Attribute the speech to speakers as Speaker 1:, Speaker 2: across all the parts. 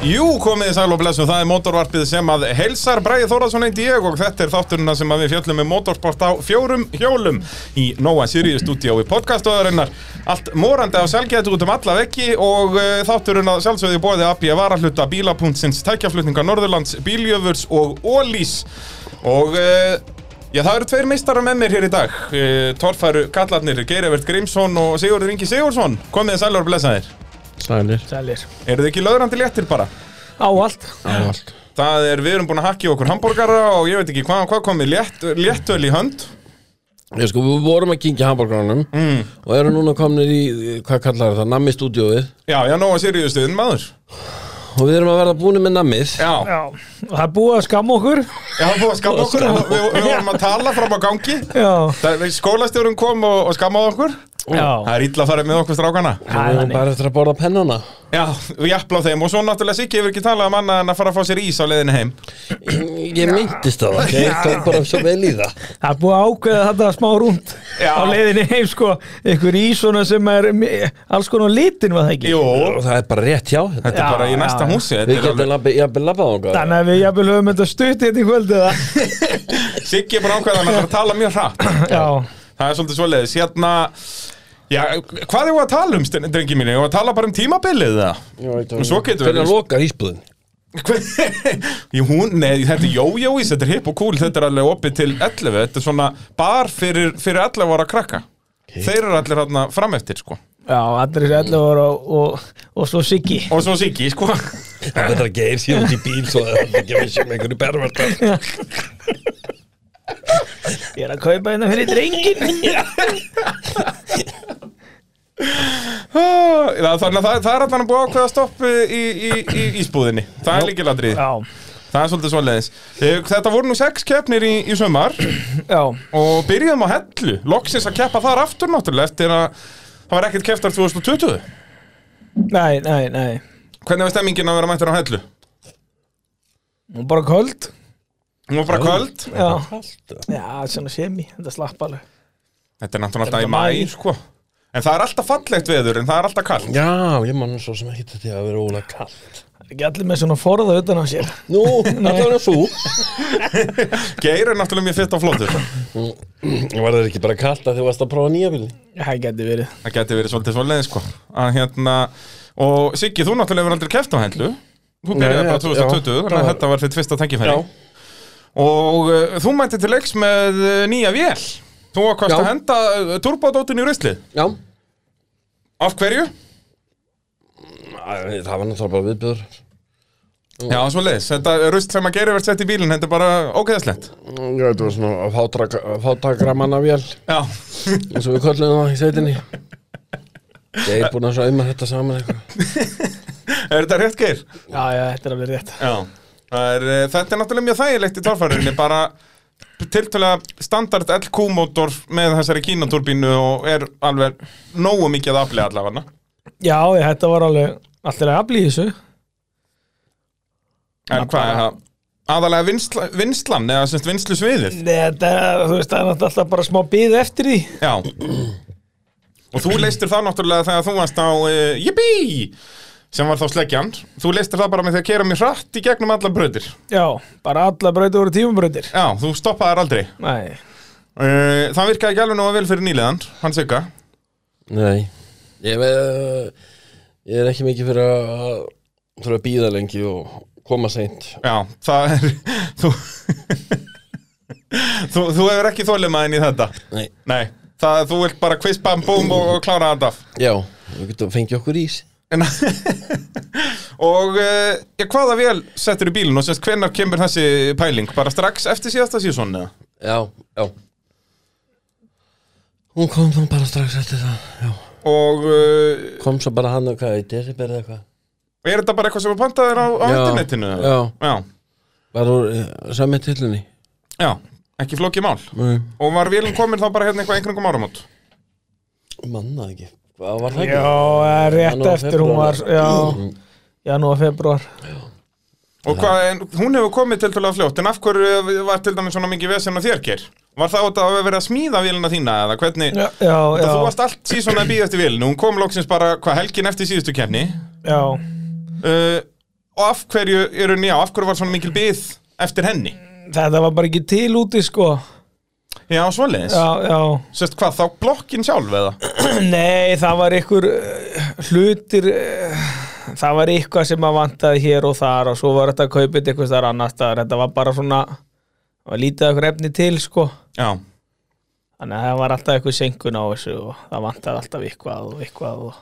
Speaker 1: Jú, komið í sæl og blessum, það er mótorvarpið sem að heilsar Bræði Þórðarsson einti ég og þetta er þátturina sem að við fjöllum með mótorsport á fjórum hjólum í Nóa Sirius stúdíó í podcastöðurinnar. Allt morandi á selgætu út um alla veggi og uh, þátturina sjálfsögði bóði AB varahluta bílapunktsins, tækjaflutninga Norðurlands, bíljöfurs og ólís og... Uh, Já, það eru tveir meistarar með mér hér í dag. Uh, Torfæru kallarnir, Geirivert Grímsson og Sigurður Ingi Sigursson. Komið þið sælur og blessaðir.
Speaker 2: Sælir
Speaker 3: Sælir
Speaker 1: Eru þið ekki löðrandi léttir bara?
Speaker 3: Á allt
Speaker 2: Allt
Speaker 1: Það er, við erum búin að hakka í okkur hambúrgara og ég veit ekki hvað, hvað komið létt, léttöl í hönd
Speaker 2: Ég sko, við vorum að kynkja hambúrgránum mm. Og eru núna komnir í, hvað kallar það, nammi stúdíóið
Speaker 1: Já, já, nóg að sérjúðu stuðin maður
Speaker 2: Og við erum að verða búinir með nammið
Speaker 1: Já,
Speaker 3: Já, og það er búið að skamma okkur
Speaker 1: já, búið að skamma okkur og við, við vorum að tala fram á gangi
Speaker 3: Já,
Speaker 1: Það- Skólastjórun kom og, og skammaði okkur Það
Speaker 3: já
Speaker 1: er illa að fara með okkur strákana
Speaker 3: Það
Speaker 2: Við
Speaker 3: er
Speaker 2: erum
Speaker 3: þannig
Speaker 2: bara eftir að borða pennana
Speaker 1: Já, við jafnla á þeim og svo náttúrulega Siggi hefur ekki talað um annað en að fara að fá sér ís á leiðinu heim
Speaker 2: Ég myndist það, ok? ég tók bara svo vel í það
Speaker 3: Það er búið að ákveða þetta smá rúnd
Speaker 1: Já.
Speaker 3: Á leiðinni heim sko Ykkur í svona sem er mi- alls konar litin var það ekki
Speaker 1: Jú,
Speaker 2: Og það er bara rétt hjá þetta
Speaker 1: þetta er
Speaker 3: Já,
Speaker 1: bara í næsta
Speaker 3: já, já.
Speaker 1: húsi
Speaker 2: Við
Speaker 1: Þetta er
Speaker 2: getum
Speaker 1: alveg-
Speaker 2: labbi, jafnvel labbað okkar
Speaker 3: Þannig að við jafnvel höfum þetta stutt hérna í kvöld eða
Speaker 1: Siggi er bara ákveðan að fara að tala mjög hratt
Speaker 3: Já,
Speaker 1: Það er svolítið svoleiðis Hérna, já, hvað er að tala um, sten- drengi mínu? Ég var að tala bara um tímabilið það Og svo getum við-
Speaker 2: Hvernig lokar ísbúðin?
Speaker 1: Hver- Jú, hún, nei, þetta er jójóís, þetta er hip og cool, þetta er alveg opið til 11, þetta er svona bar fyrir, fyrir 11 ára krakka. Þeir eru allir hérna fram eftir, sko.
Speaker 3: já, allir þessi allir voru og, og, og svo Siggi
Speaker 1: Og svo Siggi, sko.
Speaker 2: Það er betra að geir síðan út í bíl Svo það er ekki að við séum einhverju pervertar
Speaker 3: Ég er að kaupa hérna fyrir drengin
Speaker 1: Ah, það- Þannig að það, það er allan að búa ákveða stopp í, í, í ísbúðinni. Það er líkilandrið.
Speaker 3: Já,
Speaker 1: Það er svolítið svoleiðis. Eh, Þetta voru nú sex keppnir í, í sumar
Speaker 3: já,
Speaker 1: og byrjuðum á hellu. Loksins að keppa þar aftur náttúrulega eftir að það var ekkert kepptar 2020.
Speaker 3: nei, nei, nei
Speaker 1: Hvernig var stemmingin að vera mættur á hellu?
Speaker 3: Nú bara kvöld
Speaker 1: Hún var bara kvöld.
Speaker 3: Já,
Speaker 2: Allt
Speaker 3: já svona semi, þetta slapp alveg
Speaker 1: Þetta er náttúrulega
Speaker 3: Þetta
Speaker 1: alltaf
Speaker 3: er
Speaker 1: í mæ,
Speaker 3: maí.
Speaker 1: sko. En það er alltaf fallegt veður, en það er alltaf kallt.
Speaker 2: Já, ég man svo sem ekki þetta að vera ólega kallt
Speaker 3: Það er ekki allir með svona forða utan á sér
Speaker 2: Nú, allavega þú
Speaker 1: Geir er náttúrulega mjög fitt og flottur.
Speaker 2: Var það ekki bara kallt að þið varst að prófa nýja bílinn?
Speaker 3: Það geti verið
Speaker 1: Það geti verið svolítið svolítið, sko. Að hérna, og Siggi, þú náttúrulega hefur aldrei keft á hendlu. Þú byrjaði
Speaker 2: Nei,
Speaker 1: bara
Speaker 2: já,
Speaker 1: 2020,
Speaker 2: já.
Speaker 1: þannig að þetta var þitt fyrsta tengifæri. Og uh, þú mætti til leiks með uh, nýja vél. Þú ákvæmst
Speaker 2: Já.
Speaker 1: að henda uh, turbódótin í ruslið.
Speaker 2: Já
Speaker 1: Af hverju?
Speaker 2: Æ, Það var náttúrulega bara viðbjör
Speaker 1: Já, svo Þetta rusl sem að Geir verðt sett í bílinn, þetta er bara ógeðslegt.
Speaker 2: Ég veit, það var svona fátraka- fátakramannavél
Speaker 1: Já.
Speaker 2: eins og við köllum það í sveitinni Ég er búin að sauma þetta saman eitthvað
Speaker 1: er þetta rétt, Geir?
Speaker 3: Já, já, þetta er alveg rétt
Speaker 1: Já, það er, eh, þetta er náttúrulega mjög þægilegt í torfærinni, bara tiltölulega standard LQ-mótor með þessari kínaturbínu og er alveg nógu mikið að aflega allavega.
Speaker 3: Já, já, þetta var alveg allir að aflýja þessu
Speaker 1: En hvað er það? Aðalega vinsla, vinslan, eða semst vinslu sviðið.
Speaker 3: Nei, þetta, þú veist, það er náttúrulega alltaf bara smá bið eftir því
Speaker 1: Já. Og þú leistir það náttúrulega þegar þú varst á uh, Yippee! sem var þá sleggjan. Þú leistir það bara með því að kera mér hratt í gegnum alla bröðir.
Speaker 3: Já, bara alla brautir voru tímumbrautir
Speaker 1: Já, þú stoppaðar aldrei.
Speaker 3: Nei,
Speaker 1: Uh, það virkaði ekki alveg nóga vel fyrir nýliðan, hann sigga.
Speaker 2: Nei Ég, veit, ég er ekki mikið fyrir að þurfa að býða lengi og koma seint
Speaker 1: Já, það er þú, þú, þú hefur ekki þólimaðin í þetta
Speaker 2: Nei,
Speaker 1: Nei, það, þú vilt bara quiz, bam, búm og, og klára þetta af
Speaker 2: já, við getum fengið okkur ís
Speaker 1: En- Og uh, hvaða vel settur í bílinn og semst hvenær kemur þessi pæling? Bara strax eftir síðasta síðan eða?
Speaker 2: Já, já Hún kom þá bara strax eftir það já.
Speaker 1: Og uh,
Speaker 2: Kom svo bara hann og hvað, í desiber eða eitthvað
Speaker 1: er þetta bara eitthvað sem er pantað þér á, á
Speaker 2: Já,
Speaker 1: internetinu? eða?
Speaker 2: já.
Speaker 1: já
Speaker 2: Var úr eh, sami tillunni
Speaker 1: Já, ekki flókið mál Og var vélum komin þá bara hérna eitthvað einhverjum áramót?
Speaker 2: Manna það ekki Hvað var það
Speaker 3: já,
Speaker 2: ekki?
Speaker 3: það er rétt
Speaker 2: Janúar,
Speaker 3: eftir hún var
Speaker 2: febrúar.
Speaker 3: Já, janúar, februar
Speaker 1: Og hvað, en hún hefur komið til tölvað fljótt, en af hverju var til dæmis svona mikið vesen á þér, Geir? Var það út að hafa verið að smíða vélina þína eða hvernig?
Speaker 3: Já, já,
Speaker 1: Það þú
Speaker 3: já,
Speaker 1: varst allt síðan að býða eftir vélinu, hún kom loksins bara hvað helgin eftir síðustu kefni.
Speaker 3: já.
Speaker 1: Uh, og af hverju, er hún, já, af hverju var svona mikil byð eftir henni?
Speaker 3: Þetta var bara ekki til úti sko
Speaker 1: Já, svoleiðis.
Speaker 3: Já, já
Speaker 1: Sérst hvað, þá blokkin sjálf eða?
Speaker 3: Nei, það var ykkur eh, hlutir eh, það var eitthvað sem að vantaði hér og þar og svo var þetta kaupið eitthvað þar annars staðar þetta var bara svona það var lítið af ykkur efni til sko
Speaker 1: Já,
Speaker 3: þannig að það var alltaf eitthvað senkun á þessu og það vantaði alltaf eitthvað og eitthvað og...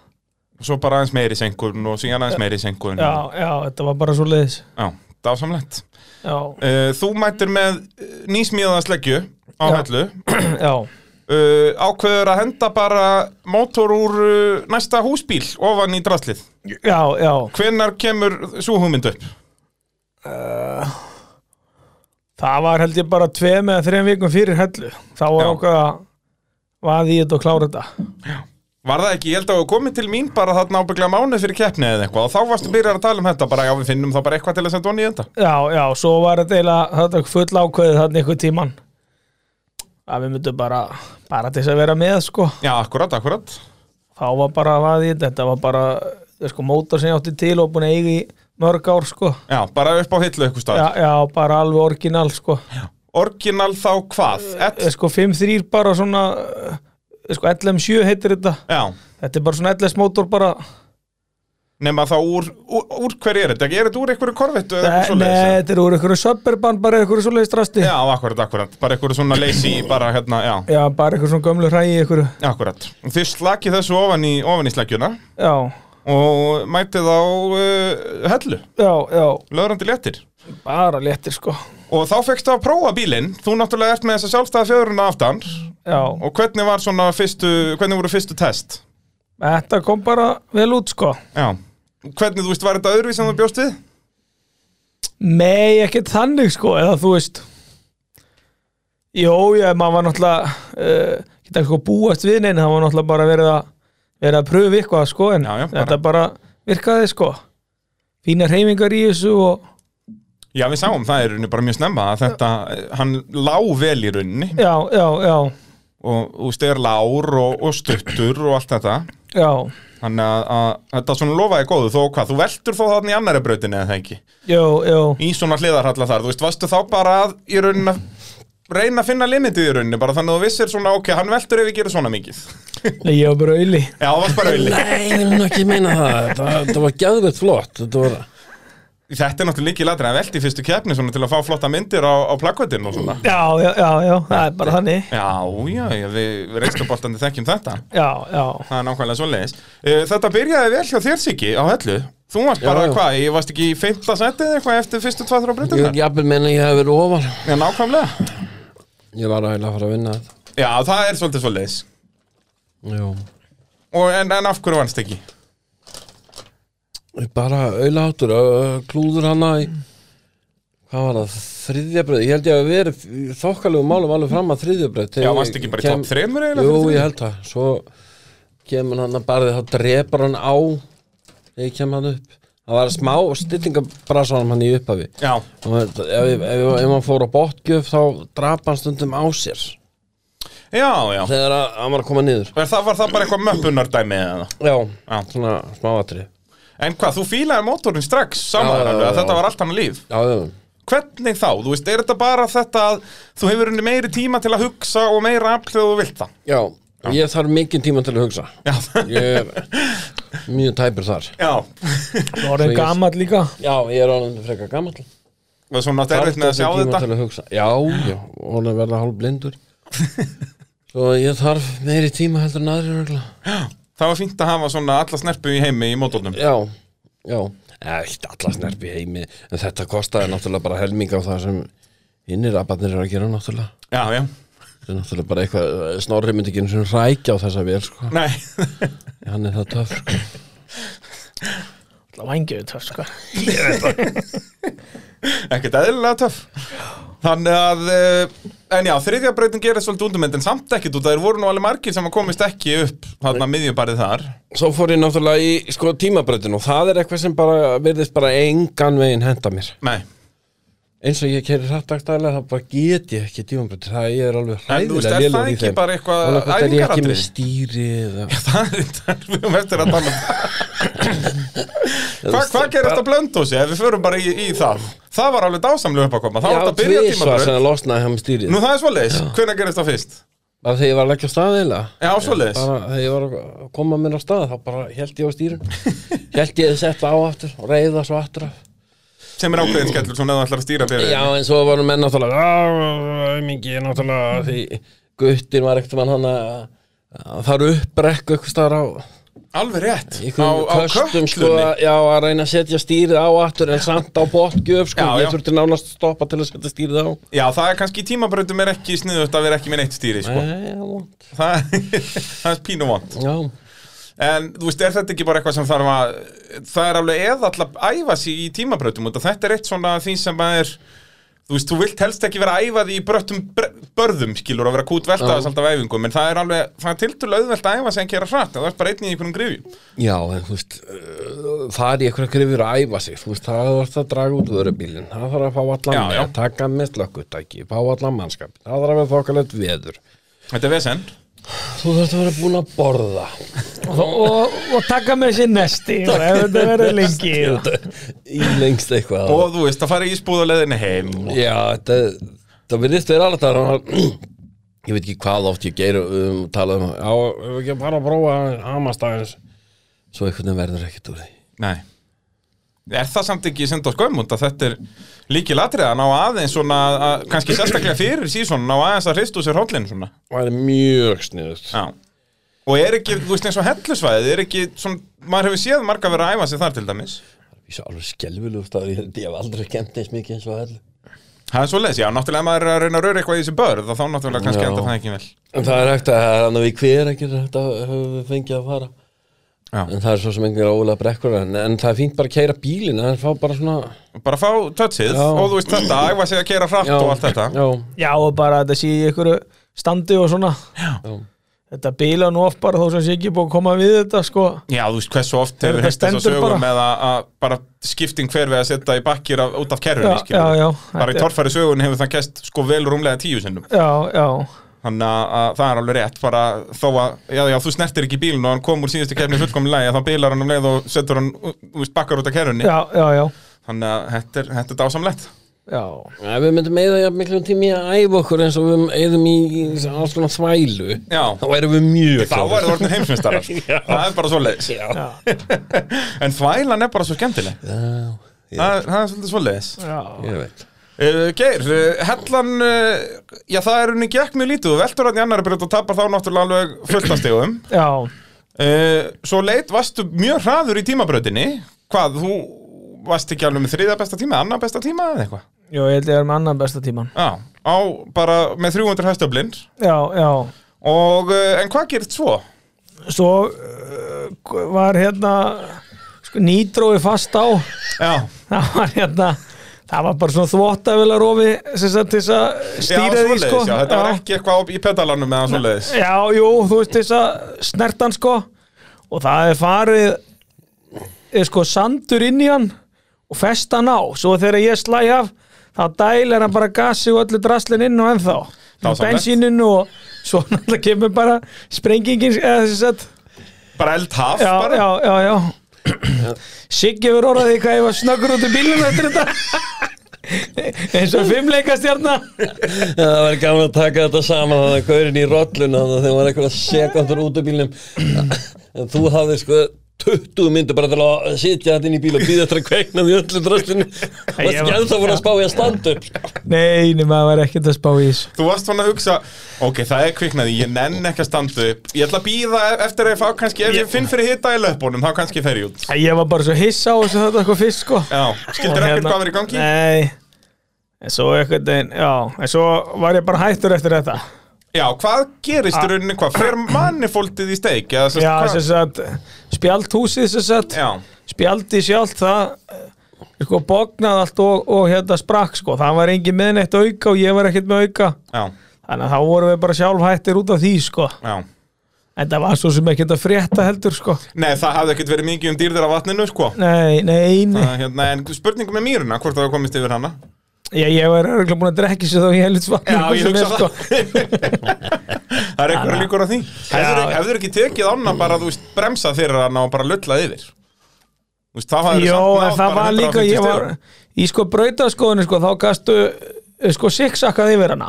Speaker 1: svo bara aðeins meiri senkun og síðan aðeins meiri senkun.
Speaker 3: Já, já, þetta var bara svo leiðis
Speaker 1: Já, dásamlegt.
Speaker 3: Já,
Speaker 1: Uh, þú mætir með eh, nýsmíðaða sleggju á
Speaker 3: Já.
Speaker 1: hellu.
Speaker 3: já,
Speaker 1: Uh, ákveður að henda bara mótor úr uh, næsta húsbíl ofan í draslið.
Speaker 3: já, já
Speaker 1: Hvenær kemur svo hugmynd upp?
Speaker 3: Það var held ég bara tveim eða þreim vikum fyrir hellu þá var
Speaker 1: Já.
Speaker 3: okkar að vaði í þetta og klára þetta
Speaker 1: Var það ekki, ég held að þú komið til mín bara þarna ábygglega mánuð fyrir keppni eða eitthvað og þá varstu byrjar að tala um þetta bara já við finnum þá bara eitthvað til að senda honni í þetta
Speaker 3: Já, já, svo var þetta eiginlega þetta full ákveðið þarna einhver tíman að við myndum bara bara til þess að vera með, sko
Speaker 1: Já, akkurat, akkurat
Speaker 3: þá var bara að því, þetta var bara eh, sko, mótor sem ég átti til og búin að eiga í mörg ár, sko
Speaker 1: Já, bara upp á hillu eitthvað stað
Speaker 3: Já, já, bara alveg orginal, sko
Speaker 1: Orginal þá hvað? Et,
Speaker 3: Eh, sko 5-3 bara svona eh, sko LM7 heitir þetta
Speaker 1: já,
Speaker 3: þetta er bara svona LS mótor bara
Speaker 1: nema þá úr, úr, úr hverju er þetta? Er þetta úr einhverju korvettu eða
Speaker 3: Nei,
Speaker 1: eitthvað svoleiðis?
Speaker 3: þetta er úr einhverju suburban bara einhverju svoleiðis drasti
Speaker 1: Já, akkurat, akkurat, bara einhverju svona leysi bara hérna, já,
Speaker 3: já, bara einhverju svona gömlu hræi einhverju
Speaker 1: akkurat Þið slakið þessu ofan í, ofan í slækjuna
Speaker 3: Já,
Speaker 1: og mætið á uh, hellu,
Speaker 3: já, já,
Speaker 1: löðrandi léttir
Speaker 3: bara léttir, sko
Speaker 1: Og þá fekkst að prófa bílinn, þú náttúrulega ert með þessa sjálfstæða fjöðurinn aftan
Speaker 3: Já,
Speaker 1: Og hvernig var svona fyrstu, hvernig voru fyrstu test?
Speaker 3: Þetta kom bara vel út sko
Speaker 1: Já Hvernig, þú veist, var þetta öðru sem þú bjóst við?
Speaker 3: Nei, ekkert þannig sko eða þú veist Jó, já, maður var náttúrulega uh, geta eitthvað búast við neina það var náttúrulega bara verið að verið að pröfu eitthvað sko en
Speaker 1: Já, já, bara-
Speaker 3: þetta bara virkaði sko fína hreyfingar í þessu og
Speaker 1: Já, við sáum það er í rauninni bara mjög snemma að þetta, hann lá vel í rauninni
Speaker 3: já, já, já,
Speaker 1: og, og styr lár og, og stuttur og allt þetta
Speaker 3: já
Speaker 1: Þannig að, að þetta svona lofaði góðu þó hvað, þú veltur þó þannig í annari brautinni eða það ekki
Speaker 3: Jó, jó,
Speaker 1: Í svona hliðarhalla þar, þú veist, varstu þá bara að í rauninni að reyna að finna limitið í rauninni bara þannig að þú vissir svona, ok, hann veltur ef við gerum svona mikið
Speaker 3: Nei, ég var bara auðli
Speaker 1: Já, það var bara villi
Speaker 2: Nei, ég vil nú ekki meina það Það, það var gæðveitt flott Þetta var
Speaker 1: Þetta er náttúrulega líki ladrið að velti í fyrstu keppni svona til að fá flotta myndir á, á plakvettinu og svona
Speaker 3: Já, já, já, já, það er bara þannig
Speaker 1: Já, já, já við, við reynslaboltandi þekkjum þetta
Speaker 3: Já, já,
Speaker 1: Það er nákvæmlega svoleiðis Eh, Þetta byrjaði vel hjá þér Siggi á hellu Þú varst bara,
Speaker 2: já.
Speaker 1: hvað, ég varst ekki í fymta seti eða eitthvað eftir fyrstu tvað þrjá
Speaker 2: Ég vil
Speaker 1: breytingar
Speaker 2: ekki jafnvel meina að ég hef verið ofar
Speaker 1: Já, nákvæmlega
Speaker 2: Ég var að heila að fara að vinna þetta
Speaker 1: Já, það er svolítið svoleiðis
Speaker 2: Jú
Speaker 1: Og en, en af hverju vannst ekki?
Speaker 2: Ég bara auðláttur Klúður hana í Hvað var það? Þriðja bröð Ég held ég að verið í þokkalegum málum alveg fram að þriðja bröð
Speaker 1: Já, varst ekki bara í topp þreymur eiginlega?
Speaker 2: Jú,
Speaker 1: fyrir
Speaker 2: ég
Speaker 1: þriðju?
Speaker 2: held það Svo kemur hann að barði Þá drepar hann á Þegar ég kem hann upp Það var smá stillingabrasanum hann í upphafi
Speaker 1: Já,
Speaker 2: Og þetta- Ef, ef, ef, ef hann fór á botgjöf þá drapa hann stundum á sér
Speaker 1: já, já
Speaker 2: þegar að- hann var að koma niður
Speaker 1: Er það, Var það bara eitthvað möppunardæmi eða?
Speaker 2: Já,
Speaker 1: Já.
Speaker 2: svona smáatri
Speaker 1: En hvað, þú fílaði mótorinn strax saman
Speaker 2: Já, já,
Speaker 1: alveg að
Speaker 2: já.
Speaker 1: þetta var allt hann líf
Speaker 2: Já, já,
Speaker 1: Hvernig þá? Þú veist, er þetta bara þetta að þú hefur henni meiri tíma til að hugsa og meira afl þegar þú vilt það?
Speaker 2: já, ég þarf mikinn tíma til að hugsa
Speaker 1: Já,
Speaker 2: Ég er mjög tæpur þar
Speaker 1: já.
Speaker 3: þú orðin
Speaker 2: ég-
Speaker 3: gamall líka
Speaker 2: Já, ég er orðin frekar gamall
Speaker 1: Og svona átt erfitt með að sjá þetta
Speaker 2: til að hugsa Já, já, orðin að verða hálf blindur Svo ég þarf meiri tíma heldur en aðrir regla
Speaker 1: Það var fínt að hafa svona alla snerpu í heimi í mótornum
Speaker 2: Já, já Eitt allar snerpi heimi En þetta kostaði náttúrulega bara helming á það sem innir abatnir eru að gera náttúrulega
Speaker 1: Já, já
Speaker 2: Það er náttúrulega bara eitthvað, eh, snorri myndi ekki einu sinni rækja á þessa vel, sko
Speaker 1: Nei,
Speaker 2: Hann er það töf, sko
Speaker 3: Það vangið við töf sko
Speaker 1: ekkert eðlilega töff Þannig að, eh, en já, þriðja breytin gerist svolítið undumind en samt ekkert út að þeir voru nú alveg margir sem að komist ekki upp þarna miðjubarið þar
Speaker 2: Svo fór ég náttúrulega í sko, tímabröðin og það er eitthvað sem bara virðist bara engan veginn henda mér
Speaker 1: Nei,
Speaker 2: eins og ég keri hrætt dagstæðilega þá bara get ég ekki tímabröðin það ég er alveg
Speaker 1: En þú veist,
Speaker 2: hræðilega
Speaker 1: er
Speaker 2: lélur
Speaker 1: það
Speaker 2: í
Speaker 1: ekki
Speaker 2: þeim
Speaker 1: bara eitthvað
Speaker 2: og náttúrulega er ég ekki
Speaker 1: æfingaratriði?
Speaker 2: með stýri eða...
Speaker 1: það er þetta, við höfum eftir að tala um það Hva, hvað gerir þetta blöndósi ef við förum bara í, í það? Það var alveg dásamlega upp að koma, það var
Speaker 2: Já,
Speaker 1: þetta að byrja
Speaker 2: tvísvar sem
Speaker 1: tímabröð
Speaker 2: það losnaði hann stýrið
Speaker 1: Nú það er svoleiðis, hvenær gerist það fyrst?
Speaker 2: Bara þegar ég var að leggja á stað eða
Speaker 1: Já, svoleiðis
Speaker 2: Bara þegar ég var að koma mér á stað þá bara held ég á stýrun Held ég að setja á aftur og reyða svo aftur af
Speaker 1: sem er ákveðin skellur svona ef þú ætlar að stýra byrju
Speaker 2: Já, en svo varum menn náttúrulega "Á, Mingi,
Speaker 1: Mm.
Speaker 2: náttúrulega Því guttin var ekkert mann hann að að fara upp rekku eitthvað staðar á
Speaker 1: Alveg rétt, á, á
Speaker 2: einhverjum köstum
Speaker 1: köstlunni
Speaker 2: sko að- Já, að reyna að setja stýrið á aftur en samt á botgjöf sko
Speaker 1: Já, já.
Speaker 2: Ég þurfti nánast að stoppa til að setja stýrið á
Speaker 1: Já, það er kannski í tímabrautum er ekki sniðut að vera ekki með neitt stýri sko.
Speaker 2: Nei, já, vont.
Speaker 1: það, það er pínu vond
Speaker 2: Já,
Speaker 1: En þú veist, er þetta ekki bara eitthvað sem þarf að það er alveg eða alltaf að æfa sig í tímabrautum og þetta er eitt svona af því sem að er þú veist, þú vilt helst ekki vera að æfa því í bröttum br- börðum skilur að vera kút veltaðis alltaf af æfingum en það er alveg, það er tiltölu auðvelt að æfa sig en gera hratt, það er bara einn í einhvern grifjum
Speaker 2: Já, en þú veist, uh, fara í einhverja grifur að æfa sig, þú veist, það var það að draga út vörubílinn, það þarf að fá allan
Speaker 1: Já,
Speaker 2: með,
Speaker 1: já.
Speaker 2: taka með slökkutæki, fá allan mannskap, það þarf að vera þokkalegt veður.
Speaker 1: Þetta er vesen
Speaker 2: Þú þarfst að vera búin að borða.
Speaker 3: og, og, og taka með sér nesti og ef þetta verður lengi
Speaker 2: í lengst eitthvað.
Speaker 1: og þú veist, að fara í ísbúð og leðinni heim og
Speaker 2: Já, þetta, það virðist vera alveg það, ég veit ekki hvað oft ég geir um tala um, já, ef við ekki að fara að prófa hamastæðins, svo einhvern veginn verður ekkert úr því.
Speaker 1: Nei Er það samt ekki sem það skömmund að þetta er líki latriða að ná aðeins svona að, kannski sérstaklega fyrir síðan ná aðeins að hristu sér hóllin svona
Speaker 2: Það er mjög sniðust.
Speaker 1: Já Og er ekki, þú veist eins og hellusvæðið er ekki svona, maður hefur séð marga verið að æfa sig þar til dæmis
Speaker 2: Ég svo alveg skelvilegur staður, ég, ég hef aldrei kemd eins mikið eins og hellu.
Speaker 1: Það er svo leys, já, náttúrulega ef maður er að reyna að röra eitthvað í þessi börð og þá náttúrulega kannski
Speaker 2: Já.
Speaker 1: enda það ekki vel
Speaker 2: En það er hægt að það er annað við hver ekki þetta höfum við fengið að fara
Speaker 1: Já,
Speaker 2: en það er svo sem einhver ólega brekkur en, en það er fínt bara að keira bílinn en það fá bara svona
Speaker 1: bara fá touchið
Speaker 2: Já.
Speaker 1: og þú veist þetta, æfa sig að kera hratt og allt þetta
Speaker 2: Já,
Speaker 3: já og bara þetta sé í einhverju standi og svona
Speaker 2: já,
Speaker 3: þetta bila nú oft bara þó sem sé ekki búið að koma við þetta sko
Speaker 1: Já, þú veist hversu oft hefur
Speaker 3: Þetta
Speaker 1: hefst þess að
Speaker 3: stendur
Speaker 1: sögum
Speaker 3: bara.
Speaker 1: með að, að bara skipting hver við að setja í bakkir af, út af kerrunni,
Speaker 3: já, já,
Speaker 1: skilur.
Speaker 3: já,
Speaker 1: bara í
Speaker 3: þetta er-
Speaker 1: torfæri sögun hefur það gæst sko vel rúmlega tíu sinnum
Speaker 3: já, já,
Speaker 1: þannig að, að það er alveg rétt bara þó að, já, já, þú snertir ekki bílinn og hann kom úr síðustu kefni fullkomlega þá bílar hann um leið og setur hann ú- þú veist, bakkar út af kerrunni
Speaker 3: já, já, já,
Speaker 1: þannig að þetta er, þetta er dásamlegt
Speaker 3: já.
Speaker 2: Ef við myndum eða jafn miklum tími að æfa okkur eins og við eðum í, í alls konar þvælu
Speaker 1: já,
Speaker 2: þá erum við mjög
Speaker 1: þá er
Speaker 2: klárir.
Speaker 1: það orðin heimsmyndstarar það er bara svoleiðis
Speaker 2: Já,
Speaker 1: en þvælan er bara svo skemmtileg
Speaker 2: já,
Speaker 1: það, það er svolítið svoleiðis
Speaker 3: já.
Speaker 2: ég veit
Speaker 1: Uh, Geir, uh, hellan uh, já það er henni gekk mjög lítið þú veltur hann í annari breyt og tapar þá náttúrulega alveg fullt af stegum
Speaker 3: já.
Speaker 1: uh, svo leit varstu mjög hraður í tímabrautinni hvað, þú varst ekki alveg með þriða besta tíma, annar besta tíma eða eitthvað
Speaker 3: Jó, ég held ég er með annan besta tíman
Speaker 1: já, á bara með 300 hæstöflin
Speaker 3: Já, já
Speaker 1: og uh, en hvað gerist svo?
Speaker 3: Svo uh, var hérna sko, nýtrói fast á
Speaker 1: já,
Speaker 3: Það var hérna Það var bara svona þvottavélarofi sem sagt til þess að
Speaker 1: já,
Speaker 3: stýra því
Speaker 1: svoleiðis,
Speaker 3: sko
Speaker 1: já, þetta var ekki eitthvað op- í pedalanum eða svoleiðis
Speaker 3: Já, jú, þú veist þess að snertan sko og það er farið er sko sandur inn í hann og fest hann á svo þegar ég slæ af þá dæl er hann bara gasi og öllu draslin inn og ennþá
Speaker 1: Dásamlegt.
Speaker 3: bensíninu og svo náttúrulega kemur bara sprengingin eða þess að
Speaker 1: bara eldhaf
Speaker 3: já,
Speaker 1: bara.
Speaker 3: já, já, já Siggi verður orðaði hvað ég var snöggur út í bílunum eftir þetta eins og fimmleikastjarna
Speaker 2: Já, Það var gaman að taka þetta saman þannig að gaurin í rolluna þannig að þeim var eitthvað sekundur út af bílnum en þú hafði sko 20 myndir bara til að sitja þetta inn í bíl og býða eftir að kveikna því öllu dröslinu og
Speaker 3: Ég var-
Speaker 2: ekki ennþá voru að spá í að standa upp sko.
Speaker 3: Nei, nema það var ekkert að spá í þessu
Speaker 1: Þú varst svona að hugsa, ok, það er kviknaði, ég nenn ekki að standa upp, ég ætla að býða eftir að ég fá kannski, ef ég finn fyrir hita í löpunum, þá kannski fer ég út.
Speaker 3: Æ, Ég var bara svo hissa á þessu þetta sko fyrst sko hérna-
Speaker 1: Já, skildur ekkert hvað verið í gangi?
Speaker 3: Nei En svo eitthvað einn, já En svo var ég bara hættur eftir þetta
Speaker 1: Já, hvað gerist í rauninni, hvað, fer mannifóltið í steik? Eða, sérst,
Speaker 3: Ah. Já,
Speaker 1: hvað?
Speaker 3: sem sagt Spjaldhúsið sem sagt
Speaker 1: Já,
Speaker 3: Spjaldi sjálft það eh, Sko bóknað allt og, og hérna sprakk sko Það var engin með neitt auka og ég var ekkert með auka
Speaker 1: já,
Speaker 3: Þannig að þá vorum við bara sjálf hættir út af því sko
Speaker 1: já.
Speaker 3: En það var svo sem ekkert að frétta heldur sko
Speaker 1: Nei, það hafði ekkert verið mikið um dýrðir af vatninu, sko.
Speaker 3: Nei, nei, nei
Speaker 1: Það, hérna, en spurningum með mýruna, hvort það hefur komist yfir hana?
Speaker 3: Já, ég var örgulega búin að drekja sér þá ég helvits vann
Speaker 1: Já, ég hugsa
Speaker 3: sko.
Speaker 1: það. það er eitthvað líkur á því. Hefur,
Speaker 3: Já.
Speaker 1: hefur ekki tekið ána bara, þú veist, bremsa fyrir hana og bara lullað yfir? Þú veist, það hafði
Speaker 3: Jó,
Speaker 1: samt náð
Speaker 3: en
Speaker 1: bara
Speaker 3: það var líka,
Speaker 1: 150
Speaker 3: ég var
Speaker 1: stigum.
Speaker 3: í sko brautaskoðinu sko, þá gastu eh, sko siksakað yfir hana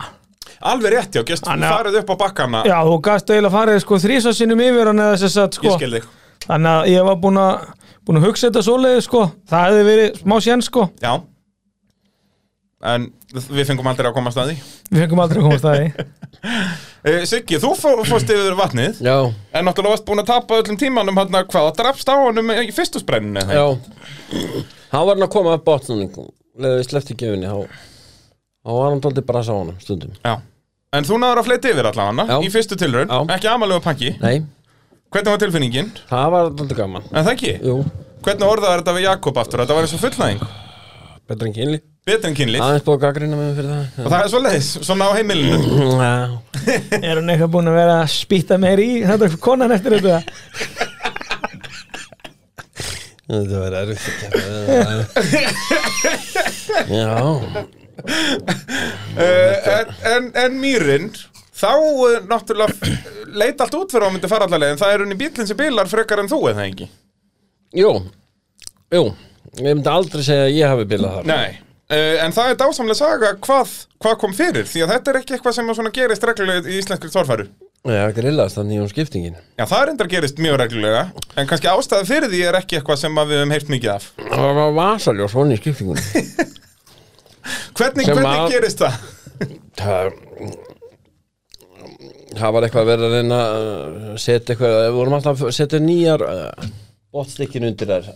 Speaker 1: Alveg rétt, já, gest
Speaker 3: Þannig að-
Speaker 1: farið upp á bakkana
Speaker 3: Já, þú gastu eiginlega farið sko þrísa sinnum yfir hana eða þess að
Speaker 1: Ég
Speaker 3: sko
Speaker 1: skil þig
Speaker 3: Þannig að ég var búin að búin að hugsa þetta svoleiði sko það hefði verið smá sén sko
Speaker 1: Já En við fengum aldrei að koma að því
Speaker 3: við fengum aldrei að komast að því
Speaker 1: Eh, Siggi, þú fó- fórst yfir vatnið
Speaker 2: Já,
Speaker 1: En náttúrulega varst búin að tapa öllum tímanum hann hvað, drafst á honum í fyrstu sprenninu eða
Speaker 2: já
Speaker 1: ekki?
Speaker 2: Hann var hann að koma upp botnum Leðu við sleppti gefinni Há, há var hann tóldi brasa á honum stundum
Speaker 1: Já En þú náður að fleita yfir allan hana
Speaker 2: Já.
Speaker 1: í fyrstu tilraun,
Speaker 2: Já.
Speaker 1: ekki amalegu pakki
Speaker 2: Nei,
Speaker 1: Hvernig var tilfinningin?
Speaker 2: það var tóldi gaman
Speaker 1: En það ekki?
Speaker 2: Jú,
Speaker 1: Hvernig orðaði þetta við Jakob aftur? Þetta var eins og fullnæðing
Speaker 2: betra en kynli
Speaker 1: Betri en kynlíf
Speaker 2: Aðeins búið að gaggrina mig fyrir það
Speaker 1: Og það er svoleiðis, svona á heimilinu
Speaker 2: Já,
Speaker 3: Er hann eitthvað búin að vera að spýta meir í þetta konan eftir þetta
Speaker 2: þetta var erfitt að keppa við það. Já,
Speaker 1: Eh, en, en, en mýrin Þá eh, náttúrulega leit allt út fyrir að hún myndi fara allavega En það er unni bílinn sem bílar frekar en þú eða ekki
Speaker 2: jú, jú Ég myndi aldrei segja að ég hafi bilað þar
Speaker 1: Nei Uh, en það er dásamlega saga hvað, hvað kom fyrir því að þetta er ekki eitthvað sem að svona gerist reglulega í íslenskri torfæru Já,
Speaker 2: Já, grillast þannig um skiptingin
Speaker 1: það er endar gerist mjög reglulega en kannski ástæða fyrir því er ekki eitthvað sem að við höfum heyrt mikið af
Speaker 2: Það var vasaljós svona í skiptingunum
Speaker 1: Hvernig,
Speaker 2: Sem
Speaker 1: hvernig
Speaker 2: að-
Speaker 1: gerist það?
Speaker 2: Það Það var eitthvað að vera að reyna að setja eitthvað, við vorum alltaf að setja nýjar uh, botstykkin undir þær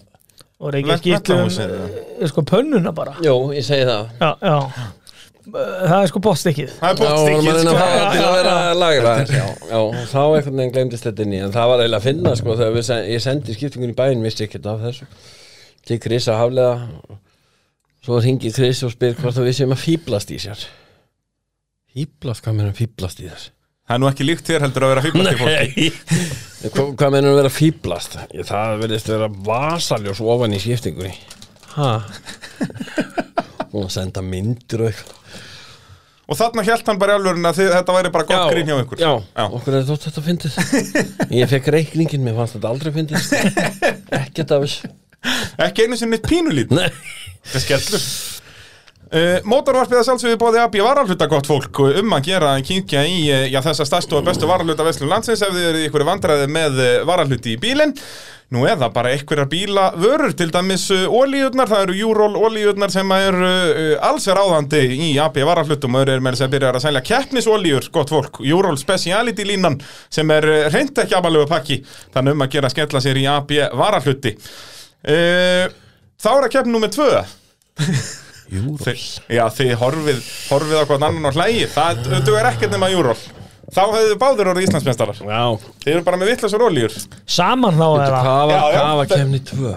Speaker 3: og reykja
Speaker 1: Vent-
Speaker 3: skýtlum
Speaker 1: ventahúsið,
Speaker 3: eh, sko pönnuna bara
Speaker 2: Jú, ég segi það
Speaker 3: Já, já Eh, Það er sko bóttstykkið
Speaker 1: Það er
Speaker 2: Já, við vorum að
Speaker 1: bóttstykkið
Speaker 2: reyna að
Speaker 1: sko.
Speaker 2: fá það til að vera lagra Já, já, og þá einhvern veginn glemdist þetta inn í En það var eiginlega að finna, sko, þegar við sen, ég sendi skiptingun í bæinn Vissi ekkert af þessu Til Chris að haflega Svo ringi Chris og spyr hvort það við séum að fýblast í sér Fýblast, hvað meina fýblast í þess?
Speaker 1: Það er nú ekki líkt þér heldur að vera fíblast í fólki
Speaker 2: En Hva, hvað mennum að vera fýblast? Ég, það verðist vera vasaljós ofan í skiptingunni Hæ? Og senda myndir og eitthvað
Speaker 1: Og þarna hjælt hann bara í alvörun að þið, þetta væri bara gott grín hjá ykkur
Speaker 2: Já,
Speaker 1: Já.
Speaker 2: okkur er þótt þetta fyndið Ég fekk reikningin, mér fannst þetta aldrei fyndið Ekkert af þessu
Speaker 1: Ekki einu sinni pínulít
Speaker 2: Nei
Speaker 1: Þetta er skellur Uh, Mótorvarpið að sjálfsögðu bóði AB varalhuta gott fólk og um að gera að kynkja í uh, já, þessa stærstu og bestu varalhuta veslum landsins ef þið eru í ykkur vandræði með uh, varalhuti í bílinn Nú eða bara einhverjar bíla vörur, til dæmis uh, ólíurnar, það eru júról ólíurnar sem eru uh, alls er áðandi í AB varalhutum og eru með þess að byrja að selja keppnisolíur, gott fólk, júról speciality línan sem er uh, reynd ekki amalegu pakki, þannig um að gera að skella sér í AB varalhuti uh, Þá er að keppni nummer tvö
Speaker 2: Júrós
Speaker 1: Þi- Já, þið horfið, horfið á hvern annan og hlægir Það dugur ekkert nema júról Þá hefðu báður orðið Íslandsmjöstarar
Speaker 2: Já,
Speaker 1: Þið eru bara með vittlasur ólíur
Speaker 3: Saman þá
Speaker 2: hvað
Speaker 3: eða
Speaker 2: var,
Speaker 1: Já, já.
Speaker 2: hvað var kemni tvö?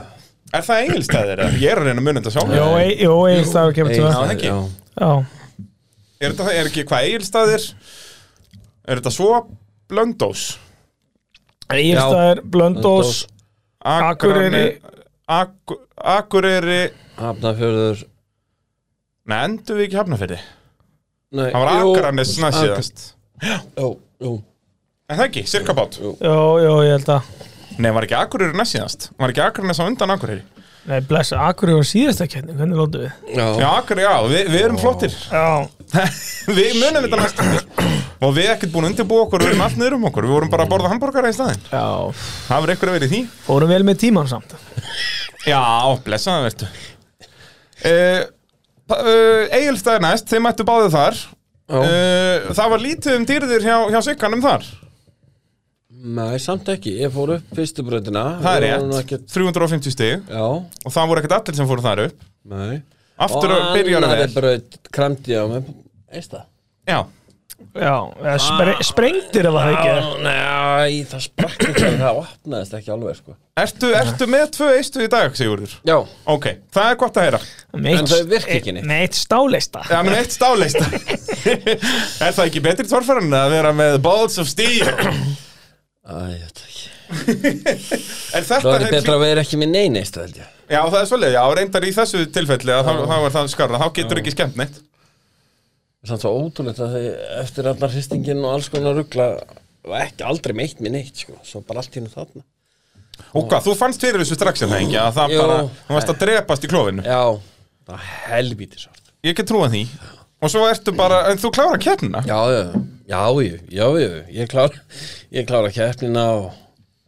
Speaker 1: Er það engilstæðir? eða? Ég er að reyna að muni þetta sjálf
Speaker 3: Jó, e- jó, eiginstafur kemur til
Speaker 1: Já,
Speaker 3: það
Speaker 1: það ekki.
Speaker 2: Já,
Speaker 3: Já,
Speaker 1: Er þetta er ekki hvað engilstæðir? Er þetta svo blöndós?
Speaker 3: eiginstafur, blöndós
Speaker 2: Blönduós.
Speaker 1: Akureyri- Akur- Akureyri
Speaker 2: hafnafjörður
Speaker 1: Nei, endur við ekki hafnafyrði
Speaker 2: Nei,
Speaker 1: Það var
Speaker 2: jú,
Speaker 1: Akranes næst
Speaker 2: Akra-
Speaker 1: síðast
Speaker 2: Jú, jú,
Speaker 1: En það ekki, cirka bát
Speaker 3: Jó, jó, ég held að
Speaker 1: Nei, var ekki Akureyri næst síðast Var ekki Akranes á undan Akureyri
Speaker 3: Nei, blessa, akkur var síðasta kefni, hvernig lótu við?
Speaker 1: Já,
Speaker 2: já
Speaker 1: Akureyri, já, við, við erum flottir
Speaker 3: Já,
Speaker 1: Við munum þetta næst Og við erum ekkert búin að undirbúa okkur Við erum allt niður um okkur Við vorum bara að borða hambúrgara í staðinn
Speaker 3: já,
Speaker 1: Það verður eitthvað að vera í því
Speaker 3: fórum vel með tíman samt
Speaker 1: Já, blessaðan verður uh, uh, Egilstaðir næst, þeir mættu báðið þar
Speaker 2: Já.
Speaker 1: uh, Það var lítið um dýrðir hjá, hjá Sigganum þar
Speaker 2: Nei, samt ekki, ég fór upp fyrstu bröndina
Speaker 1: Það er rétt, 350 stig
Speaker 2: Já,
Speaker 1: Og það voru ekkert allir sem fóru þar upp
Speaker 2: Nei
Speaker 1: Aftur byrjar að
Speaker 2: Og annari
Speaker 1: vera
Speaker 2: braut kramdi á mig Eista
Speaker 1: Já,
Speaker 3: Já, eða spre, sprengdir eða það ekki
Speaker 2: Nei, það sprakk ekki Það opnaðist ekki alveg sko
Speaker 1: ertu, ertu með tvö eistu í dag, Sigurður
Speaker 2: Já
Speaker 1: Ok, það er gott að heyra
Speaker 3: Meitt,
Speaker 2: En þau virka ekki neitt.
Speaker 3: Nei, eitt stáleista
Speaker 1: Já, menn eitt stáleista Er það ekki betri torfæran að vera með Balls of Steel
Speaker 2: Æ, ég veit ekki
Speaker 1: En þetta
Speaker 2: Það var
Speaker 1: er
Speaker 2: betra að vera ekki með nein eista held ég
Speaker 1: Já, það er svolítið, já, reyndar í þessu tilfelli að þá, þá er það skarra, þá getur ekki skemmt neitt
Speaker 2: Samt svo ótrúlegt að þau eftir allar hristingin og alls konar ruggla var ekki aldrei meitt með neitt sko Svo bara allt hérna þarna
Speaker 1: Og hvað, þú fannst fyrir þessu strax en það ekki að það
Speaker 2: Jú.
Speaker 1: bara, þú varst að drepast í klófinu
Speaker 2: Já, það er helvítið sárt
Speaker 1: Ég get trúað því Og svo ertu bara, en þú klára keppnina
Speaker 2: Já, já, já, já, já, já, ég klára, ég klára keppnina og,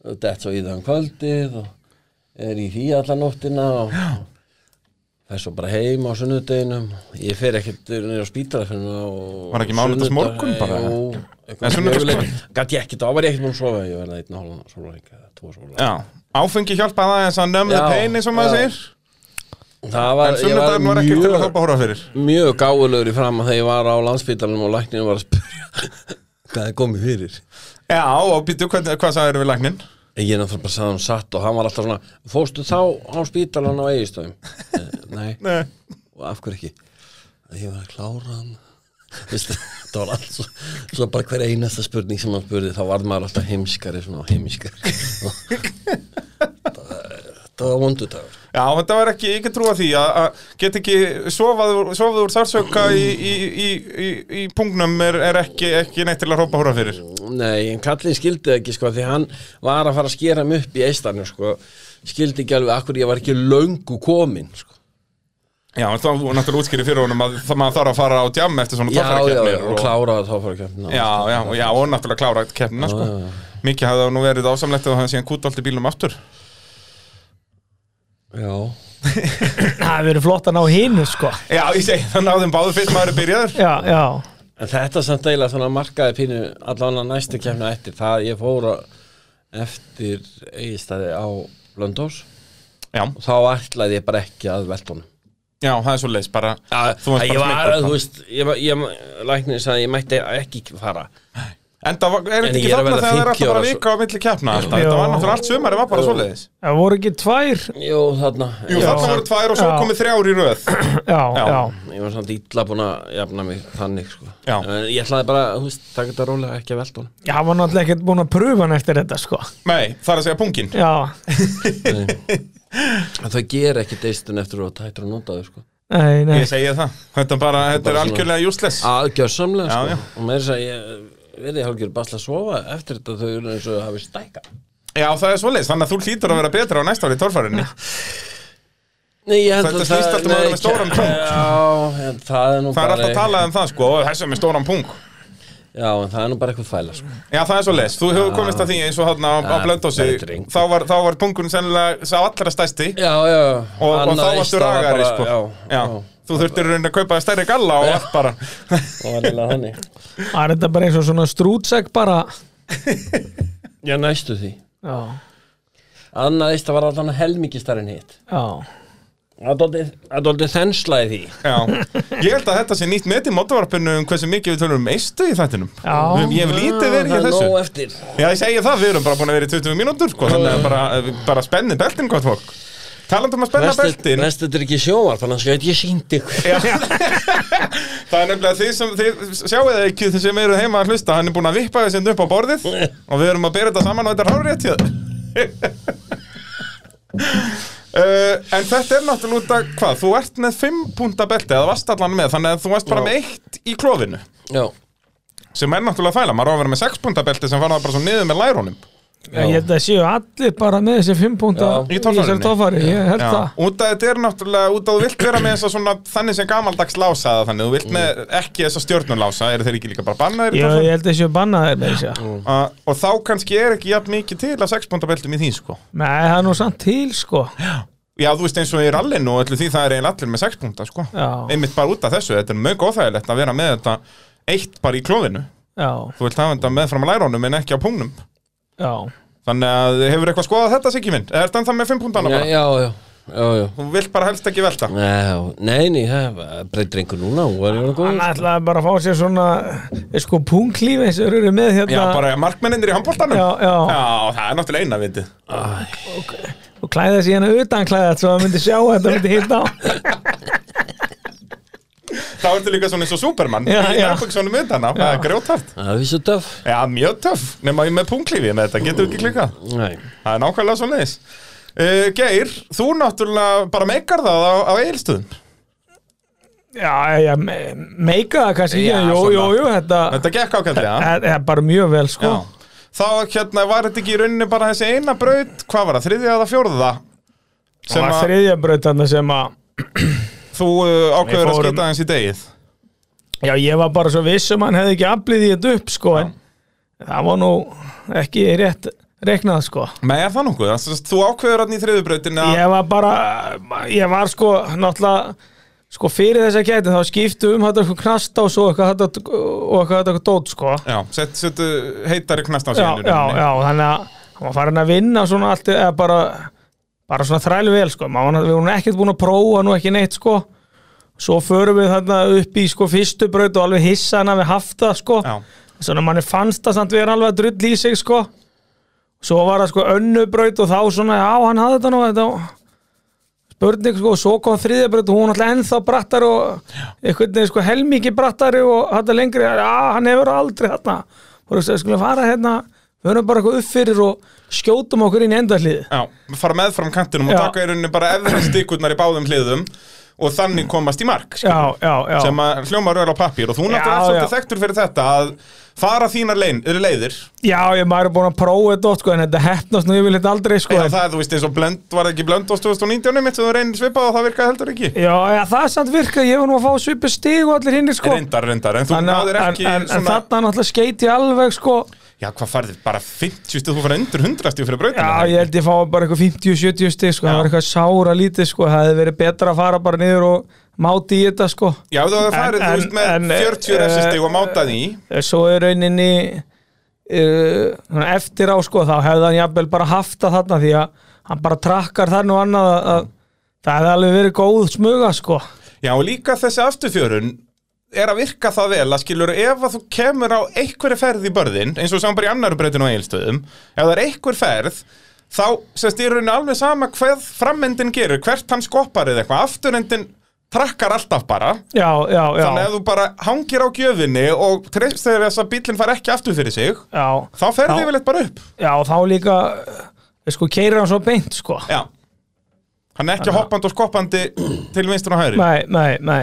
Speaker 2: og dett svo í það um kvöldið og er í því alla nóttina og fer svo bara heim á sunnudeginum ég fer ekkert niður á spítalafinu og
Speaker 1: Var ekki mánudags morgun bara? Nei, sunnudags-
Speaker 2: Gat ég ekkert, þá var ég ekkert múin að sofa ég verði einn og hálfan sólværing eða tvo sólværing
Speaker 1: Já, áfengi hjálpa það eins að nömmu
Speaker 2: Já,
Speaker 1: peini sem maður
Speaker 2: já.
Speaker 1: segir
Speaker 2: Það var,
Speaker 1: En
Speaker 2: ég var
Speaker 1: sunnudaginn var ekkert til að
Speaker 2: mjög,
Speaker 1: hoppa hóra fyrir
Speaker 2: mjög gáðulegur í fram að þegar ég var á landsbytalanum og lækninu var að spyrja hvað er komið fyrir
Speaker 1: Já, og býttu, hvað, hvað sagðir við læknin?
Speaker 2: En Ég náttúrulega bara sagði hann satt og hann var alltaf svona Fórstu þá á spítalan á eigistöðum? Nei,
Speaker 1: Nei
Speaker 2: og af hverju ekki? Ég var að klára hann Vistu, það var allt svo, svo bara hver einasta spurning sem hann spurði þá varð maður alltaf heimskari svona og heimskari það, það var vondudagur
Speaker 1: Já, þetta var ekki, ég get trúa því að, að get ekki sofað úr, sofað úr sársöka í, í, í, í, í pungnum er, er ekki, ekki neitt til að hrópa hóra fyrir
Speaker 2: sko. Nei, en kallinn skildi það ekki sko því hann var að fara að skera mig upp í eistarnu sko skildi ekki alveg akkur ég var ekki löngu komin sko
Speaker 1: Já, en þá þú náttúrulega útskýri fyrir honum að það maður þarf að fara á djam eftir svona
Speaker 2: Já, já, já,
Speaker 1: töffarkeppnir
Speaker 2: og kláraði þá fyrir keppna
Speaker 1: já, já, og- já, og náttúrulega klára keppnina sko. Mikið hafði það nú verið ásamlegt að hann síðan kút allt í bílum aftur
Speaker 2: já.
Speaker 3: Það hefur verið flott að ná hinu sko
Speaker 1: Já, ég segi, það náðum báður fyrst maður er byrjaður
Speaker 3: Já, já
Speaker 2: En þetta samt eiginlega svona markaði pínu allan að næstu kemna eftir það ég fór á- eftir eigistæði á Blöndós
Speaker 1: Já,
Speaker 2: og þá ætlaði ég bara ekki að velta honum
Speaker 1: já, það er svo leis, bara Þú varst
Speaker 2: Að
Speaker 1: bara
Speaker 2: Ég var,
Speaker 1: smeykur,
Speaker 2: þú veist, ég, var- ég, læknir sagði að ég mætti ekki fara
Speaker 1: En það var- er
Speaker 2: En
Speaker 1: þetta
Speaker 2: ég
Speaker 1: ekki
Speaker 2: er að
Speaker 1: þarna
Speaker 2: verða
Speaker 1: þegar það er alltaf
Speaker 2: 50
Speaker 1: bara
Speaker 2: ára,
Speaker 1: vika á milli keppna alltaf. Þetta
Speaker 3: Já.
Speaker 1: var náttúrulega allt sumari, var bara svo
Speaker 3: Það voru ekki tvær
Speaker 2: Jú, þarna
Speaker 1: Jú,
Speaker 2: ég, var
Speaker 1: þarna voru
Speaker 2: samt,
Speaker 1: tvær og svo
Speaker 3: Já.
Speaker 1: komið þrjár í röð
Speaker 3: Já,
Speaker 1: Já.
Speaker 3: já
Speaker 2: ég var samt illa búin að jafna mig þannig sko.
Speaker 1: Já.
Speaker 2: En Ég ætlaði bara, þú veist, taka þetta rólega ekki að velta honum
Speaker 3: Já, hann var náttúrulega ekkert búin að prufa hann eftir þetta sko
Speaker 1: Nei, það er að segja pungin
Speaker 3: Já,
Speaker 2: En Það ger ekki deistun eftir að tættur að nota þau sko.
Speaker 3: nei, nei
Speaker 1: Ég segi það, þetta, er bara, þetta er
Speaker 2: bara
Speaker 1: algjörlega useless
Speaker 2: Aðgjörsamlega
Speaker 1: Já,
Speaker 2: sko.
Speaker 1: já.
Speaker 2: Og með þess að ég verði hálfgjör basla að sofa eftir þetta þau eru eins og hafi stækka
Speaker 1: Já, það er svoleiðis, þannig að þú hlýtur að vera betra á næsta ári í torfarinni
Speaker 3: Ah.
Speaker 2: Nei, ég held
Speaker 1: Þetta snýst allt um að vera með stóran krók.
Speaker 2: Já, en það er nú
Speaker 1: Það er
Speaker 2: bara
Speaker 1: alltaf talað um það sko, og þessu með stóran pung
Speaker 2: Já, en það er nú bara eitthvað fæla sko.
Speaker 1: Já, það er svoleiðis, þú hefur komist að því eins og þarna á, á
Speaker 2: Já,
Speaker 1: blöndósi
Speaker 2: Ah. það er dreng.
Speaker 1: Þá var, þá var pungun sennilega sá allra stæsti
Speaker 2: Já, já
Speaker 1: Og, og
Speaker 2: annað
Speaker 1: þá varstu
Speaker 2: eista var
Speaker 1: ragari
Speaker 2: bara-
Speaker 1: sko
Speaker 2: Já, já,
Speaker 1: Þú þurftir raunin að kaupa þér stærri galla og allt bara
Speaker 2: það var eiginlega þannig
Speaker 3: Það er þetta bara eins og svona strútsegg bara
Speaker 2: Já, næstu því
Speaker 3: Já,
Speaker 2: Annað eista var alltaf helmingi starri en hitt
Speaker 3: já
Speaker 2: Það er aldrei þenslaði því
Speaker 1: Já, ég held að þetta sé nýtt met í mótavarpinu um hversu mikið við tölum um eistu í þættinum
Speaker 3: Já.
Speaker 1: Við- Ég hef lítið verið
Speaker 2: Það
Speaker 1: í
Speaker 2: er
Speaker 1: þessu
Speaker 2: nóg eftir
Speaker 1: Já, ég segja það, við erum bara búin að vera í 20 mínútur sko, þannig að bara, bara spenni beltin gott fólk Talandum að spenna beltin
Speaker 2: Næstu þetta er ekki sjóvar Þannig að skjönt ég síndi
Speaker 1: Já. Það er nefnilega því sem þið sjáu það ekki þið sem eru heima að hlusta hann er búin að vippa þessi upp á borðið og við erum að bera þetta saman og þetta er hárétt hjá þér. uh, En þetta er náttúrulega út að hvað, þú ert með 5 punta belti eða varst allan með, þannig að þú varst bara
Speaker 2: Já.
Speaker 1: með eitt í klófinu
Speaker 2: Já,
Speaker 1: sem er náttúrulega þæla, maður á að vera með 6 punta belti sem fann það bara svo niður með lærunum
Speaker 3: Ég held að séu allir bara með þessi fimm púnta
Speaker 2: Já.
Speaker 1: Í torfærinni.
Speaker 3: þessari torfæri, ég held
Speaker 1: Já,
Speaker 3: það
Speaker 1: út að þetta er náttúrulega út að þú vilt vera með þess að svona þannig sem gamaldags lásaða þannig, þú vilt með ekki þess að stjórnun lása eru þeir ekki líka bara bannaðir í
Speaker 3: Ég, ég
Speaker 1: Tórshavn?
Speaker 3: held að séu bannaðir með þessi
Speaker 1: Uh, og þá kannski er ekki jafn mikið til að sexbóndabeltum í því sko
Speaker 3: Nei, það er nú samt til sko
Speaker 1: já þú veist eins og í rallinu og öllu því það er eiginlega allir með sexbónda sko
Speaker 3: Já.
Speaker 1: einmitt bara út af þessu, þetta er mjög óþægilegt að vera með þetta eitt bara í klófinu
Speaker 3: Já,
Speaker 1: þú vilt hafa þetta með fram að lærónum en ekki á pungnum
Speaker 3: já
Speaker 1: þannig að hefur eitthvað skoðað þetta Siggi minn er þetta ennþá með fimm púntana
Speaker 2: já,
Speaker 1: bara
Speaker 2: já, já, já, já.
Speaker 1: þú vilt bara helst ekki velta
Speaker 2: Já, Eh, nei, nei, það breytir einhver núna, hún var ég að
Speaker 3: Hann
Speaker 2: góða
Speaker 3: ætlaði bara að fá sér svona eh, sko punglífi eins og þeir eru með hérna
Speaker 1: já bara markmennindir í handbóltanum
Speaker 3: já, já.
Speaker 1: það er náttúrulega eina vitið
Speaker 3: og klæða sér hérna utan klæða svo það myndi sjá þetta myndi hitta á
Speaker 1: þá ertu líka svona eins og Superman
Speaker 3: Já,
Speaker 1: í
Speaker 3: já.
Speaker 1: nærböksunum utan á það er grjótart
Speaker 2: Það er vissu töf
Speaker 1: já mjög töff nema ég með punglífi með þetta getur ekki klikkað
Speaker 2: Nei,
Speaker 1: Það er nákvæmlega svo leiðis uh, Geir, þú náttúrulega bara meikar það á, á eilstöðum
Speaker 3: Já, já, me- meika það kannski
Speaker 1: Já,
Speaker 3: ekki, en jú,
Speaker 1: svona.
Speaker 3: jú, jú, þetta Eh,
Speaker 1: Þetta gekk ákveðlega
Speaker 3: þetta er bara mjög vel, sko.
Speaker 1: Já þá hérna var þetta ekki í rauninni bara þessi eina braut, hvað var það, þriðja eða fjórða
Speaker 3: Það
Speaker 1: sem
Speaker 3: var
Speaker 1: að
Speaker 3: þriðja braut þarna sem að
Speaker 1: þú uh, ákveður að
Speaker 3: fórum-
Speaker 1: skita eins í degið
Speaker 3: Já, ég var bara svo viss um að hann hefði ekki aflið í þetta upp sko en það var nú ekki rétt reiknað sko
Speaker 1: Nei, er það nokkuð? Það sem sagt, Þú ákveður hann í þriðjubrautinni að
Speaker 3: Ég var bara, ég var sko náttúrulega sko fyrir þess að gæti þá skiptu um þetta eitthvað knasta og svo eitthvað þetta og eitthvað þetta eitthvað dót sko
Speaker 1: Já, set, setu heitari knast á
Speaker 3: já,
Speaker 1: síðan
Speaker 3: já, já, þannig að hann var farin að vinna svona allt, eða bara bara svona þrælu vel, sko Maður, var- við vorum ekkert búin að prófa nú ekki neitt, sko svo förum við þarna upp í sko fyrstu braut og alveg hissa hana við hafta, sko
Speaker 1: já.
Speaker 3: svona manni fannst það samt vera alveg að drull í sig, sko svo var það sko önnubraut og þá svona, já, hann hafði þetta nú þetta var- spurning, sko, og svo kom þriðjabraut og hún var alltaf ennþá brattari og einhvern veginn, sko, helmingi brattari og þetta lengri, já, hann hefur aldrei þarna, og þú skulum fara hérna við höfum bara eitthvað upp fyrir og skjótum okkur inn í endahlið
Speaker 1: já, fara með fram kantinum og
Speaker 3: Já.
Speaker 1: taka í rauninni bara efri stikurnar í báðum hliðum og þannig komast í mark skilur.
Speaker 3: já, já, já,
Speaker 1: sem að hljóma röðla á pappír og þú náttúrulega
Speaker 3: Já,
Speaker 1: er svolítið
Speaker 3: já.
Speaker 1: þekktur fyrir þetta að fara þínar lein, leiðir
Speaker 3: já, ég maður er búin að prófa þetta oft, sko, en þetta hefnast nú ég vil þetta aldrei, sko,
Speaker 1: eða
Speaker 3: en-
Speaker 1: það er þú veist eins og blönd, var það ekki blönd á 2019 mitt sem þú reynir svipað og það virkaði heldur ekki
Speaker 3: já, já, það er samt virkað, ég var nú að fá svipið stig og allir hinnir, sko
Speaker 1: reyndar, reyndar, en þú
Speaker 3: en, en,
Speaker 1: náðir
Speaker 3: en,
Speaker 1: ekki
Speaker 3: en
Speaker 1: svona,
Speaker 3: þarna náttúrulega skeiti ég alveg, sko
Speaker 1: já hvað farðið, bara 50 stig, þú farið undir 100 stíð fyrir brautina
Speaker 3: Já,
Speaker 1: það
Speaker 3: ég
Speaker 1: ekki?
Speaker 3: held ég fá bara eitthvað 50-70 stig sko.
Speaker 1: Já.
Speaker 3: það var eitthvað sára lítið sko. það hefði verið betra að fara bara niður og máti í þetta sko.
Speaker 1: já þú hefur
Speaker 3: En-
Speaker 1: farið, þú
Speaker 3: en-
Speaker 1: veist, með
Speaker 3: en, eh,
Speaker 1: 40 refsi stig og mátað í
Speaker 3: Eh, svo er rauninni uh, svona eftir á sko, þá hefði hann jafnvel bara haft það þarna því að hann bara trakkar þann og annað að, að það hefði alveg verið góð smuga sko.
Speaker 1: Já, og líka þessi afturfjörun er að virka það vel að skilur ef að þú kemur á einhverja ferð í börðin eins og sem bara í annar breytinu á eigilstöðum ef það er einhver ferð þá sem stýrunni alveg sama hvað framendin gerir, hvert hann skoppar eða eitthvað afturendin trakkar alltaf bara
Speaker 3: já, já, já,
Speaker 1: þannig að þú bara hangir á gjöfinni og treyst þegar þess að bílinn far ekki aftur fyrir sig
Speaker 3: já,
Speaker 1: þá ferði
Speaker 3: Já.
Speaker 1: yfirleitt bara upp
Speaker 3: já þá líka eh, sko, keirir hann svo beint sko.
Speaker 1: Já. hann er ekki hoppandi og skoppandi til vinstur og hægri
Speaker 3: nei, nei, nei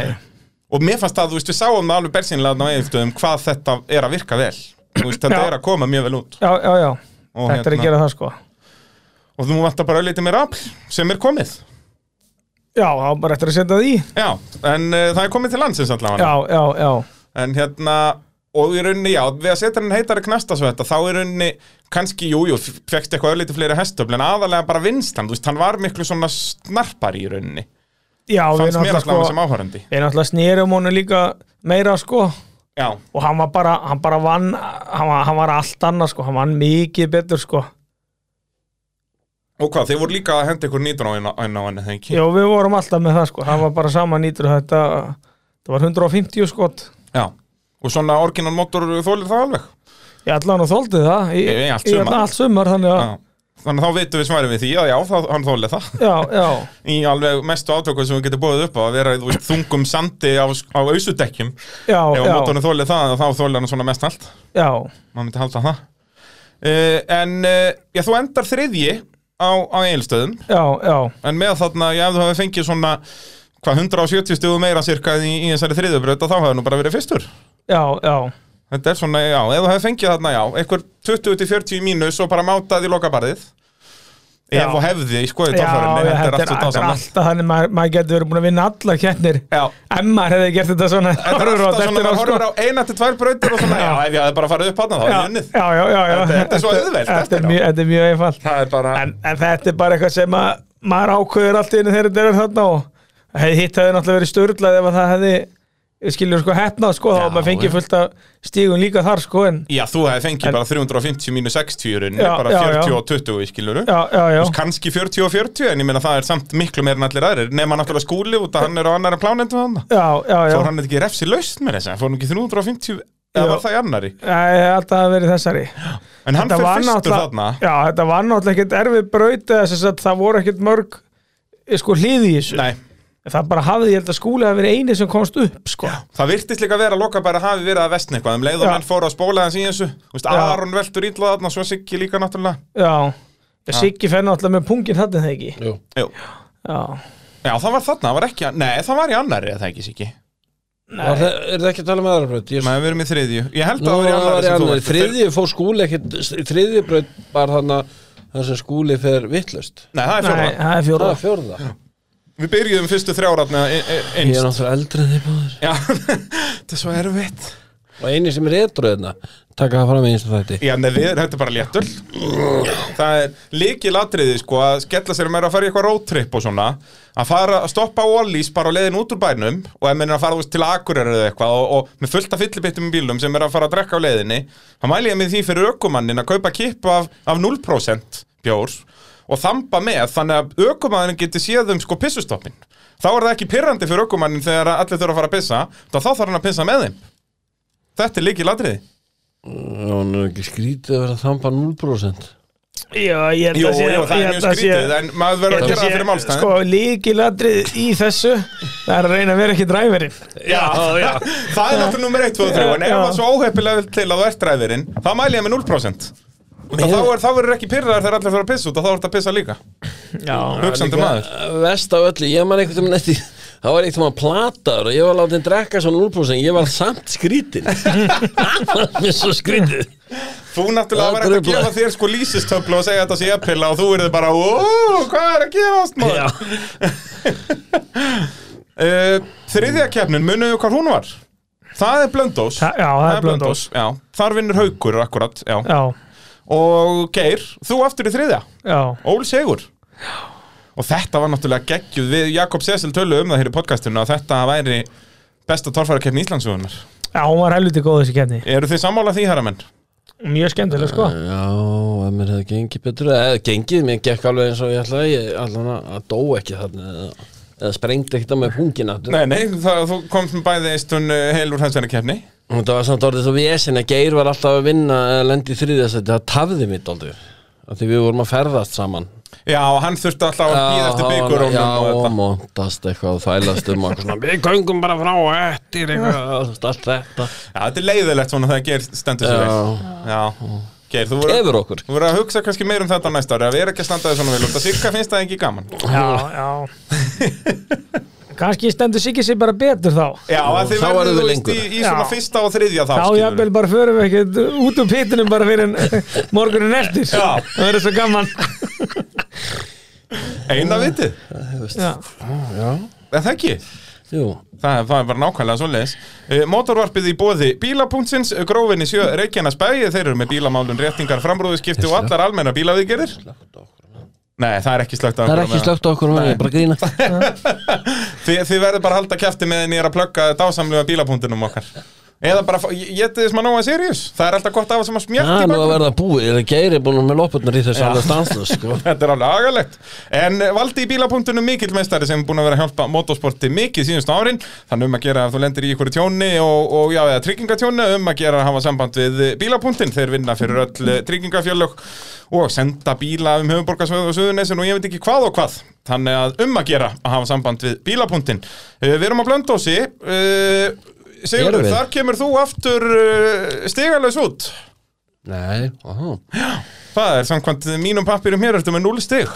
Speaker 1: og mér fannst að, þú veist, við sáum það alveg bersinlega á eiginstöðum hvað þetta er að virka vel þú veist, þetta
Speaker 3: Já.
Speaker 1: er að koma mjög vel út
Speaker 3: já, já, já,
Speaker 1: Og
Speaker 3: þetta er
Speaker 1: hérna-
Speaker 3: að gera það sko.
Speaker 1: og þú vantar bara auðvitað mér afl sem er komið
Speaker 3: já, þá er bara eftir að setja það í
Speaker 1: já, en uh, það er komið til landsins allavega
Speaker 3: já, já, já
Speaker 1: en hérna, og í rauninni, já, við að setja henni heitari knasta svo þetta, þá í rauninni kannski, jú, jú, fekst eitthvað auðvitað fleiri hestöfl en aðalega bara vinst hann, þú veist, hann var miklu svona snarpari í rauninni
Speaker 3: Já, við
Speaker 1: fannst mér
Speaker 3: náttúrulega,
Speaker 1: allavega
Speaker 3: sko,
Speaker 1: sem áhörandi
Speaker 3: við náttúrulega snýrum honum líka meira sko og
Speaker 1: já,
Speaker 3: hann var bara, hann bara vann hann var, hann var allt annað sko, hann vann mikið betur sko
Speaker 1: og hvað, þeir voru líka að henda ykkur nýtur á henni, á henni, þegar ekki
Speaker 3: Já, við vorum alltaf með það sko, hann var bara sama nýtur þetta, þetta var 150 skot
Speaker 1: já, og svona orginal motor þólir það alveg
Speaker 3: Ég allan og þóldi það í,
Speaker 1: Í- í allt
Speaker 3: í
Speaker 1: sumar.
Speaker 3: allan allt sumar þannig að,
Speaker 1: Já. Þannig að þá veitum við svarið við því að já, það, hann þólið það
Speaker 3: já, já,
Speaker 1: í alveg mestu átökum sem við getum búið upp á að vera þú veist, þungum sandi á, á ausudekkjum
Speaker 3: já,
Speaker 1: ef
Speaker 3: já,
Speaker 1: mótorinn þólið það, þá þólið hann svona mest allt
Speaker 3: já,
Speaker 1: maður myndi halda það uh, en uh, já, þú endar þriðji á, á eilstöðum
Speaker 3: já, já,
Speaker 1: en með þarna, já, ef þú hefði fengið svona hvað, 170 stuðu meira cirka í, í þessari þriðjubraut, að þá hefði nú bara verið fyrstur
Speaker 3: já, já,
Speaker 1: þetta er svona, já, ef þú hefði fengið þarna, já einhver 20-40 mínus og bara mátaði í lokabarðið
Speaker 3: Já.
Speaker 1: ef þú hefði, sko, í
Speaker 3: já,
Speaker 1: dálfarinni allt
Speaker 3: þetta er,
Speaker 1: svo
Speaker 3: þetta er
Speaker 1: dásamlegt.
Speaker 3: alltaf þannig maður, maður getur verið búin að vinna allar keppnir
Speaker 1: Já.
Speaker 3: en maður hefði gert þetta svona
Speaker 1: Þetta er
Speaker 3: horfir á
Speaker 1: alltaf
Speaker 3: þetta
Speaker 1: svona,
Speaker 3: eftir á,
Speaker 1: maður
Speaker 3: sko.
Speaker 1: horfir á eina til tvær brautir og svona, já, ef ég hafði bara farið upp hana þá hefði ég unnið.
Speaker 3: já, já, já, já.
Speaker 1: Þetta- þetta er svo auðvelt
Speaker 3: þetta
Speaker 1: eftir á.
Speaker 3: er mjög, þetta er mjög einfalt
Speaker 1: Það er bara,
Speaker 3: en, en þetta er bara eitthvað sem að maður ákveður allt í einu þegar þetta er þarna og hef, hitt hefði náttúrulega verið störlað ef að það hefði skiljur sko hefnað sko þá
Speaker 1: Já,
Speaker 3: og maður
Speaker 1: já.
Speaker 3: fengið fullt af stígun líka þar sko en
Speaker 1: já, þú hefði fengið
Speaker 3: En-
Speaker 1: bara 350 mínus 60 í rauninni,
Speaker 3: Já,
Speaker 1: bara
Speaker 3: já,
Speaker 1: 40
Speaker 3: já.
Speaker 1: og 20 skiluru.
Speaker 3: já, já, já,
Speaker 1: Kanski 40 og 40, en ég meina það er samt miklu meira en allir aðrir, nema náttúrulega skúli út að hann er á annara plánendu hann.
Speaker 3: já, já, já.
Speaker 1: Fór hann ekki refsi laust með þess að, fór hann ekki 350, eða
Speaker 3: Já.
Speaker 1: var það í annari.
Speaker 3: Það er alltaf að verið þessari
Speaker 1: En hann
Speaker 3: Þetta
Speaker 1: fyrir
Speaker 3: var
Speaker 1: fyrstur
Speaker 3: náttúrulega-
Speaker 1: þarna.
Speaker 3: Já, þetta var náttúrulega ekkert erfið braut eða sem sagt það voru ekkert mörg eh, sko hlýði í þessu
Speaker 1: Nei,
Speaker 3: Það bara hafði ég held að skúli að vera eini sem komst upp sko
Speaker 1: Það virtist líka vera að loka bara hafi verið að vestna eitthvað, um leið og
Speaker 3: Já.
Speaker 1: menn fóru að spóla hans í þessu, þú veist,
Speaker 3: Já.
Speaker 1: Aron veltur ítla þarna, svo Siggi líka náttúrulega.
Speaker 3: Já, Siggi fer náttúrulega með pungin þarna er það ekki
Speaker 2: Jú.
Speaker 1: Jú.
Speaker 3: Já,
Speaker 1: Já, það var þarna, það var ekki, nei, það var í annari, eða það ekki, Siggi.
Speaker 2: Var það- Er það ekki að tala með aðra braut? Ég-
Speaker 1: Nei, við erum í þriðju Ég held að
Speaker 2: Nú
Speaker 1: það var í
Speaker 2: var
Speaker 1: annari
Speaker 2: ég
Speaker 1: sem þú
Speaker 2: annað
Speaker 1: varst
Speaker 2: Þriðju fór skúli ekki Þriðju braut var þannig að það sem skúli fer vittlust
Speaker 1: Nei, það er fjóra
Speaker 3: Nei, það er
Speaker 2: Það
Speaker 3: fjóra
Speaker 2: er fjórða
Speaker 1: Við byrjuðum fyrstu þrjáratna
Speaker 2: Ég
Speaker 1: eins
Speaker 2: er náttúrulega eldri en þið báður
Speaker 1: Já, þetta er svo erfitt
Speaker 2: Og eini sem er etru þarna Taka það fram eins og þætti
Speaker 1: Já, nei, við, þetta er bara léttul Það er líkilatriði, sko, að skella sér meira að fara í eitthvað roadtrip og svona að fara að stoppa á Ollís bara á leiðin út úr bænum og ef mennir að fara þú veist, til Akureyri eða eitthvað og, og með fullta fyllibittum í bílum sem er að fara að drekka á leiðinni þá mæli ég með því fyrir ökumannin að kaupa kipp af, af 0% bjór og þamba með þannig að ökumannin getur séð um sko pissustoppin þá er það ekki pirrandi fyrir ökumannin þegar að allir þurfa að fara að pissa þá þarf hann að pissa með þeim Þetta er líkilatriði
Speaker 2: Já, nú er ekki skrítið að vera að þamba 0%
Speaker 3: Já, ég held
Speaker 1: Jú,
Speaker 3: að sé
Speaker 1: jú, það
Speaker 3: ég
Speaker 1: er
Speaker 3: held
Speaker 1: mjög
Speaker 3: að sé-
Speaker 1: skrítið, en maður
Speaker 3: ég
Speaker 1: verður að
Speaker 3: held að
Speaker 1: gera það fyrir
Speaker 3: sé,
Speaker 1: málstæðin
Speaker 3: Sko, líkilatrið í þessu Það er að reyna að vera ekki dræverinn
Speaker 2: Já, já
Speaker 1: Það er náttúrulega nummer 1, 2 og 3 En ef
Speaker 3: Já.
Speaker 1: það er svo óheppilega til að þú ert dræfirinn Þá mæli ég með 0% Og Þá er- þá verður ekki pyrraðar þegar allir þurfa að pissa út og þá ertu að pissa líka
Speaker 3: Já,
Speaker 1: Hugsandi maður
Speaker 2: Vest af öllu, ég man einhvern veginn eftir Það var einhvern veginn plataður og ég var látið að drekka svo 0% Ég var samt skrítin Það var mér svo skrítið
Speaker 1: Þú náttúrulega
Speaker 2: Það
Speaker 1: var eftir að
Speaker 2: truflar.
Speaker 1: gefa þér sko lýsistöflu og segja þetta sé eppilla og þú erði bara "Ó, Hvað er að gerast
Speaker 2: Já.
Speaker 1: maður? Uh, Þriðja keppnin, munuðu hvað hún var? Það er Blöndós
Speaker 3: Þa- já, það er Blönduós.
Speaker 1: Já, þar vinnur Haukur akkurat já.
Speaker 3: já,
Speaker 1: Og Geir, þú aftur í þriðja
Speaker 3: já
Speaker 1: Ól Sigur og þetta var náttúrulega geggjuð við Jakob Sessel tölu um það hér í podcastinu að þetta væri besta torfærakeppni Íslandsögunar
Speaker 3: Já, hún var helviti góð þessi kefni
Speaker 1: eru þið sammála því herra menn?
Speaker 3: Mjög skemmtileg, sko
Speaker 2: Já, ef mér hefði gengið betur eða gengið, mér gekk alveg eins og ég ætlaði ég allan að, að dó ekki þarna eða, eða sprengdi ekkert á mig pungin aftur
Speaker 1: Nei, nei, það, þú komst með bæði eistun heilur þessari keppni
Speaker 2: og það var samt orðið svo vesen að Geir var alltaf að vinna eða lendi í þriðjastætti, það tafði mitt aldrei af því við vorum að ferðast saman
Speaker 1: Já, og hann þurfti alltaf að býða eftir hérna
Speaker 2: já, og
Speaker 1: byggurónum
Speaker 2: móntast eitthvað og þælast um og eitthvað svona, við göngum bara frá og eftir eitthvað, þú veist, allt þetta
Speaker 1: Já, þetta er leiðilegt svona þegar Geir stendur sér
Speaker 2: Já.
Speaker 1: vel Já, Geir, þú voru,
Speaker 2: Efur okkur
Speaker 1: þú voru að hugsa kannski meir um þetta næsta ári að vera ekki að standa þér svona vel og það sirka finnst það ekki gaman
Speaker 3: Já, já Kanski stendur Siggi sig bara betur þá
Speaker 1: Já, að þið
Speaker 2: þá
Speaker 1: verður
Speaker 2: verður
Speaker 1: þú veist í,
Speaker 2: við lengur.
Speaker 1: í svona
Speaker 3: Já.
Speaker 1: fyrsta og þriðja þá
Speaker 3: Þá
Speaker 1: skilurðu.
Speaker 3: jafnvel bara förum við ekkert út úr pittinum bara fyrir en- morgunin eftir
Speaker 1: Já.
Speaker 3: Það verður svo gaman
Speaker 1: Eina vitið,
Speaker 3: Já,
Speaker 2: Já,
Speaker 1: er það ekki?
Speaker 2: jú
Speaker 1: Það, það er bara nákvæmlega svoleiðis. Uh, motorvarpið í bóði bílapunktsins, grófin í sjö Reykjanes bæi, þeir eru með bílamálun, réttingar, framrúðuskipti og allar almenna bílaviðgerðir. Nei, það er ekki slögt
Speaker 2: Það er ekki slögt á okkur, maður, ég er bara að grína
Speaker 1: Þi, Þið verður bara að halda kæfti með en ég er að plugga dásamlega bílapunktinum okkar. Eða bara, fá- ég getið þess maður nóga seriðus. Það er alltaf gott af þessum að smjætt
Speaker 2: Já,
Speaker 1: í
Speaker 2: nú að
Speaker 1: bakgrunn.
Speaker 2: verða búið, eða Geir er búin með loppurnar í þessu alveg stanslust, sko.
Speaker 1: Þetta er alveg agalegt. En eh, valdi í bílapunktunum mikill meistari sem er búin að vera að hjálpa motorsporti mikið síðustu árin. Þannig um að gera að þú lendir í ykkur tjóni og, og já, eða tryggingatjóni um að gera að hafa samband við bílapunktin. Þeir vinna fyrir öll eh, tryggingafjölög og senda bíla um höfuborgarsvöðu og suðunesin og ég veit ekki hvað og hvað. Þannig að um að gera að hafa samband við bílapunktin. Eh, Við erum á blöndósi. Sigurður,
Speaker 2: Erum við?
Speaker 1: þar kemur þú aftur eh, stigalaus út.
Speaker 2: Nei, aha.
Speaker 1: Það er samkvæmt mínum pappirum hér ertu með 0 stig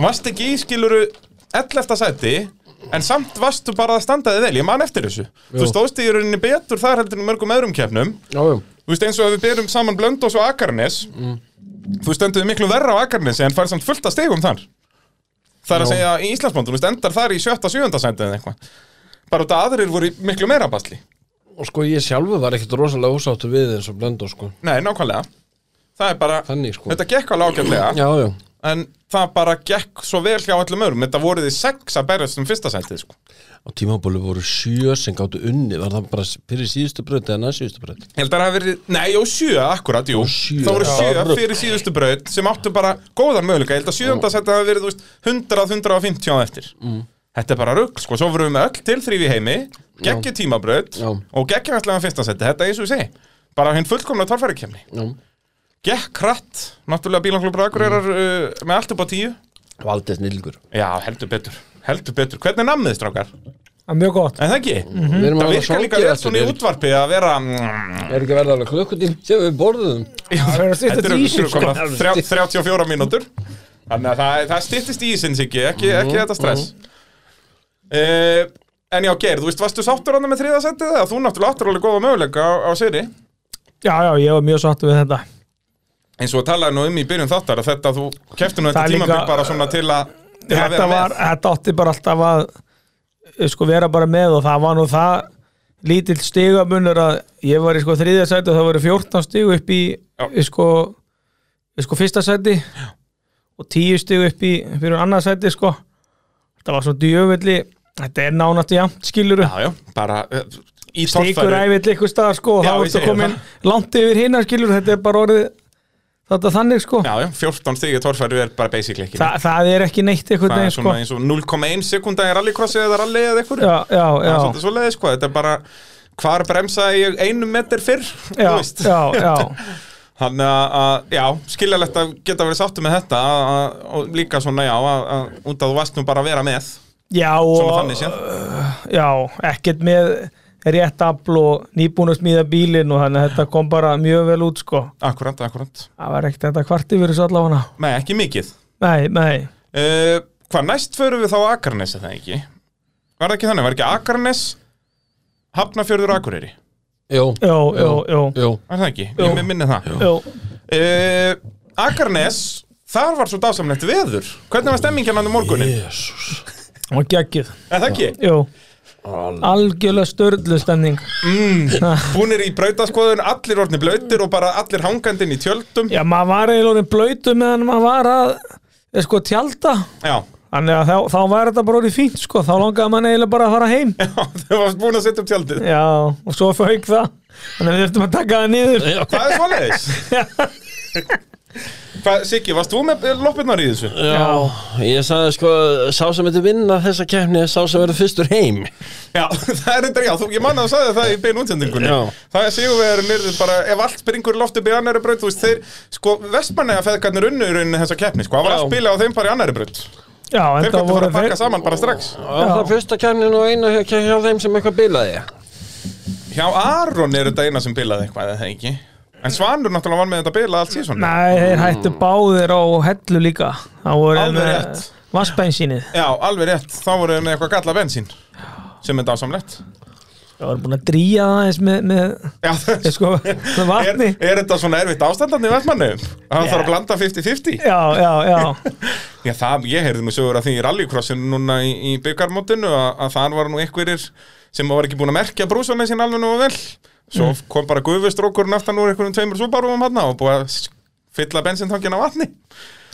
Speaker 1: Vast ekki í skiluru 11. sæti En samt vastu bara að standa þig vel Ég man eftir þessu Þú stóðst í rauninni betur þar heldur en í mörgum öðrum kefnum
Speaker 2: Já, já.
Speaker 1: Þú veist eins og ef við berum saman Blöndos og Akarnes
Speaker 2: Mm.
Speaker 1: Þú stendur miklu verra á Akarnesi En fær samt fullt að stigum þar Það er að
Speaker 2: Já.
Speaker 1: segja í Íslandsmóndum Þú veist endar þar í 7. 7. sæti eða eitthvað Bara út að aðrir voru í miklu meira basli
Speaker 2: Og sko, ég sjálfur var ekkert rosalega ósáttur við eins og blöndó, sko.
Speaker 1: Nei, nákvæmlega Það er bara,
Speaker 2: Þannig, sko.
Speaker 1: þetta gekk alveg ágætlega
Speaker 2: Já, já.
Speaker 1: en það bara gekk svo vel hjá öllum örum þetta voru því sex að berjast um fyrsta sætið sko.
Speaker 2: Á tímabólu voru sjö sem gáttu unni, var það bara fyrir síðustu bröð eða næst síðustu bröð.
Speaker 1: ég held að það hafi verið, nei, jú, sjö akkurat, jú
Speaker 2: sjö.
Speaker 1: það voru
Speaker 2: Já,
Speaker 1: sjö
Speaker 2: rugl.
Speaker 1: fyrir síðustu braut sem áttu bara góðan möguleika, ég held að sjöunda sætið hafi verið þú veist, 100-150 á eftir
Speaker 2: Mm.
Speaker 1: þetta er bara rugg, sko, svo vorum við með öll til þrýfi heimi, geggju tímabraut
Speaker 2: Já.
Speaker 1: og geggju allavega um fyrsta sætið, þetta er eins og við segi bara hinn fullkomna torfærikemni
Speaker 2: Já.
Speaker 1: gekk hratt, náttúrulega bílanglubur Akureyrar
Speaker 2: Mm.
Speaker 1: uh, með allt upp á tíu
Speaker 2: Valdið snillgur.
Speaker 1: já, heldur betur, heldur betur hvernig namnið strákar,
Speaker 3: það er mjög gott
Speaker 1: en það ekki?
Speaker 2: Við erum
Speaker 1: Það
Speaker 2: að vera
Speaker 1: virkar líka
Speaker 2: sorgið
Speaker 1: vel
Speaker 2: eftir,
Speaker 1: svona í
Speaker 2: er,
Speaker 1: útvarpi að vera mm,
Speaker 2: er ekki að verða alveg klukkutími sem við borðum.
Speaker 3: Það verður að stytta
Speaker 1: Þetta eru
Speaker 3: í ísinn, sko.
Speaker 1: komna þrjá- 34 mínútur Mm-hmm, Þannig að það, það styttist í ísins ekki, ekki, ekki þetta stress uh, En já, Geir, þú veist, varstu sáttur hann með þriða setið eða þú náttúrulega áttur alveg góða möguleika á, á seri
Speaker 3: Já, já, ég var mjög sáttu við þetta
Speaker 1: eins og talaði nú um í byrjun þáttar að þetta, þú kefti nú þetta
Speaker 3: Það er
Speaker 1: tímabil
Speaker 3: líka-
Speaker 1: bara svona til að til að
Speaker 3: þetta,
Speaker 1: vera
Speaker 3: var,
Speaker 1: með
Speaker 3: þetta átti bara alltaf að eh, sko vera bara með og það var nú það lítill stigamunur að ég var í sko þriðja sæti og það voru 14 stig upp í
Speaker 1: Já.
Speaker 3: í sko, í sko fyrsta sæti Já. og 10 stig upp í fyrir annað sæti sko þetta var svo djöfulli þetta er nánast jafnt skiluru
Speaker 1: Já, já, bara eh, í
Speaker 3: stigur
Speaker 1: torfæru.
Speaker 3: æfill ykkur staðar sko og
Speaker 1: Já,
Speaker 3: þá
Speaker 1: ég
Speaker 3: ertu
Speaker 1: segi
Speaker 3: komin langt yfir hinnar skilur þetta er bara orðið þetta þannig sko
Speaker 1: Já, já, 14 stig í torfæru er bara basically ekki
Speaker 3: Þa, það er ekki neitt
Speaker 1: það
Speaker 3: ykkur
Speaker 1: er
Speaker 3: neginn sko
Speaker 1: svona eins og 0,1 sekunda í rallycrossi eða rally eða eitthvað
Speaker 3: já, já,
Speaker 1: það
Speaker 3: já
Speaker 1: er svolítið svo leiðis sko, þetta er bara hvar bremsaði ég einum metr fyrr
Speaker 3: já,
Speaker 1: þú veist.
Speaker 3: já, já,
Speaker 1: þannig að- að, já, skiljalegt að geta verið sáttu með þetta að, að, og líka svona, já, að, að, út að þú varst nú bara að vera með
Speaker 3: já
Speaker 1: svona
Speaker 3: og,
Speaker 1: þannig séð
Speaker 3: já, ekkert með rétt afl og nýbúin að smíða bílinn og þannig að þetta kom bara mjög vel út sko
Speaker 1: akkurat, akkurat,
Speaker 3: það var ekkert þetta kvart yfir þessu allafana
Speaker 1: nei, ekki mikið
Speaker 3: nei, nei,
Speaker 1: uh, hvað næst förum við þá á Akarnes eða ekki var það ekki þannig, var ekki Akarnes Hafnafjörður og Akureyri
Speaker 2: Jó,
Speaker 3: Jú, jú, jú.
Speaker 2: jú
Speaker 1: var það ekki,
Speaker 3: Jú.
Speaker 1: ég minni það
Speaker 3: jú,
Speaker 1: uh, Akarnes þar var svo dásamlegt veður hvernig var stemmingin hann um morgunin?
Speaker 2: Jésús
Speaker 3: og geggið
Speaker 1: Er það ekki?
Speaker 3: jú, algjörlega störlu stemning
Speaker 1: Búnir í brautaskoðun, allir orðni blöytir og bara allir hangandinn í tjöldum Já,
Speaker 3: Já, maður var eiginlega orðin blöytu meðan maður var að eh, sko tjálta
Speaker 1: Já.
Speaker 3: Þannig að þá, þá var þetta bara orðið fínt sko, þá langaði maður eiginlega bara að fara heim
Speaker 1: þau varst búin að setja upp tjöldið
Speaker 3: Já, og svo fauk það Þannig að við eftir að taka það niður
Speaker 2: Já,
Speaker 1: Það er svoleiðis Hvað, Siggi, varst þú með loppirnar í þessu?
Speaker 2: já, ég sagði sko Sá sem þetta vinna þessa keppni er Sá sem verður fyrstur heim
Speaker 1: Já, það er þetta, já, þú, ég manna að þú sagði það í beinu útsendingunni
Speaker 2: Já.
Speaker 1: Það er sigurvegarinn yrði bara, ef allt springur í loft upp í annari braut, þú veist, þeir, sko, vestmannega feðgarnir unnu í rauninni þessa keppni, sko, það var
Speaker 2: Já.
Speaker 1: að spila á þeim bara í annari braut Þeir
Speaker 3: Já, en
Speaker 1: gættu
Speaker 3: það
Speaker 1: fara
Speaker 3: voru
Speaker 1: að pakka saman bara strax
Speaker 2: Það er fyrsta keppnin og eina hjá, hjá þeim sem eitthvað bilaði
Speaker 1: Hjá Aron er þetta eina sem bilaði eitthvað, eða það ekki En Svanur náttúrulega var með þetta bila allt síðan
Speaker 3: Nei, þeir hættu báðir á hellu líka Það voru
Speaker 1: Alveg
Speaker 3: með
Speaker 1: rétt.
Speaker 3: vatnsbensínið
Speaker 1: Já, alveg rétt, þá voru þeir með eitthvað galla bensín sem er dásamlegt
Speaker 3: Það voru búin að drýja það eins með, með
Speaker 1: Já, það
Speaker 3: eh, sko, með
Speaker 1: er,
Speaker 3: vatni
Speaker 1: er þetta svona erfitt ástandandi í Vestmannum? Það
Speaker 3: Já.
Speaker 1: þarf að blanda 50-50
Speaker 3: Já, já, já
Speaker 1: Já, það, ég heyrði nú sögur að því í rallycrossinu núna í, í byggarmótinu að, að þar var nú einhverjir sem var ekki búin að merkja brúsana sín alveg nú vel Svo
Speaker 3: Mm.
Speaker 1: kom bara gufustrókurinn aftan úr einhverjum tveimur súbarúum hann og búið að s- fylla bensintangina vatni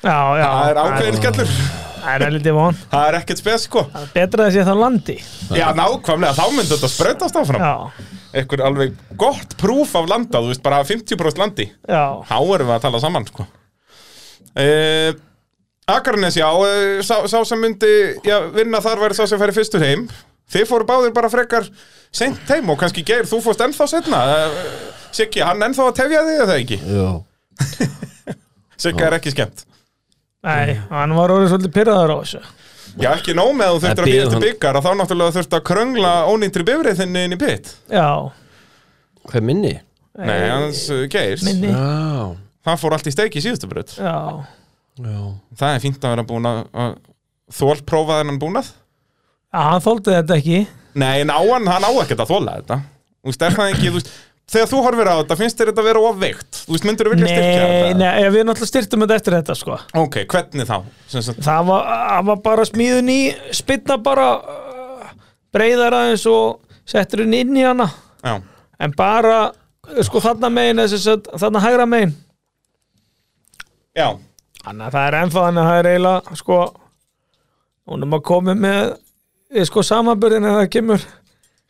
Speaker 3: Já, já
Speaker 1: Það er ákveðin skellur
Speaker 3: Það er lítið von
Speaker 1: Það er ekkert spes sko
Speaker 3: Betra þessi að það landi
Speaker 1: Já, nákvæmlega, þá myndi þetta sprautast áfram
Speaker 3: Já,
Speaker 1: Ekkur alveg gott prúf af landa, þú veist, bara 50% landi
Speaker 3: já
Speaker 1: Þá erum við að tala saman, sko eh, Akarnes, já, eh, sá, sá sem myndi já, vinna þar væri sá sem færi fyrstur heim Þið fóru báðir bara frekar sent heim og kannski Geir, þú fórst ennþá setna Siggi, hann ennþá að tefja þig eða ekki?
Speaker 2: Já
Speaker 1: Sigga er ekki skemmt
Speaker 3: Nei, hann var orðið svolítið pyrraður á þessu
Speaker 1: Já, ekki nóg með að þú þurftir
Speaker 2: Það
Speaker 1: að býja
Speaker 2: bíður
Speaker 1: til
Speaker 2: hann.
Speaker 1: byggar að þá náttúrulega þurftir að kröngla ónýntri bifrið þinni inn í pit
Speaker 3: Já,
Speaker 2: Hver minni?
Speaker 1: Nei, hans uh, Geirs
Speaker 3: minni
Speaker 2: Já,
Speaker 1: Það fór allt í steik í síðustu bröð
Speaker 3: Já,
Speaker 2: já
Speaker 1: Það er fínt að vera búin að, að þólprófa þennan búnað
Speaker 3: Já, hann þóldi þetta ekki
Speaker 1: Nei, ná hann, hann á ekkert að þóla þetta Þú veist, er það ekki, þú veist Þegar þú horfir á þetta, finnst þér þetta vera of veikt? Þú veist, myndir þú vilja styrkja
Speaker 3: Nei,
Speaker 1: þetta?
Speaker 3: nei, ja, við náttúrulega styrtum þetta eftir þetta sko
Speaker 1: Ok, hvernig þá? Sem sagt,
Speaker 3: Það var, hann var bara smíðun í spynna bara uh, breyðar aðeins og settur hún inn í hana
Speaker 1: já,
Speaker 3: en bara, uh, sko þarna megin þessi, þarna hægra megin
Speaker 1: já,
Speaker 3: Þannig að það er ennþá þannig að það er eiginlega sko, hún er maður komið með eh, sko samanbörðin eða það kemur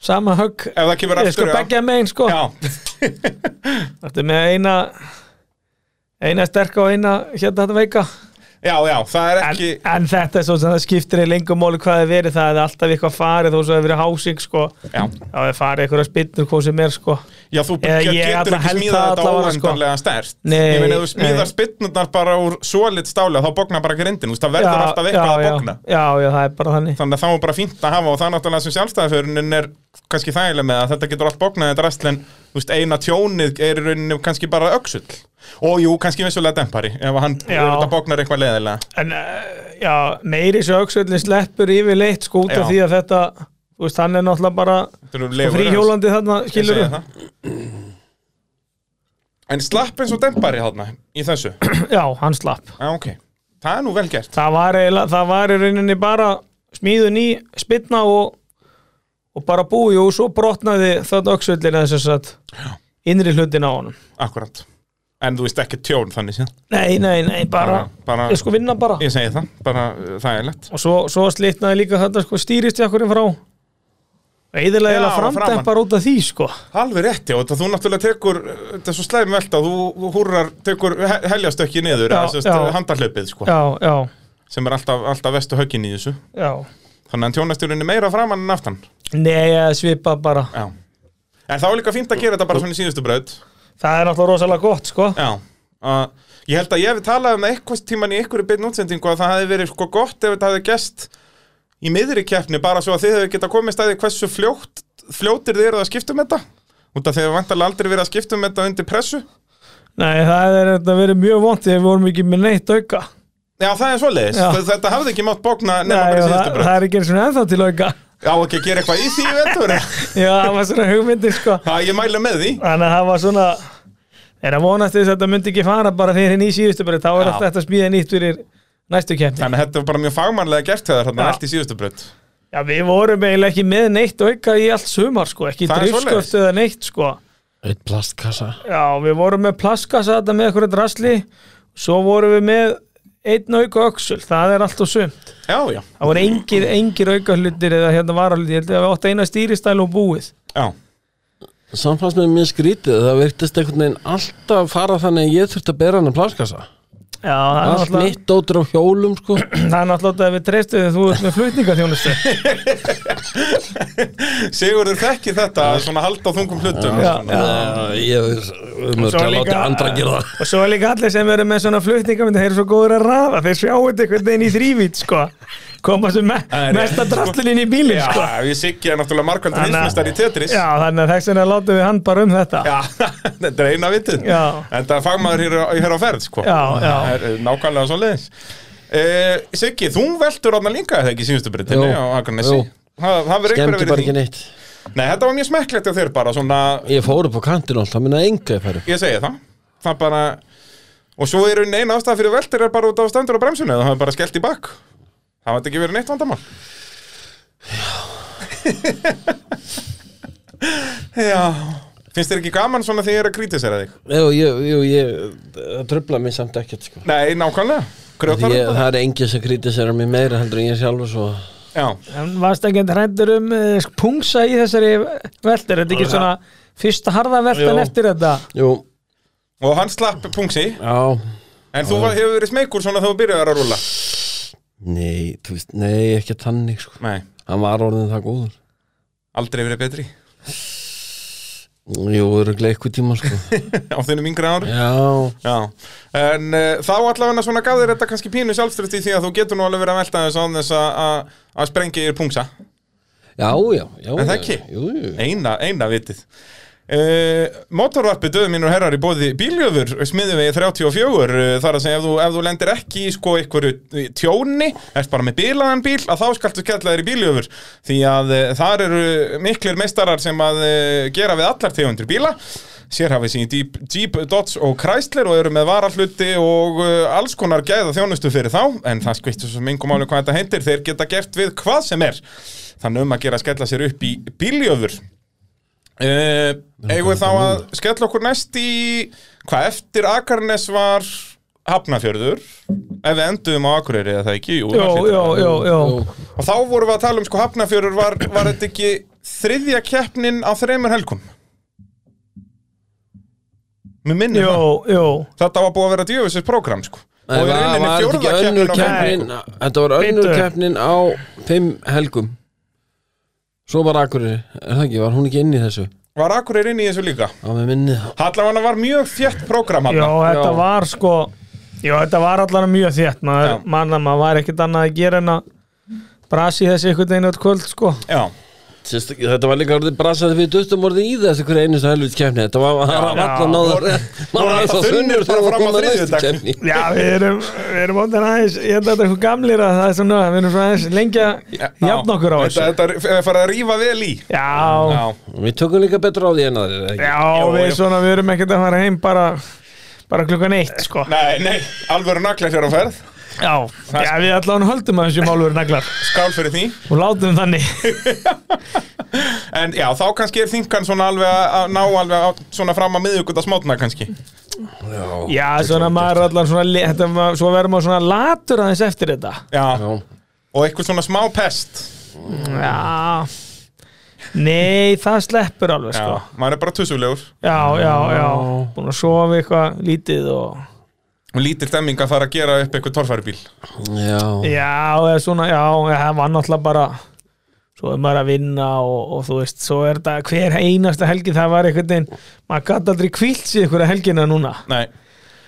Speaker 3: sama högg
Speaker 1: ef það kemur
Speaker 3: Ég sko
Speaker 1: aftur já.
Speaker 3: begja megin sko
Speaker 1: já,
Speaker 3: Þetta er með eina eina sterka og eina hérna þetta veika
Speaker 1: já, já, það er
Speaker 3: en,
Speaker 1: ekki
Speaker 3: en þetta er svo sem það skiptir í lengum móli hvað það verið það er alltaf eitthvað farið þó svo það verið hásing sko
Speaker 1: Já,
Speaker 3: þá er farið eitthvað spinnur hvað sem er sko
Speaker 1: já þú
Speaker 3: Eða
Speaker 1: get,
Speaker 3: ég
Speaker 1: getur
Speaker 3: alla
Speaker 1: ekki
Speaker 3: held
Speaker 1: smíðað
Speaker 3: það
Speaker 1: þetta
Speaker 3: allavega, sko.
Speaker 1: óendanlega stert
Speaker 3: Nei,
Speaker 1: Ég meina, ef þú smíðar
Speaker 3: nei.
Speaker 1: spinnurnar bara úr svolit stálega, þá bóknar bara grindin, þú veist, það verður alltaf eitthvað að
Speaker 3: já,
Speaker 1: bókna
Speaker 3: já, já, það er bara þannig
Speaker 1: þannig að þá er bara fínt að hafa og það er náttúrulega sem sjálfstæðaförunin er kannski þægileg með að þetta getur allt bóknaðið drast en þú veist, eina tjónið er í rauninni kannski bara öksull og jú, kannski vissulega dempari ef hann ef
Speaker 3: Já.
Speaker 1: þetta bóknar eitthvað leðilega
Speaker 3: eh, en uh, já, meiri svo auksvöldin sleppur yfirleitt sko út af
Speaker 1: Já.
Speaker 3: því að þetta þú þú veist, hann er náttúrulega bara
Speaker 1: Þetta eru
Speaker 3: sko,
Speaker 1: legur,
Speaker 3: fríhjólandi þarna,
Speaker 1: ég
Speaker 3: skilur
Speaker 1: segi það. En slapp eins og dempari hátna í þessu
Speaker 3: Já, hann slapp
Speaker 1: Já, ok Það er nú vel gert
Speaker 3: Það var, eiginlega- það var í rauninni bara smíðun í spynna og, og bara búi og svo brotnaði þarna öxvöldin eða sem sagt innri hlutin á honum
Speaker 1: Akkurat En þú veist ekki tjón þannig síðan
Speaker 3: Nei, nei, nei, bara,
Speaker 1: bara
Speaker 3: ég sko vinna bara
Speaker 1: Ég segi það, bara uh, þægilegt
Speaker 3: og svo, svo slitnaði líka þetta sko stýristjakkurinn frá
Speaker 1: Já,
Speaker 3: eðilega
Speaker 1: framan.
Speaker 3: framdempar út af því sko
Speaker 1: Alveg rétti og þetta þú náttúrulega tekur Þetta er svo slæm velta, þú, þú húrrar tekur he heljarstökki niður
Speaker 3: Já,
Speaker 1: eða sem
Speaker 3: já.
Speaker 1: sagt, handahlaupið sko
Speaker 3: já, já,
Speaker 1: sem er alltaf, alltaf vestu höggin í þessu
Speaker 3: já
Speaker 1: Þannig að tjónastjórinn er meira framan en aftan
Speaker 3: nei, ég svipa bara
Speaker 1: Já En þá er líka fínt að gera þetta bara svona í síðustu braut
Speaker 3: það er náttúrulega rosalega gott sko
Speaker 1: Já uh, Ég held að ég hef talað um það eitthvað tíman í einhverju beinn útsendingu að það hefði verið sko gott ef þetta hefði gest í miðri keppni bara svo að þið hefði geta komið stæði hversu fljótt, fljótir þið eruð að skipta um þetta út af því að vantarlega aldrei verið að skipta um þetta undir pressu
Speaker 3: nei, það er þetta verið mjög vont þegar við vorum ekki með neitt auka
Speaker 1: Já, það er svoleiðis,
Speaker 3: Já.
Speaker 1: Þa- þetta hafði ekki mátt bókna
Speaker 3: nei,
Speaker 1: nema bara í
Speaker 3: það,
Speaker 1: síðustu
Speaker 3: það
Speaker 1: bröð
Speaker 3: er ekki eins og ennþá til auka
Speaker 1: Já, ekki að gera eitthvað í því vetur
Speaker 3: já, það var svona hugmyndir sko
Speaker 1: Það ég mæla með því
Speaker 3: þannig að það var svona er að vonast til þess að þetta myndi ekki fara bara fyrir henni í síðustu bara, þá er
Speaker 1: Já.
Speaker 3: alltaf þetta smíða nýtt fyrir næstu keppni
Speaker 1: Þannig að þetta var bara mjög fagmannlega gert þegar þarna
Speaker 3: Já.
Speaker 1: allt í síðustu bröð
Speaker 3: Já, við vorum eiginlega ekki með neitt auka í allt sumar, sko, ekki
Speaker 1: Það er svoleiðis.
Speaker 3: driftsköft eða neitt, sko.
Speaker 2: Eitt plastkassa
Speaker 3: Já, við vorum með plaskasa þetta með eitthvað drasli, svo vorum við með einn auka öxul, það er allt og sumt.
Speaker 1: Já, já,
Speaker 3: Það voru engir, engir auka hlutir eða hérna varalutir, ég held að við átt eina stýristæl og búið.
Speaker 1: já
Speaker 2: Samt fannst mér mjög skrítið Það virtist einhvern veginn alltaf fara þannig að ég þurfti að bera hann að plastkassa
Speaker 3: Já, það er
Speaker 2: Allt
Speaker 3: náttúrulega,
Speaker 2: mitt dótur á hjólum sko
Speaker 3: það er náttúrulega að við treystum þegar þú ert með flutningaþjónustu.
Speaker 1: Sigurður þekki þetta að svona halda á þungum hlutum
Speaker 3: Já, já.
Speaker 2: Já, ég um
Speaker 3: Svo
Speaker 2: að láta
Speaker 3: líka-
Speaker 2: andra gera það
Speaker 3: Og svo er líka allir sem eru með svona flutningamönd þeir eru svo góður að rafa, þeir sjáu þetta einhvern veginn í þrývít sko, koma svo me
Speaker 1: er rétt,
Speaker 3: mesta
Speaker 1: sko.
Speaker 3: drastlinn inn í bílinn
Speaker 1: Já,
Speaker 3: sko.
Speaker 1: ég siggi er náttúrulega markvöldur
Speaker 3: Þannig að-
Speaker 1: hinsmestari í Tetris
Speaker 3: Já, þannig að þess vegna látum við hann bara um þetta
Speaker 1: Já, þetta er eina vitið
Speaker 3: Já.
Speaker 1: En það er fagmaður hér, á- hér á ferð sko.
Speaker 3: Já, já.
Speaker 1: Það er eh, nákvæmlega svo leiðis Siggi, þú veldur átna líka eða ekki í síðustu breytinni
Speaker 2: Jú,
Speaker 1: á Akranesi
Speaker 2: jú.
Speaker 1: Það það hefur einhverja
Speaker 2: Skemmti
Speaker 1: verið
Speaker 2: bara
Speaker 1: í því
Speaker 2: ekki neitt
Speaker 1: Nei, þetta var mjög smekklegt á þér bara svona,
Speaker 2: Ég fór upp á kantinu alltaf, minna enga ég færi
Speaker 1: Ég segi það Það bara Og svo er einu eina ástæða fyrir veldur er bara út á stendur á bremsunni Það hefur bara skellt í bakk Það hefði ekki verið neitt vandamál Já Finnst þér ekki gaman svona því ég er að krítisera þig?
Speaker 2: Jú, jú, jú, ég, það tröfla mig samt ekkert sko
Speaker 1: Nei, nákvæmlega
Speaker 2: Því
Speaker 1: Grjótar
Speaker 2: Ég, það er engin sem kritiserar mér meira heldur en ég sjálfur svo
Speaker 1: Já,
Speaker 3: En varst ekki hrættur um eh, sk- pungsa í þessari veldur, þetta ekki svona fyrsta harða veldan
Speaker 2: Jú.
Speaker 3: eftir þetta
Speaker 2: Jú,
Speaker 1: og hann slapp pungsi
Speaker 2: já
Speaker 1: En þú var, hefur verið smeykur svona þegar þú byrjaði að rúla
Speaker 2: Nei, þú veist, nei, ekki tannig sko
Speaker 1: Nei,
Speaker 2: Hann var orðin það góður
Speaker 1: aldrei verið betri
Speaker 2: Jú, öruglega eitthvað tíma sko
Speaker 1: Á þennum yngri ári
Speaker 2: Já,
Speaker 1: Já, en uh, þá allavega svona gaf þér þetta kannski pínu sjálfströsti því að þú getur nú alveg verið að velta þess án þess að- að að sprengja þér pungsa
Speaker 2: já, já, já
Speaker 1: En það
Speaker 2: já,
Speaker 1: ekki?
Speaker 2: Jú, jú
Speaker 1: Eina, eina vitið Uh, Motorvarpi döðu mínur herrar í bóði bíljöfur smiði við 34 uh, þar að segja ef þú, ef þú lendir ekki í sko einhverju tjóni, ert bara með bílaðan bíl að þá skaltu skella þér í bíljöfur því að uh, þar eru miklir meistarar sem að uh, gera við allar tegundir bíla sér hafið sín Jeep, Jeep, Dodge og Chrysler og eru með varahluti og uh, alls konar gæða þjónustu fyrir þá en það skvittur sem engum áli hvað þetta heitir þeir geta gert við hvað sem er þannig um að gera að skella sér upp í bíljöfur Uh, eigum við þá að skella okkur næst í hvað eftir Akarnes var Hafnafjörður ef við endum á Akureyri eða það ekki jú,
Speaker 3: Jó,
Speaker 1: það hlýtur
Speaker 3: jó,
Speaker 1: að-
Speaker 3: jó, jó
Speaker 1: og þá vorum við að tala um sko Hafnafjörður var, var þetta ekki þriðja keppnin á þreymur helgum með minni
Speaker 3: Jó,
Speaker 1: það
Speaker 3: jó
Speaker 1: þetta var búið að vera djöfisins program sko
Speaker 2: Nei,
Speaker 1: og í
Speaker 2: var-
Speaker 1: rauninni
Speaker 2: var
Speaker 1: fjórða
Speaker 2: þetta ekki önnur
Speaker 1: keppnin á fimm
Speaker 3: keppni?
Speaker 2: keppnin Þetta var önnur
Speaker 3: Bíddu.
Speaker 2: keppnin á fimm helgum Svo var Akureyri, er það ekki, var hún ekki inn í þessu
Speaker 1: var Akureyri inn í þessu líka
Speaker 2: Á með minni það
Speaker 1: Hallafanna var mjög þjætt program
Speaker 3: Jó,
Speaker 1: hann
Speaker 3: þetta
Speaker 2: Já.
Speaker 3: var sko Jó, þetta var allan mjög þétt maður,
Speaker 1: Já.
Speaker 3: manna, maður var ekkert annað að gera en að brasi þessi einhvern veginn öll kvöld sko
Speaker 1: Já
Speaker 2: Sérst, þetta var líka orðið brasaði við duttum orðið í þessu hverju einustu helvits kefni Þetta var var
Speaker 3: já.
Speaker 2: alltaf náður
Speaker 1: voru alltaf þunnir bara fram á þriðjudag.
Speaker 3: Já, við erum, við erum óndan aðeins, ég held að þetta er eitthvað gamlir að það er svona, við erum svona aðeins lengja jafn okkur á
Speaker 1: Þetta,
Speaker 3: þessu.
Speaker 1: þetta er farið að rífa vel í
Speaker 3: Já,
Speaker 1: Já,
Speaker 2: Við tökum líka betur á því en aðrir eða ekki?
Speaker 3: já,
Speaker 1: Jú,
Speaker 3: við
Speaker 1: jú.
Speaker 3: svona, við erum ekkert að fara heim bara, bara klukkan eitt, sko.
Speaker 1: nei, nei, alvöru naglar hér á ferð
Speaker 3: Já, já við allan höldum að þessu málur naglar
Speaker 1: Skál fyrir því
Speaker 3: og látum þannig.
Speaker 1: En já, þá kannski er þingan svona alveg að- að ná alveg að, svona fram að miðuguta smátna kannski
Speaker 2: Já,
Speaker 3: Já, svona maður allan svona, le- þetta, ma- svo verðum við svona latur aðeins eftir þetta.
Speaker 1: Já,
Speaker 2: já.
Speaker 1: og eitthvað svona smá pest
Speaker 3: Já, nei, það sleppur alveg, sko.
Speaker 1: Já, maður er bara tussulegur
Speaker 3: Já, já, já, búin að sofa eitthvað lítið og...
Speaker 1: og lítil stemming að fara að gera upp eitthvað torfæribíl
Speaker 2: já.
Speaker 3: Já, eða svona, já, eða það var náttúrulega bara svo er maður að vinna og, og þú veist, svo er þetta hver einasta helgi það var einhvern veginn, maður gæti aldrei kvílt sér einhverja helgina núna
Speaker 1: Nei,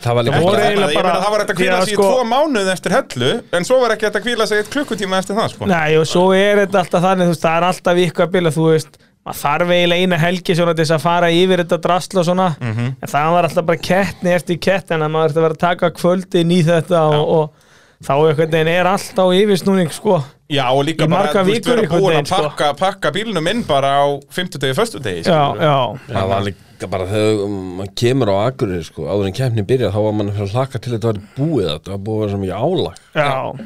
Speaker 2: Það var líka
Speaker 3: Það voru
Speaker 2: bara
Speaker 1: Ég meina,
Speaker 3: eiginlega bara-
Speaker 1: það var þetta að kvíla
Speaker 3: Já,
Speaker 1: sig í
Speaker 3: sko-
Speaker 1: tvo mánuð eftir hellu en svo var ekki þetta að kvíla sig eitt klukkutíma eftir það sko.
Speaker 3: Nei, og svo er þetta alltaf þannig, þú veist, það er alltaf ykkur að bila, þú veist, maður þarf eiginlega eina helgi svona til þess að fara yfir þetta drasl og svona, en það var alltaf bara kettni eftir kettni, en að maður þurfti að vera að taka kvöldin í þetta og, og þá einhvern veginn er alltaf yfirsnúning, sko.
Speaker 1: Já, og líka
Speaker 3: Í sko.
Speaker 1: bara
Speaker 3: margar
Speaker 1: þú veist,
Speaker 3: vikur
Speaker 1: vera
Speaker 3: einhvern
Speaker 1: búin
Speaker 3: veginn,
Speaker 1: að pakka, pakka bílnum inn bara á sko. 50 og 1. degi
Speaker 3: Já, já,
Speaker 2: Það var líka bara þegar maður kemur á Akureyri sko, áður en kemni byrja þá var mann að hlaka til þetta var búið þetta var búið að vera svo mikið álag
Speaker 3: já,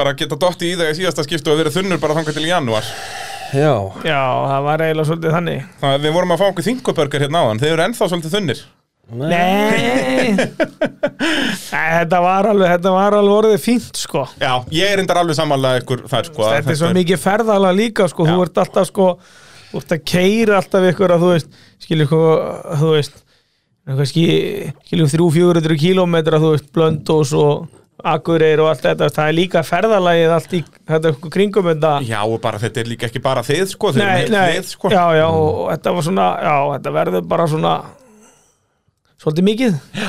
Speaker 1: bara geta dotti í þegar síðasta skiptu og verið þunnur bara þangað til í janúar
Speaker 2: Já,
Speaker 3: já, það var eiginlega svolítið þannig.
Speaker 1: þannig að við vorum að fá okkur þingubörgar hérna áðan þeir eru ennþá svolítið þunnir
Speaker 3: Nei Nei, þetta var alveg Þetta var alveg orðið fínt sko
Speaker 1: Já, ég er endar alveg samanlega ykkur þar sko að
Speaker 3: Þetta er svo mikið ferðala líka sko Þú
Speaker 1: Já.
Speaker 3: ert alltaf sko Þú ert að keira alltaf ykkur að þú veist Skilur sko, þú veist kannski, Skilur 300-400 kílómetra Þú veist, blöndós og Akureyri og allt þetta Það er líka ferðalagið allt í þetta ykkur kringum þetta
Speaker 1: Já, og bara þetta er líka ekki bara þið sko þeir
Speaker 3: Nei,
Speaker 1: eru heilt
Speaker 3: nei,
Speaker 1: lið sko
Speaker 3: já, já, og þetta var svona Já, þetta verður bara svona Svolítið mikið
Speaker 1: uh,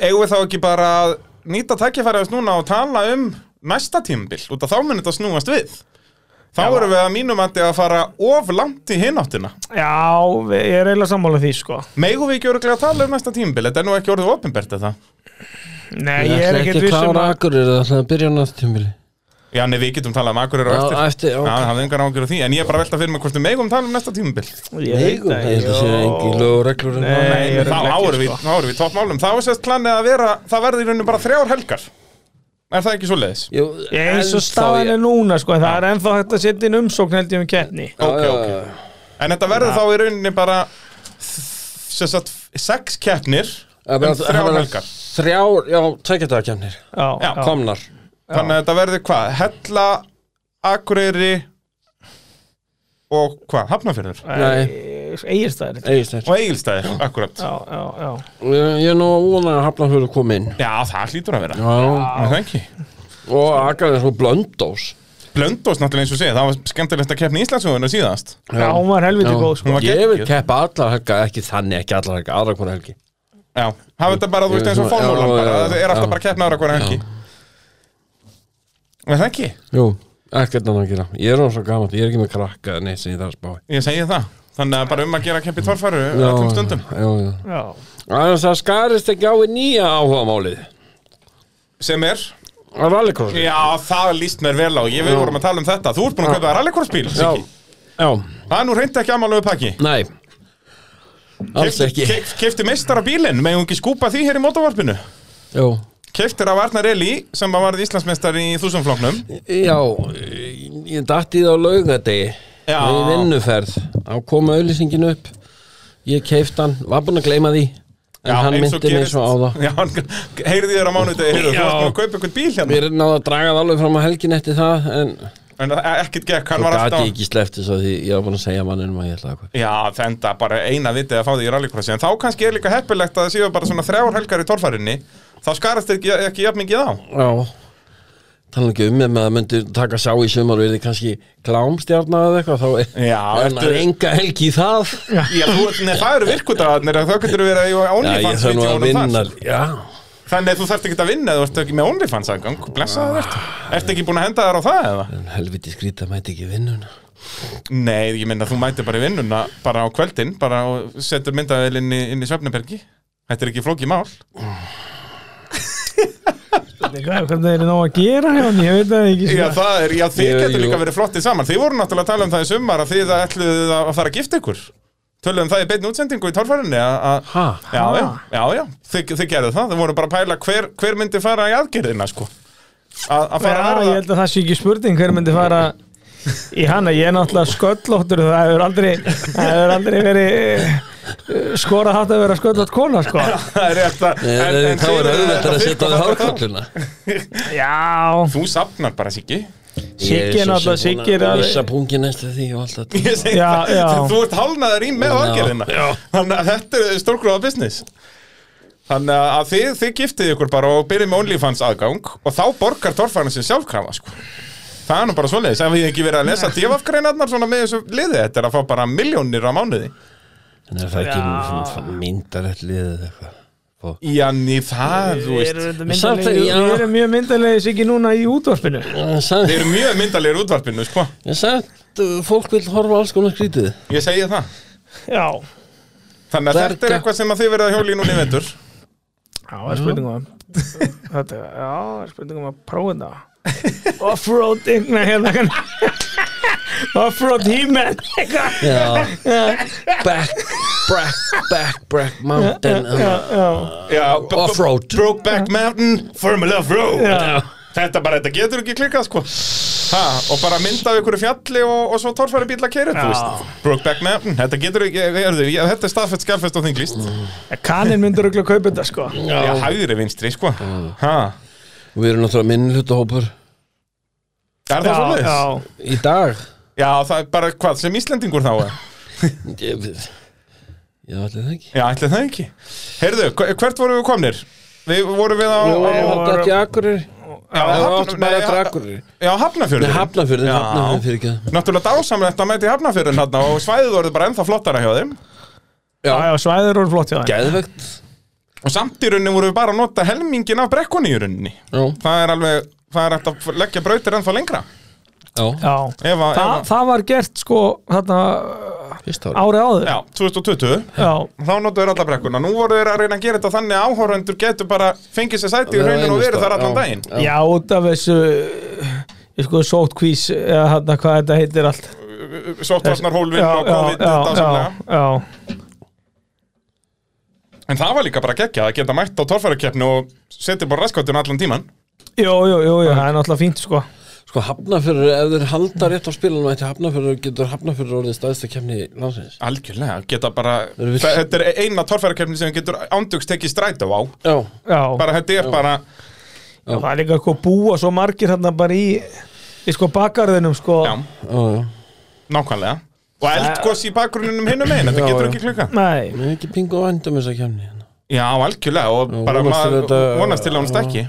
Speaker 1: eigum við þá ekki bara að nýta tækifæri þess núna og tala um næsta tímbil, út af þá mun þetta snúast við þá erum við að mínum andi að fara of langt í hináttina
Speaker 3: Já, við- ég er eiginlega sammála því sko
Speaker 1: megum við ekki öruglega að tala um næsta tímbil þetta er nú ekki orðið opinbert eða
Speaker 3: Nei, ég er ekkert
Speaker 2: ekki
Speaker 3: vissum
Speaker 2: klára
Speaker 3: að
Speaker 2: Akureyri það ætlaði að byrja á náttúmili
Speaker 1: já, nei, við getum talað um akkurir og
Speaker 2: Já,
Speaker 1: eftir
Speaker 2: eftir,
Speaker 1: Já,
Speaker 2: ok
Speaker 1: það hafði engar ágjur á því, en ég er bara að velta fyrir mig hvort við megum tala um næsta tímabil
Speaker 3: Ég veit
Speaker 2: Eigum, ég held að sé
Speaker 3: já.
Speaker 2: engi lög og reglur um það.
Speaker 3: Nei,
Speaker 1: Þá
Speaker 3: örugglega
Speaker 1: árum
Speaker 3: ekki,
Speaker 1: við,
Speaker 3: sko.
Speaker 1: þá erum við toppmálum Þá er sérst planið að vera, það verður í rauninu bara þrjár helgar Er það ekki svoleiðis?
Speaker 2: Jú,
Speaker 3: Ég er eins og
Speaker 2: ennþá
Speaker 3: staðan
Speaker 2: ég-
Speaker 3: er núna sko, það er ennþá hægt að setja inn umsókn held ég um keppni
Speaker 1: Ok,
Speaker 2: Já,
Speaker 1: ok.
Speaker 2: já, já.
Speaker 1: En þetta verður þá í rauninni bara sem sagt, sex keppnir
Speaker 2: Það
Speaker 1: um
Speaker 2: verða- það
Speaker 1: þrjá
Speaker 2: verða
Speaker 1: helgar
Speaker 2: Þrjár, já, tveikjadagakefnir
Speaker 3: Já,
Speaker 1: Já,
Speaker 2: Komnar
Speaker 1: Þannig að þetta verður hvað? Hella, Akureyri og hvað? Hafnafjörður
Speaker 2: Nei.
Speaker 3: Egirstaðir
Speaker 2: Egilsteinn
Speaker 1: og Egilstæðir, akkurat
Speaker 3: Já, já, já
Speaker 2: Ég ég er nú að vona að hafna fyrir að koma inn
Speaker 1: Já, það hlýtur að vera
Speaker 2: Já
Speaker 1: Er Það ekki
Speaker 2: Og Akureyri er svo blöndós
Speaker 1: Blöndós náttúrulega eins og segja, það var skemmtilegst að keppni í Íslandsjóðunum síðast
Speaker 3: Já, hún var helviti
Speaker 2: Já.
Speaker 3: góð sko
Speaker 1: Hún var
Speaker 2: Ég vil
Speaker 1: geggjuð.
Speaker 2: keppa allar helga, ekki þannig, ekki allar helga, aðra hvora helgi
Speaker 1: Já, hafa þetta bara, þú veist, eins og
Speaker 2: Já,
Speaker 1: formúlan
Speaker 2: já,
Speaker 1: bara
Speaker 2: já,
Speaker 1: Það er alltaf
Speaker 2: já.
Speaker 1: bara að keppna ára hverja helgi Er það ekki?
Speaker 2: Jú, ekkert annað að gera Ég er hann svo gaman, ég er ekki með krakka eða neitt sem ég þarf að spá í.
Speaker 1: Ég segi það Þannig að bara um að gera keppi torfæru
Speaker 2: Já,
Speaker 1: öllum stundum
Speaker 2: Já, já
Speaker 3: Já,
Speaker 2: Þannig það skarist ekki á í nýja áhugamálið
Speaker 1: Sem er?
Speaker 2: Að rallycrossi
Speaker 1: Já, það líst mér vel á, ég við vorum að tala um þetta Þú ert búin að kaupa rallycrossbíl, Siggi
Speaker 2: já,
Speaker 1: Það er nú reyndi ekki amalögu pakki
Speaker 2: nei Alls ekki
Speaker 1: Kefti meistara bílinn, meðum ekki skúpa því hér í mótavarpinu
Speaker 2: Jú
Speaker 1: Keftir af Arnar Eli, sem að varð Íslandsmeistar í þúsumfloknum
Speaker 2: Já, ég datt í það á laugadegi
Speaker 1: Já.
Speaker 2: Í vinnuferð Á koma auðlýsingin upp Ég keift hann, var búinn að gleyma því En hann myndi mig svo á það
Speaker 1: Já, hann heyrði þér á mánudegi, heyrðu, þú
Speaker 3: Já.
Speaker 1: varst búin að kaupa einhvern bíl hérna
Speaker 2: Mér er náða að draga það alveg fram á helgin eftir það En
Speaker 1: En það- ekkert gekk, hann
Speaker 2: svo
Speaker 1: var
Speaker 2: gati ég
Speaker 1: alltaf
Speaker 2: ekki sleppt þess að því Ég var búinn að segja manninum að ég ætla að hvað
Speaker 1: Já, þetta bara eina vitið að fá því í rallycrossi En þá kannski er líka heppilegt að það séu bara svona þrjár helgar í torfærinni Þá skarast ekki, ekki jafn mikið á
Speaker 2: Já tala ekki um ef maður myndi taka sá í sumar og er þið kannski klámstjarnar eða eitthvað þá er,
Speaker 1: Já,
Speaker 2: en það er enga helgi í það Já,
Speaker 1: Já, þú, nei, það eru virkudagarnir þá getur þú verið að eiga
Speaker 2: ég
Speaker 1: OnlyFans
Speaker 2: þarf nú að
Speaker 1: vídeóunum
Speaker 2: vinna
Speaker 1: þar.
Speaker 2: Já,
Speaker 1: Þannig að þú þarft ekki að vinna eða þú ert ekki með
Speaker 2: Ah.
Speaker 1: OnlyFans aðgang blessaður ertu, ertu ekki búin að henda þér á það eða?
Speaker 2: en helviti skrýta mæti ekki í vinnuna
Speaker 1: Nei, ég minna, þú mætir bara í vinnuna bara á kvöldin, bara og setur myndavel inn í, inn í Svefnabergi Þetta er ekki flókið mál
Speaker 3: Hvað- Hvernig er það nóg að gera hjá hann? Ég veit það ekki sko.
Speaker 1: Já,
Speaker 3: svona.
Speaker 1: það er, já, þið
Speaker 2: Jú,
Speaker 1: getur
Speaker 2: jú.
Speaker 1: líka verið flottið saman Þið voru náttúrulega að tala um það í sumar að þið ætluðu að fara að gifta ykkur Töluðum það í beinni útsendingu í torfærinni að
Speaker 2: Hæ?
Speaker 1: Já, já, já, já, þið, þið gerðu það Þið voru bara að pæla hver, hver myndi fara í aðgerðina, sko Að að fara
Speaker 3: Já,
Speaker 1: að
Speaker 3: ég
Speaker 1: verða
Speaker 3: held að það sé ekki spurning hver myndi fara í hana, ég er náttúrulega sköllóttur það hefur aldrei, það hefur aldrei verið eh, skorað hatt að vera sköllótt kona sko.
Speaker 1: Það er rétt að
Speaker 2: Nei,
Speaker 1: en- en
Speaker 2: þá
Speaker 1: þið
Speaker 2: er
Speaker 1: eruð
Speaker 2: auðvitað að
Speaker 1: þið
Speaker 2: setja á
Speaker 1: hvað þetta
Speaker 2: því
Speaker 1: þá.
Speaker 2: hárkolluna
Speaker 3: Já,
Speaker 1: Þú safnar bara, Siggi
Speaker 3: Siggi er náttúrulega Siggi er
Speaker 2: að
Speaker 3: að
Speaker 2: Vissa pungin eftir því og allt þetta
Speaker 1: Ég segi
Speaker 3: Já,
Speaker 1: það,
Speaker 3: já.
Speaker 1: þú ert hálnaður í með
Speaker 2: Já,
Speaker 1: aðgerðina
Speaker 2: já.
Speaker 1: Þannig að þetta er stórgróða business Þannig að þið, þið giftið ykkur bara og byrjið með OnlyFans aðgang og þá borgar torfarnir sem sjálfkrafa sko. Það er nú bara svoleiðis, ef ég ekki verið að lesa divafgreinarnar svona með þessu liði, þetta er að fá bara miljónir á mánuði
Speaker 2: En er það ekki myndarlegt liðið eitthvað Og-
Speaker 1: Já, ný, það, þú
Speaker 3: við
Speaker 1: veist
Speaker 2: Samt
Speaker 3: erum,
Speaker 2: er-
Speaker 3: myndalegi,
Speaker 2: já.
Speaker 3: við erum mjög myndalegi Siggi núna í útvarpinu
Speaker 2: En
Speaker 1: Þið
Speaker 2: samt-
Speaker 1: eru mjög myndalegir í útvarpinu, sko
Speaker 2: en samt uh, Fólk vil horfa á alls konar skrítið
Speaker 1: Ég segi það
Speaker 3: Já,
Speaker 1: Þannig að þetta er
Speaker 2: Dverga.
Speaker 1: eitthvað sem að þið verið að hjóli núna í vendur
Speaker 3: já, það er spurningum um Þetta, já, það er spurningum um að prófa þetta Offroading, nei, hérna kann- Offroad he-man eitthvað.
Speaker 2: Já Back, back, back, back mountain
Speaker 3: Já,
Speaker 2: uh,
Speaker 3: já,
Speaker 2: Offroad.
Speaker 1: Brokeback Mountain, Formula of Road
Speaker 3: já
Speaker 1: Þetta bara, þetta getur ekki klikkað sko ha, Og bara mynda af ykkur fjalli og, og svo torfæri bíl að keira, þú
Speaker 3: Já.
Speaker 1: veist Brokeback Mountain, þetta getur ekki er, ég, Þetta er staðfett skjálfest og þinglist
Speaker 3: Kanin myndur örugglega að kaupa þetta sko
Speaker 1: Já, hægri vinstri sko
Speaker 2: Mm.
Speaker 1: ha,
Speaker 2: Við erum náttúrulega minnlutahópur
Speaker 1: Er það
Speaker 3: já,
Speaker 1: svoleiðis?
Speaker 3: já.
Speaker 2: Í dag
Speaker 1: Já, það er bara hvað sem Íslendingur þá er
Speaker 2: Ég veit Já, allir það ekki
Speaker 1: Já, ætli það ekki Heyrðu, hve- hvert vorum við komnir? Við vorum við á,
Speaker 2: Nú
Speaker 1: á
Speaker 2: erum við alltaf til Akureyri
Speaker 1: Já,
Speaker 2: Það
Speaker 1: Hafna-
Speaker 2: var átt bara
Speaker 1: nei,
Speaker 2: til
Speaker 1: ha-
Speaker 2: Akureyri
Speaker 1: Já, Hafnafjörður
Speaker 2: Nei, Hafnafjörður,
Speaker 1: Já.
Speaker 2: Hafnafjörður fyrir ekki
Speaker 1: Náttúrulega dásamlegt að mæti Hafnafjörðin hérna og svæðið voruð bara ennþá flottara hjá þeim
Speaker 3: Já, já, svæður voru flott hjá það
Speaker 2: Geðvegt
Speaker 1: og samt í rauninni vorum við bara að nota helmingin af brekkunni í rauninni
Speaker 2: Já,
Speaker 1: það er alveg, það er hægt að leggja brautir ennþá lengra
Speaker 2: já,
Speaker 3: Já,
Speaker 1: ef að,
Speaker 3: Þa,
Speaker 1: ef að,
Speaker 3: það var gert sko þarna
Speaker 2: fyrst ára
Speaker 3: árið áður
Speaker 1: já, 2020
Speaker 3: Já,
Speaker 1: þá notuðu þeir alla brekkuna, nú voru þeir að reyna að gera þetta þannig að áhorfendur getur bara fengið sér sæti í
Speaker 2: Vera
Speaker 1: rauninu og
Speaker 2: einhvers
Speaker 1: verið þar
Speaker 2: staðar,
Speaker 1: allan
Speaker 2: já.
Speaker 1: daginn
Speaker 3: já, út af þessu ég sko sótt kvís eða þarna hvað þetta heitir allt
Speaker 1: sóttvarnar hólfinn
Speaker 3: Já,
Speaker 1: og
Speaker 3: já,
Speaker 1: COVID
Speaker 3: já,
Speaker 1: þetta
Speaker 3: já,
Speaker 1: ásamlega
Speaker 3: já,
Speaker 1: en það var líka bara geggja að geta mætt á torfærakeppni og setja bara raskotun allan tíman
Speaker 3: Jú, jú, jú, jú, það er náttúrulega fínt sko
Speaker 2: Sko Hafnafjörður, ef þeir halda rétt á spilunum ætti Hafnafjörður, getur Hafnafjörður orðið stæðsta kemni landsins
Speaker 1: algjörlega, geta bara
Speaker 2: Erum við-
Speaker 1: þetta er eina torfærakeppni sem getur ándugst tekið strætó á
Speaker 2: Já,
Speaker 3: Já,
Speaker 1: bara þetta er bara
Speaker 3: já, það er líka sko búa svo margir þarna bara í í sko bakgarðinum sko
Speaker 1: já,
Speaker 2: já, já
Speaker 1: nákvæmlega og eldgoss í bakgrunninum hinum megin þetta
Speaker 2: Já,
Speaker 1: getur
Speaker 2: já.
Speaker 1: ekki klukka
Speaker 3: Nei,
Speaker 2: Mér er ekki pingu á endum þessa hérna. kemni
Speaker 1: Já, algjörlega og
Speaker 2: Já,
Speaker 1: bara
Speaker 2: vonast til
Speaker 1: maður
Speaker 2: þetta-
Speaker 1: vonast til að hún stekki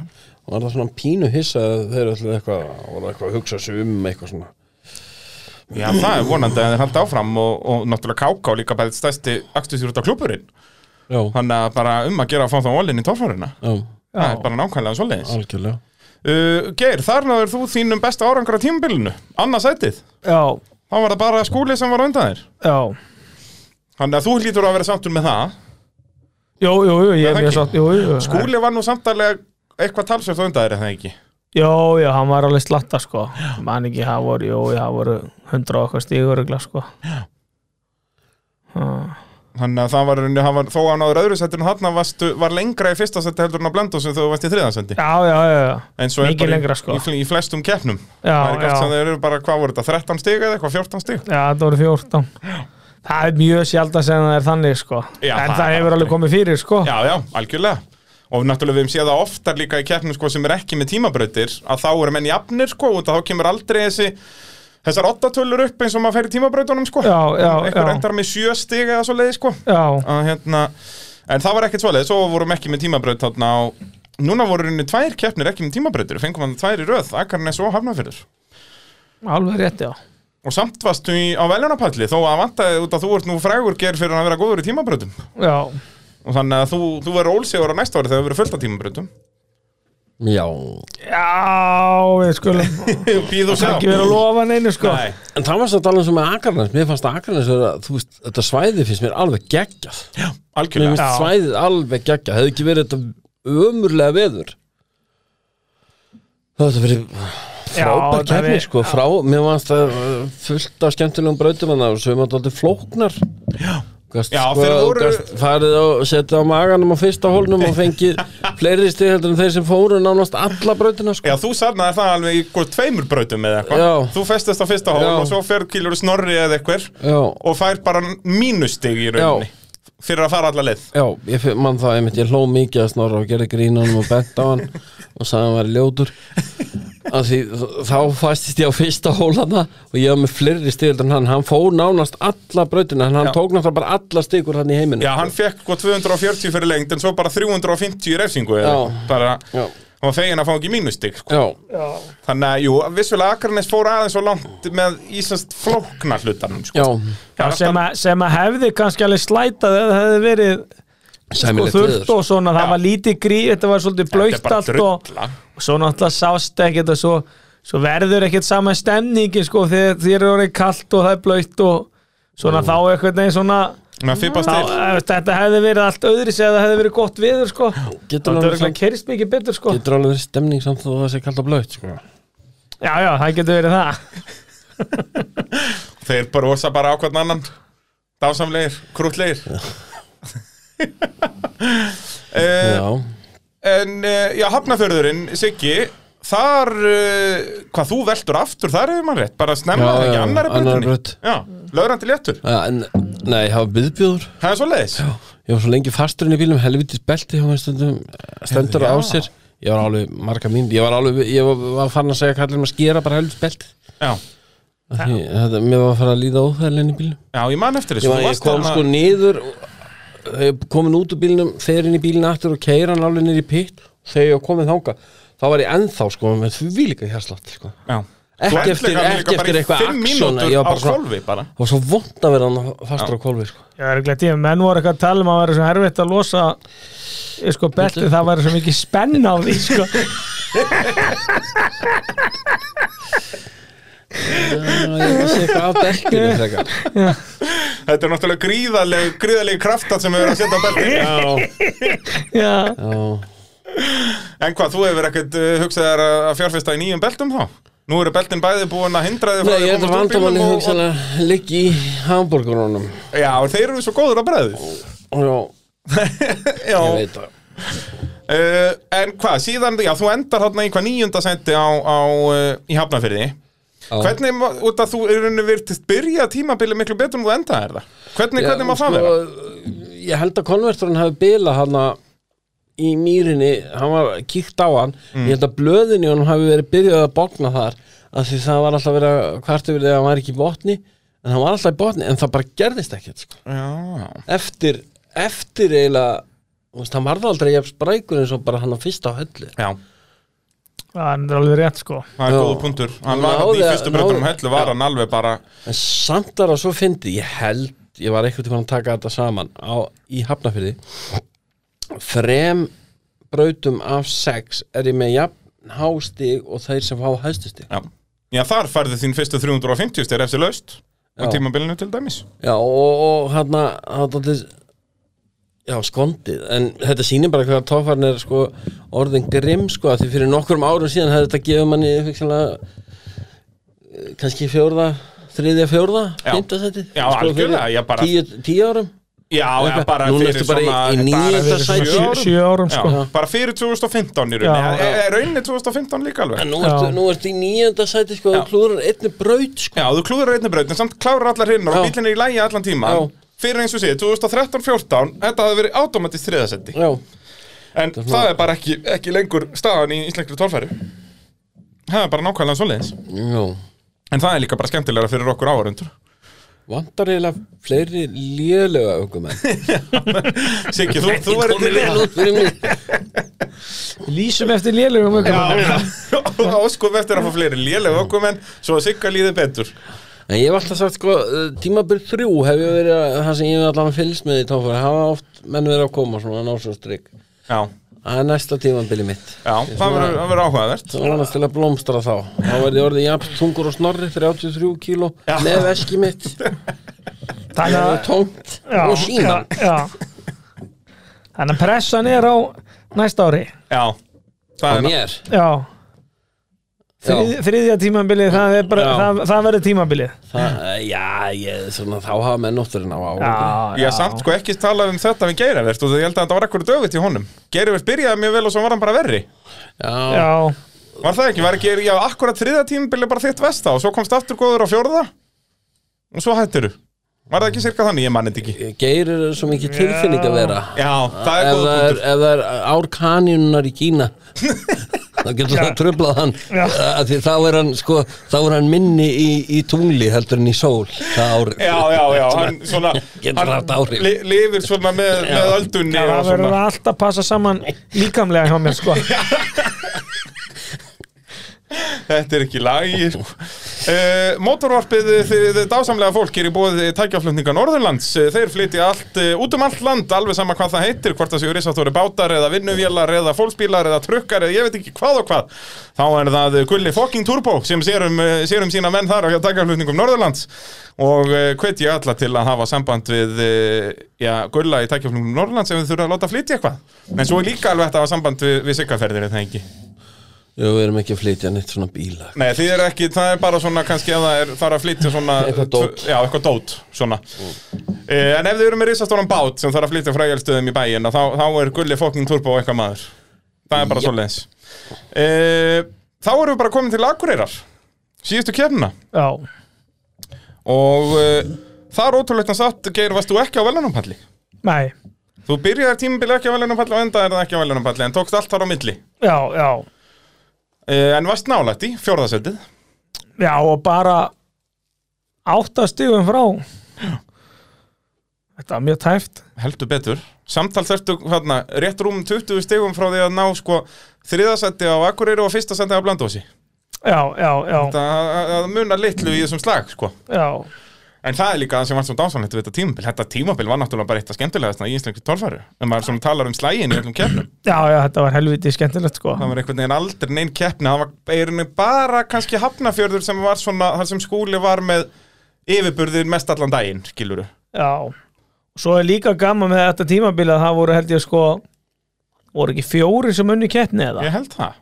Speaker 2: Og er það svona pínu hissa að þeir ætlaði eitthvað voru eitthvað að hugsa sig um eitthvað svona
Speaker 1: Já, það er vonandi að þeir halda áfram og, og náttúrulega Káká líka bara stæsti akstusýr út á klúburinn
Speaker 2: Já,
Speaker 1: Þannig að bara um að gera að fá þá ólinn í torfáruna
Speaker 2: já,
Speaker 1: Það er bara nákvæmlega svoleiðis
Speaker 2: algjörlega
Speaker 1: uh, Geir, þar náður þú þínum besta árangur á tímabilinu Annars ættið
Speaker 3: já,
Speaker 1: Þá var það bara skúli sem var á undan þér
Speaker 3: já
Speaker 1: Þannig að þú lítur að vera samtun með það
Speaker 3: Jú, jú, jú,
Speaker 1: Nei,
Speaker 3: ég er
Speaker 1: það
Speaker 3: mjög
Speaker 1: ekki.
Speaker 3: sátt Jú, jú, jú.
Speaker 1: Skúli var nú samtalega eitthvað talsvert á undan þér eða ekki
Speaker 3: Jó, já, hann var alveg slatta sko Man ekki, það voru, jó, það voru hundra og eitthvað stígur ykkur sko
Speaker 1: Þannig að það var, hann var þó að hann áður öðru settir en þarna varstu, var lengra í fyrsta seti heldur en á blenda sem þú varst í þriðan seti
Speaker 3: Já, já, já, já,
Speaker 1: En svo er
Speaker 3: Mikið
Speaker 1: bara í-
Speaker 3: lengra, sko.
Speaker 1: í, fl- í flestum keppnum Það er
Speaker 3: já,
Speaker 1: ekki allt sem
Speaker 3: já.
Speaker 1: þeir eru bara, hvað voru þetta, 13 stig eða eitthvað, 14 stig
Speaker 3: já það voru 14 Það er mjög sjálf að segja það er þannig sko
Speaker 1: Já,
Speaker 3: En
Speaker 1: það
Speaker 3: það,
Speaker 1: er
Speaker 3: hefur
Speaker 1: aldrei.
Speaker 3: alveg komið fyrir sko
Speaker 1: Já, já, algjörlega Og náttúrulega við hefum séð það oftar líka í keppnum sko, sem er ekki með tímabrautir að þá eru menn jafnir sko, og þá kemur aldrei þessi þessar ottatölur upp eins og maður fer í tímabrautunum sko.
Speaker 3: Já, já,
Speaker 1: Eitthvað
Speaker 3: já.
Speaker 1: endar með sjö stig eða svo leiði sko.
Speaker 3: Já,
Speaker 1: að, hérna, En það var ekkert svoleið, svo vorum ekki með tímabraut þarna á Núna voru henni tvær keppnir ekki með tímabrautir Fengum hann tvær í röð, Akarnes og Hafnafyrður
Speaker 3: alveg rétt, já
Speaker 1: Og samt varstu í, á veljónapalli Þó að vantaði út að þú ert nú frægur ger fyrir að vera góður í tímabrautum
Speaker 3: Já,
Speaker 1: og þannig að þú, þú verður ólsegur á næsta ári þegar þú verður fullt af tímabrautum
Speaker 2: Já,
Speaker 3: Já, við skulum
Speaker 1: Býð og sjá
Speaker 3: ekki vera að lofa neinu sko
Speaker 1: Nei,
Speaker 2: en það varst að tala um sem með Akarnas Mér fannst að Akarnas vera, þú veist, þetta svæði finnst mér alveg geggjað Mér
Speaker 1: algjörlega
Speaker 2: finnst
Speaker 3: Já.
Speaker 2: svæðið alveg geggjað Hefði ekki verið þetta ömurlega veður Það var þetta verið
Speaker 3: Já,
Speaker 2: frábær
Speaker 3: það
Speaker 2: kefni
Speaker 3: er-
Speaker 2: sko frá, mér fannst það uh, fullt af skemmtilegum brautum hann og sem var þetta flóknar Gast,
Speaker 1: Já,
Speaker 2: sko,
Speaker 1: þeir voru-
Speaker 2: gast farið og setja á maganum á fyrsta hólnum og fengið fleiri stig heldur en þeir sem fóru nánast alla brautina sko.
Speaker 1: Já, þú sarnaði það alveg í hvort tveimur brautum eða
Speaker 2: Já.
Speaker 1: eitthvað Þú festist á fyrsta hól
Speaker 2: Já.
Speaker 1: og svo fer kýlur snorri eða eitthvað
Speaker 2: Já,
Speaker 1: og fær bara mínustig í rauninni
Speaker 2: Já.
Speaker 1: fyrir að fara alla leið
Speaker 2: já, ég finn- man það einmitt, ég hló mikið að snorra og gerði grínunum og bent á hann og sagði hann væri ljótur að því þá fastist ég á fyrsta hólana og ég var með fleiri stig heldur en hann, hann fór nánast alla brautina en hann
Speaker 1: Já.
Speaker 2: tók náttúrulega bara alla stigur hann í heiminu
Speaker 1: Já, hann fekk sko hvað 240 fyrir lengd en svo bara 350 í refsingu eða
Speaker 2: Já.
Speaker 1: eitthvað. bara,
Speaker 2: Já.
Speaker 1: hann var fegin að fá ekki mínustig sko.
Speaker 2: Já,
Speaker 3: Já,
Speaker 1: þannig að, jú, vissulega Akranes fór aðeins og langt með Íslands flókna hlutanum sko.
Speaker 2: já,
Speaker 3: Já, sem, að, sem að hefði kannski alveg slætað eða það hefði verið sko,
Speaker 2: sæmilegt
Speaker 3: þurft og svona, það
Speaker 1: Já.
Speaker 3: var lítið grí þetta var svolítið blöytt
Speaker 1: bara
Speaker 3: allt og,
Speaker 1: drulla.
Speaker 3: og svo náttúrulega sást ekkert og svo, svo verður ekkert sama stemningi sko, þegar þér er orðið kalt og það er blöytt og svona þá eitthvað neginn svona
Speaker 1: Þannig að fipast
Speaker 3: þá,
Speaker 1: til
Speaker 3: eh, þetta hefði verið allt öðri sem það hefði verið gott viður sko.
Speaker 2: Getur
Speaker 3: það
Speaker 2: alveg
Speaker 3: hefði
Speaker 2: samt-
Speaker 3: kyrst mikið betur sko.
Speaker 2: Getur alveg verið stemning samt þó að það sé kallt og blöitt sko.
Speaker 3: já, já, það getur verið það
Speaker 1: Þeir brosa bara á hvern annan Dásamlegir, krútlegir uh,
Speaker 2: Já,
Speaker 1: Eh, En, uh, já, Hafnafjörðurinn, Siggi Þar, uh, hvað þú veltur aftur, þar hefur maður rétt Bara snemma
Speaker 2: Já,
Speaker 1: það ekki
Speaker 2: já,
Speaker 1: annari
Speaker 2: annarri
Speaker 1: breytinni
Speaker 2: braut.
Speaker 1: Já, lögrandi léttur,
Speaker 2: ja, Eh, en, nei, ég hafa byðbjóður
Speaker 1: það er svo leiðis
Speaker 2: Ég var svo lengi fasturinn í bílum, helvitis belti hjá mér stundum, stendur á sér Ég var alveg marga mín, ég var alveg ég var, var fann að segja kallum að skera bara helvitis belti
Speaker 1: Já,
Speaker 2: Af því, þetta, Mér var að fara að líða óþægilegin í bílum
Speaker 1: já, ég man eftir
Speaker 2: Ég,
Speaker 1: þessu Þú
Speaker 2: var, ég
Speaker 1: varst
Speaker 2: kom
Speaker 1: þarna-
Speaker 2: sko niður þegar ég komin út úr bílnum, fer inn í bílinn aftur og keira hann alveg niður í pitt þegar ég var komin þanga, þá var ég ennþá sko með því líka hérslátt sko.
Speaker 1: Já.
Speaker 2: Ekki
Speaker 1: Þú
Speaker 2: eftir-
Speaker 1: ætlar
Speaker 2: ekki
Speaker 1: líka bara
Speaker 2: eftir
Speaker 1: í
Speaker 2: eitthvað
Speaker 1: Fimm
Speaker 2: action,
Speaker 1: mínútur
Speaker 2: ég
Speaker 1: á
Speaker 2: var bara svona-
Speaker 1: kvolfi bara
Speaker 2: Það var svo vond að vera hann fastur á kólfi sko.
Speaker 3: Já, örugglega tíma, menn voru eitthvað að tala um að það væri svo erfitt að losa eh, sko, beltið, það væri svo mikið spenn á því sko.
Speaker 2: Já, ég sé eitthvað af beltinu frekar
Speaker 1: Þetta er náttúrulega gríðaleg, gríðaleg kraftat sem við erum að setja á beltinu
Speaker 2: Já,
Speaker 3: Já,
Speaker 2: já
Speaker 1: En hvað, þú hefur ekkert uh, hugsað þér að að fjárfesta í nýjum beltum þá? Nú eru beltin bæði búin að hindra þig frá
Speaker 2: Nei,
Speaker 1: því
Speaker 2: ég
Speaker 1: að
Speaker 2: ætla
Speaker 1: komast úr bílnum
Speaker 2: vandamáli
Speaker 1: og-
Speaker 2: hugsanlega liggi í hambúrgurunum
Speaker 1: og- Já, og þeir eru svo góður að bræði
Speaker 2: Já,
Speaker 1: Já,
Speaker 2: ég veit það
Speaker 1: uh, en hvað, síðan, já, þú endar þarna í hvað nýjunda sendi á, á uh, í Hafnafyrði Hvernig, má- út að þú eru henni virtist byrja tímabilið miklu betur en þú endað er það Hvernig, hvernig má
Speaker 2: sko-
Speaker 1: það vera?
Speaker 2: vera? Ég held að konverturinn hafi bila hana í mýrinni, hann var kíkt á hann
Speaker 1: Mm.
Speaker 2: Ég held að blöðin í honum hafi verið byrjuð að bókna þar af því það var alltaf verið að kvartu verið að hann var ekki í botni en hann var alltaf í botni, en það bara gerðist ekkert sko.
Speaker 1: Já,
Speaker 2: eftir, eftir eiginlega þú veist, hann varði aldrei jafn sprækur eins og bara hann að fyrsta á höllu
Speaker 1: já
Speaker 3: það er alveg rétt sko.
Speaker 1: Það er
Speaker 2: Já.
Speaker 1: góða punktur Hann
Speaker 2: Hann
Speaker 1: var hann í
Speaker 2: náði-
Speaker 1: fyrstu breytunum
Speaker 2: náði-
Speaker 1: hellu var hann alveg bara
Speaker 2: en samt þar að svo fyndi ég held, ég var eitthvað til að taka þetta saman á, í Hafnafyrði þrem brautum af sex er ég með jafn hástig og þeir sem fá hæstustig
Speaker 1: Já, já þar færði þín fyrstu 350 stið eftir laust á
Speaker 2: Já.
Speaker 1: tímabilinu til dæmis
Speaker 2: já og, og hérna, hann að já skondið en þetta sýnir bara hvað tófarn er sko orðin grimm sko af því fyrir nokkrum árum síðan hefði þetta gefið manni fyrksanlega, kannski fjórða þriðja fjórða,
Speaker 1: Já.
Speaker 2: fymtasæti
Speaker 1: Já, algjörlega, ég bara-
Speaker 2: tíu, tíu árum
Speaker 1: Já, já bara
Speaker 2: Núna
Speaker 1: fyrir
Speaker 2: ertu bara í-
Speaker 1: svona
Speaker 2: í níunda
Speaker 1: bara fyrir
Speaker 2: sæti.
Speaker 1: sjö árum.
Speaker 3: Sjö árum,
Speaker 1: Já,
Speaker 3: sko.
Speaker 1: Bara fyrir 2015 í
Speaker 3: Já.
Speaker 1: rauninni Er- Er rauninni 2015 líka alveg?
Speaker 2: En nú
Speaker 3: Já.
Speaker 2: ertu, nú ertu í nýjönda sæti sko,
Speaker 1: Já.
Speaker 2: þú klúrar einni braut sko.
Speaker 1: Já, þú klúður einnig braut en samt klárar allar hinnar og
Speaker 2: Já.
Speaker 1: bílinn er í lægi allan tíma
Speaker 2: Já.
Speaker 1: Fyrir eins og séð, 2013-14 Þetta hafði verið automatist þriðasendi
Speaker 2: Já,
Speaker 1: En
Speaker 2: er
Speaker 1: það,
Speaker 2: svona-
Speaker 1: er bara ekki, ekki lengur staðan í íslenskri tólfæri Það er bara nákvæmlega svoleiðis
Speaker 2: já.
Speaker 1: En það er líka bara skemmtilegra fyrir okkur áhörundur
Speaker 2: Vantar eiginlega fleiri lélega aukumenn
Speaker 1: Siggi, þú, þú er
Speaker 2: Komið vel út fyrir mig
Speaker 3: Lýsum eftir lélugum
Speaker 1: Já, og áskum eftir að fá fleiri léleg ökumenn svo að sigga líði betur
Speaker 2: En ég hef alltaf sagt sko, tímabil þrjú hef ég verið að, það sem ég hef allan fylgst með í tófari hafa oft menn verið að koma svona að ná svo strik
Speaker 1: Já,
Speaker 2: Það er næsta tímambili mitt
Speaker 1: Já, það verður það verður áhugavert
Speaker 2: Það vonast til að blómstra þá Þá verði orðið jafn tungur og snorri 33 kíló Með veski mitt
Speaker 3: Þannig
Speaker 2: Það er
Speaker 3: að
Speaker 2: tómt
Speaker 3: já,
Speaker 2: Og sína
Speaker 3: já, já. Þannig að pressan er á næsta ári
Speaker 1: Já,
Speaker 2: Á
Speaker 1: það er
Speaker 2: mér
Speaker 3: Já Þrið,
Speaker 2: Já.
Speaker 3: Þriðja tímabilið, það, er bara,
Speaker 2: Já.
Speaker 3: það, það verður tímabilið
Speaker 2: Það, já, ég, svona, þá hafa menn ótturinn á ára
Speaker 3: Já,
Speaker 1: Ég hef samt sko ekki talað um þetta við Geirivert og ég held að þetta var ekkur dögut í honum Geirivert byrjaði mjög vel og svo var hann bara verri
Speaker 2: Já, já.
Speaker 3: Já,
Speaker 1: Var það ekki? Var ekki já, akkurat þriða tímabili bara þitt vesta og svo komst aftur góður á fjórða og svo hættiru Var það ekki cirka þannig? Ég manni þetta ekki
Speaker 2: Geir er svo mikið tilfinning að vera
Speaker 1: Já, það er
Speaker 2: ef
Speaker 1: góð
Speaker 2: það
Speaker 1: punktur
Speaker 2: er, ef það er ár kanínunar í Kína þá getur það tröflað hann
Speaker 3: Já.
Speaker 2: Af því þá er hann sko þá er hann minni í, í tungli heldur en í sól það árið
Speaker 1: Já, já, já, hann svona
Speaker 2: Getur haft
Speaker 1: hann
Speaker 2: áhrif.
Speaker 1: li, lifir svona með, með öldunni og
Speaker 3: það verður
Speaker 1: svona
Speaker 3: alltaf passa saman líkamlega hjá mér sko
Speaker 1: Þetta er ekki lagir uh, Mótorvarpið, þið, þið dásamlega fólk er í bóði tækjaflutninga Norðurlands Eh, Þeir flytja allt eh, út um allt land alveg sama hvað það heitir, hvort það séu risatúri bátar eða vinnuvélar eða fólksbílar eða trukkar eða ég veit ekki hvað og hvað Þá er það eh, Gulli Fokking Turbo sem sérum, eh, sérum sína menn þar á hjá tækjaflutningum Norðurlands og eh, hvet ég alla til að hafa samband við eh, já, Gulla í tækjaflutningum Norðurlands ef þið þurfa að láta flytja eitthvað en svo er líka alveg hægt að hafa samband við, við siggaferðir er það ekki
Speaker 2: Jú, við erum ekki að flytja neitt svona bíla
Speaker 1: Nei, þið er ekki, það er bara svona kannski að það er þarf að flytja svona
Speaker 2: Eitthvað dót. Mm.
Speaker 1: tvö- Já, eitthvað dót, svona eh, En ef þið eru með risastóran bát sem þarf að flytja frá frægjálstöðum í bæinn að þá, þá er gulli fókning turbo og eitthvað maður Það er bara
Speaker 2: Jep.
Speaker 1: svoleiðis eh, Þá erum við bara komin til Akureyrar síðustu kefna
Speaker 3: Já,
Speaker 1: og eh, það er ótrúlegt að satt Geir, varst þú ekki á velanúmpalli?
Speaker 3: nei,
Speaker 1: Þú byrjaðir tímabili ekki á velanúmpalli og endaðir það ekki á velanúmpalli en tókst allt þar á milli
Speaker 3: já, já
Speaker 1: eh, En varst nálætt í fjórðasettið
Speaker 3: Já, og bara áttastigum frá Þetta var mjög tæft
Speaker 1: Heldur betur. Samtals ertu hérna, rétt rúm 20 stegum frá því að ná sko þriðasetti á Akureyri og fyrsta sendi á Blandósi.
Speaker 3: Já, já, já,
Speaker 1: Það það munar litlu í þessum slag sko.
Speaker 3: já
Speaker 1: En það er líka það sem var svo dásanlegt við þetta tímabil. Þetta tímabil var náttúrulega bara eitt að skemmtilegast í íslenski tólfæru. En maður svona talar um slægin í öllum keppnum.
Speaker 3: Já, já, þetta var helviti skemmtilegt sko
Speaker 1: Það var einhvern veginn aldrei neinn keppni. Það var eirinu bara kannski hafnafjörður sem var svona, þar sem skúli var með yfirburðir mest allan daginn, skiluru.
Speaker 3: Já, svo er líka gaman með þetta tímabil að það voru held ég sko voru ekki fjóri sem unni keppni eða
Speaker 1: Ég held það.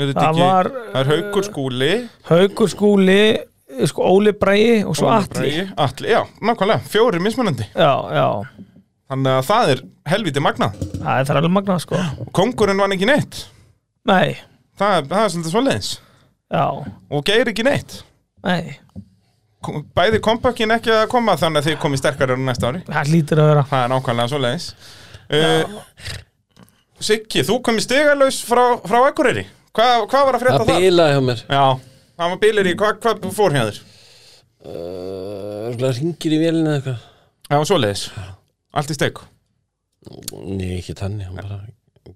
Speaker 1: Það,
Speaker 3: Það
Speaker 1: ekki,
Speaker 3: var,
Speaker 1: það er haukur skúli,
Speaker 3: Haukur skúli, eh, sko Óli Bræi og svo
Speaker 1: Óli
Speaker 3: Atli
Speaker 1: Bragi, Atli, já, nákvæmlega, fjóri mismunandi
Speaker 3: Já, já,
Speaker 1: Þannig að það er helviti magnað
Speaker 3: það er það alveg magnað sko
Speaker 1: Kongurinn vann ekki neitt
Speaker 3: Nei,
Speaker 1: Það, er- það er svolítið svoleiðis
Speaker 3: já,
Speaker 1: Og geir ekki neitt
Speaker 3: nei,
Speaker 1: Ko- Bæði kompakkin ekki að koma þannig að þið komið sterkari á næsta ári
Speaker 3: það lítur að vera
Speaker 1: Það er nákvæmlega svoleiðis uh, Siggi, þú komið stigalaus frá, frá Akureyri Hva, Hvað var að frétta
Speaker 2: það
Speaker 1: það?
Speaker 2: bíla hjá mér
Speaker 1: Já, það var bílir í, hvað hva fór hjá þér?
Speaker 2: uh, ringir í vélina eða eitthvað
Speaker 1: Já, svoleiðis Allt í steik
Speaker 2: Nei, ekki tannig, hann bara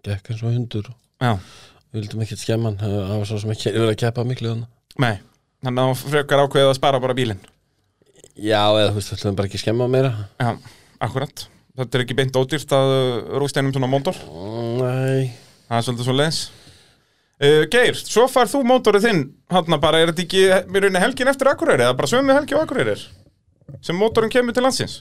Speaker 2: gekk eins og hundur og
Speaker 1: Já,
Speaker 2: við vildum ekkert skemma hann það var svo sem ekki verið að keppa miklu hann
Speaker 1: nei Þannig að hún frekar ákveðið að spara bara bílinn
Speaker 2: Já, eða þú veist, við ætlum bara ekki skemma meira
Speaker 1: Já, akkurat Þetta er ekki beint ódýrt að uh, rústa einum svona mótor
Speaker 2: Nei,
Speaker 1: Það er svolítið svo leins uh, Geir, svo far þú mótorið þinn Hanna bara, er þetta ekki mér unni helgin eftir Akureyri eða bara sömu helgi á Akureyri sem mótorin kemur til landsins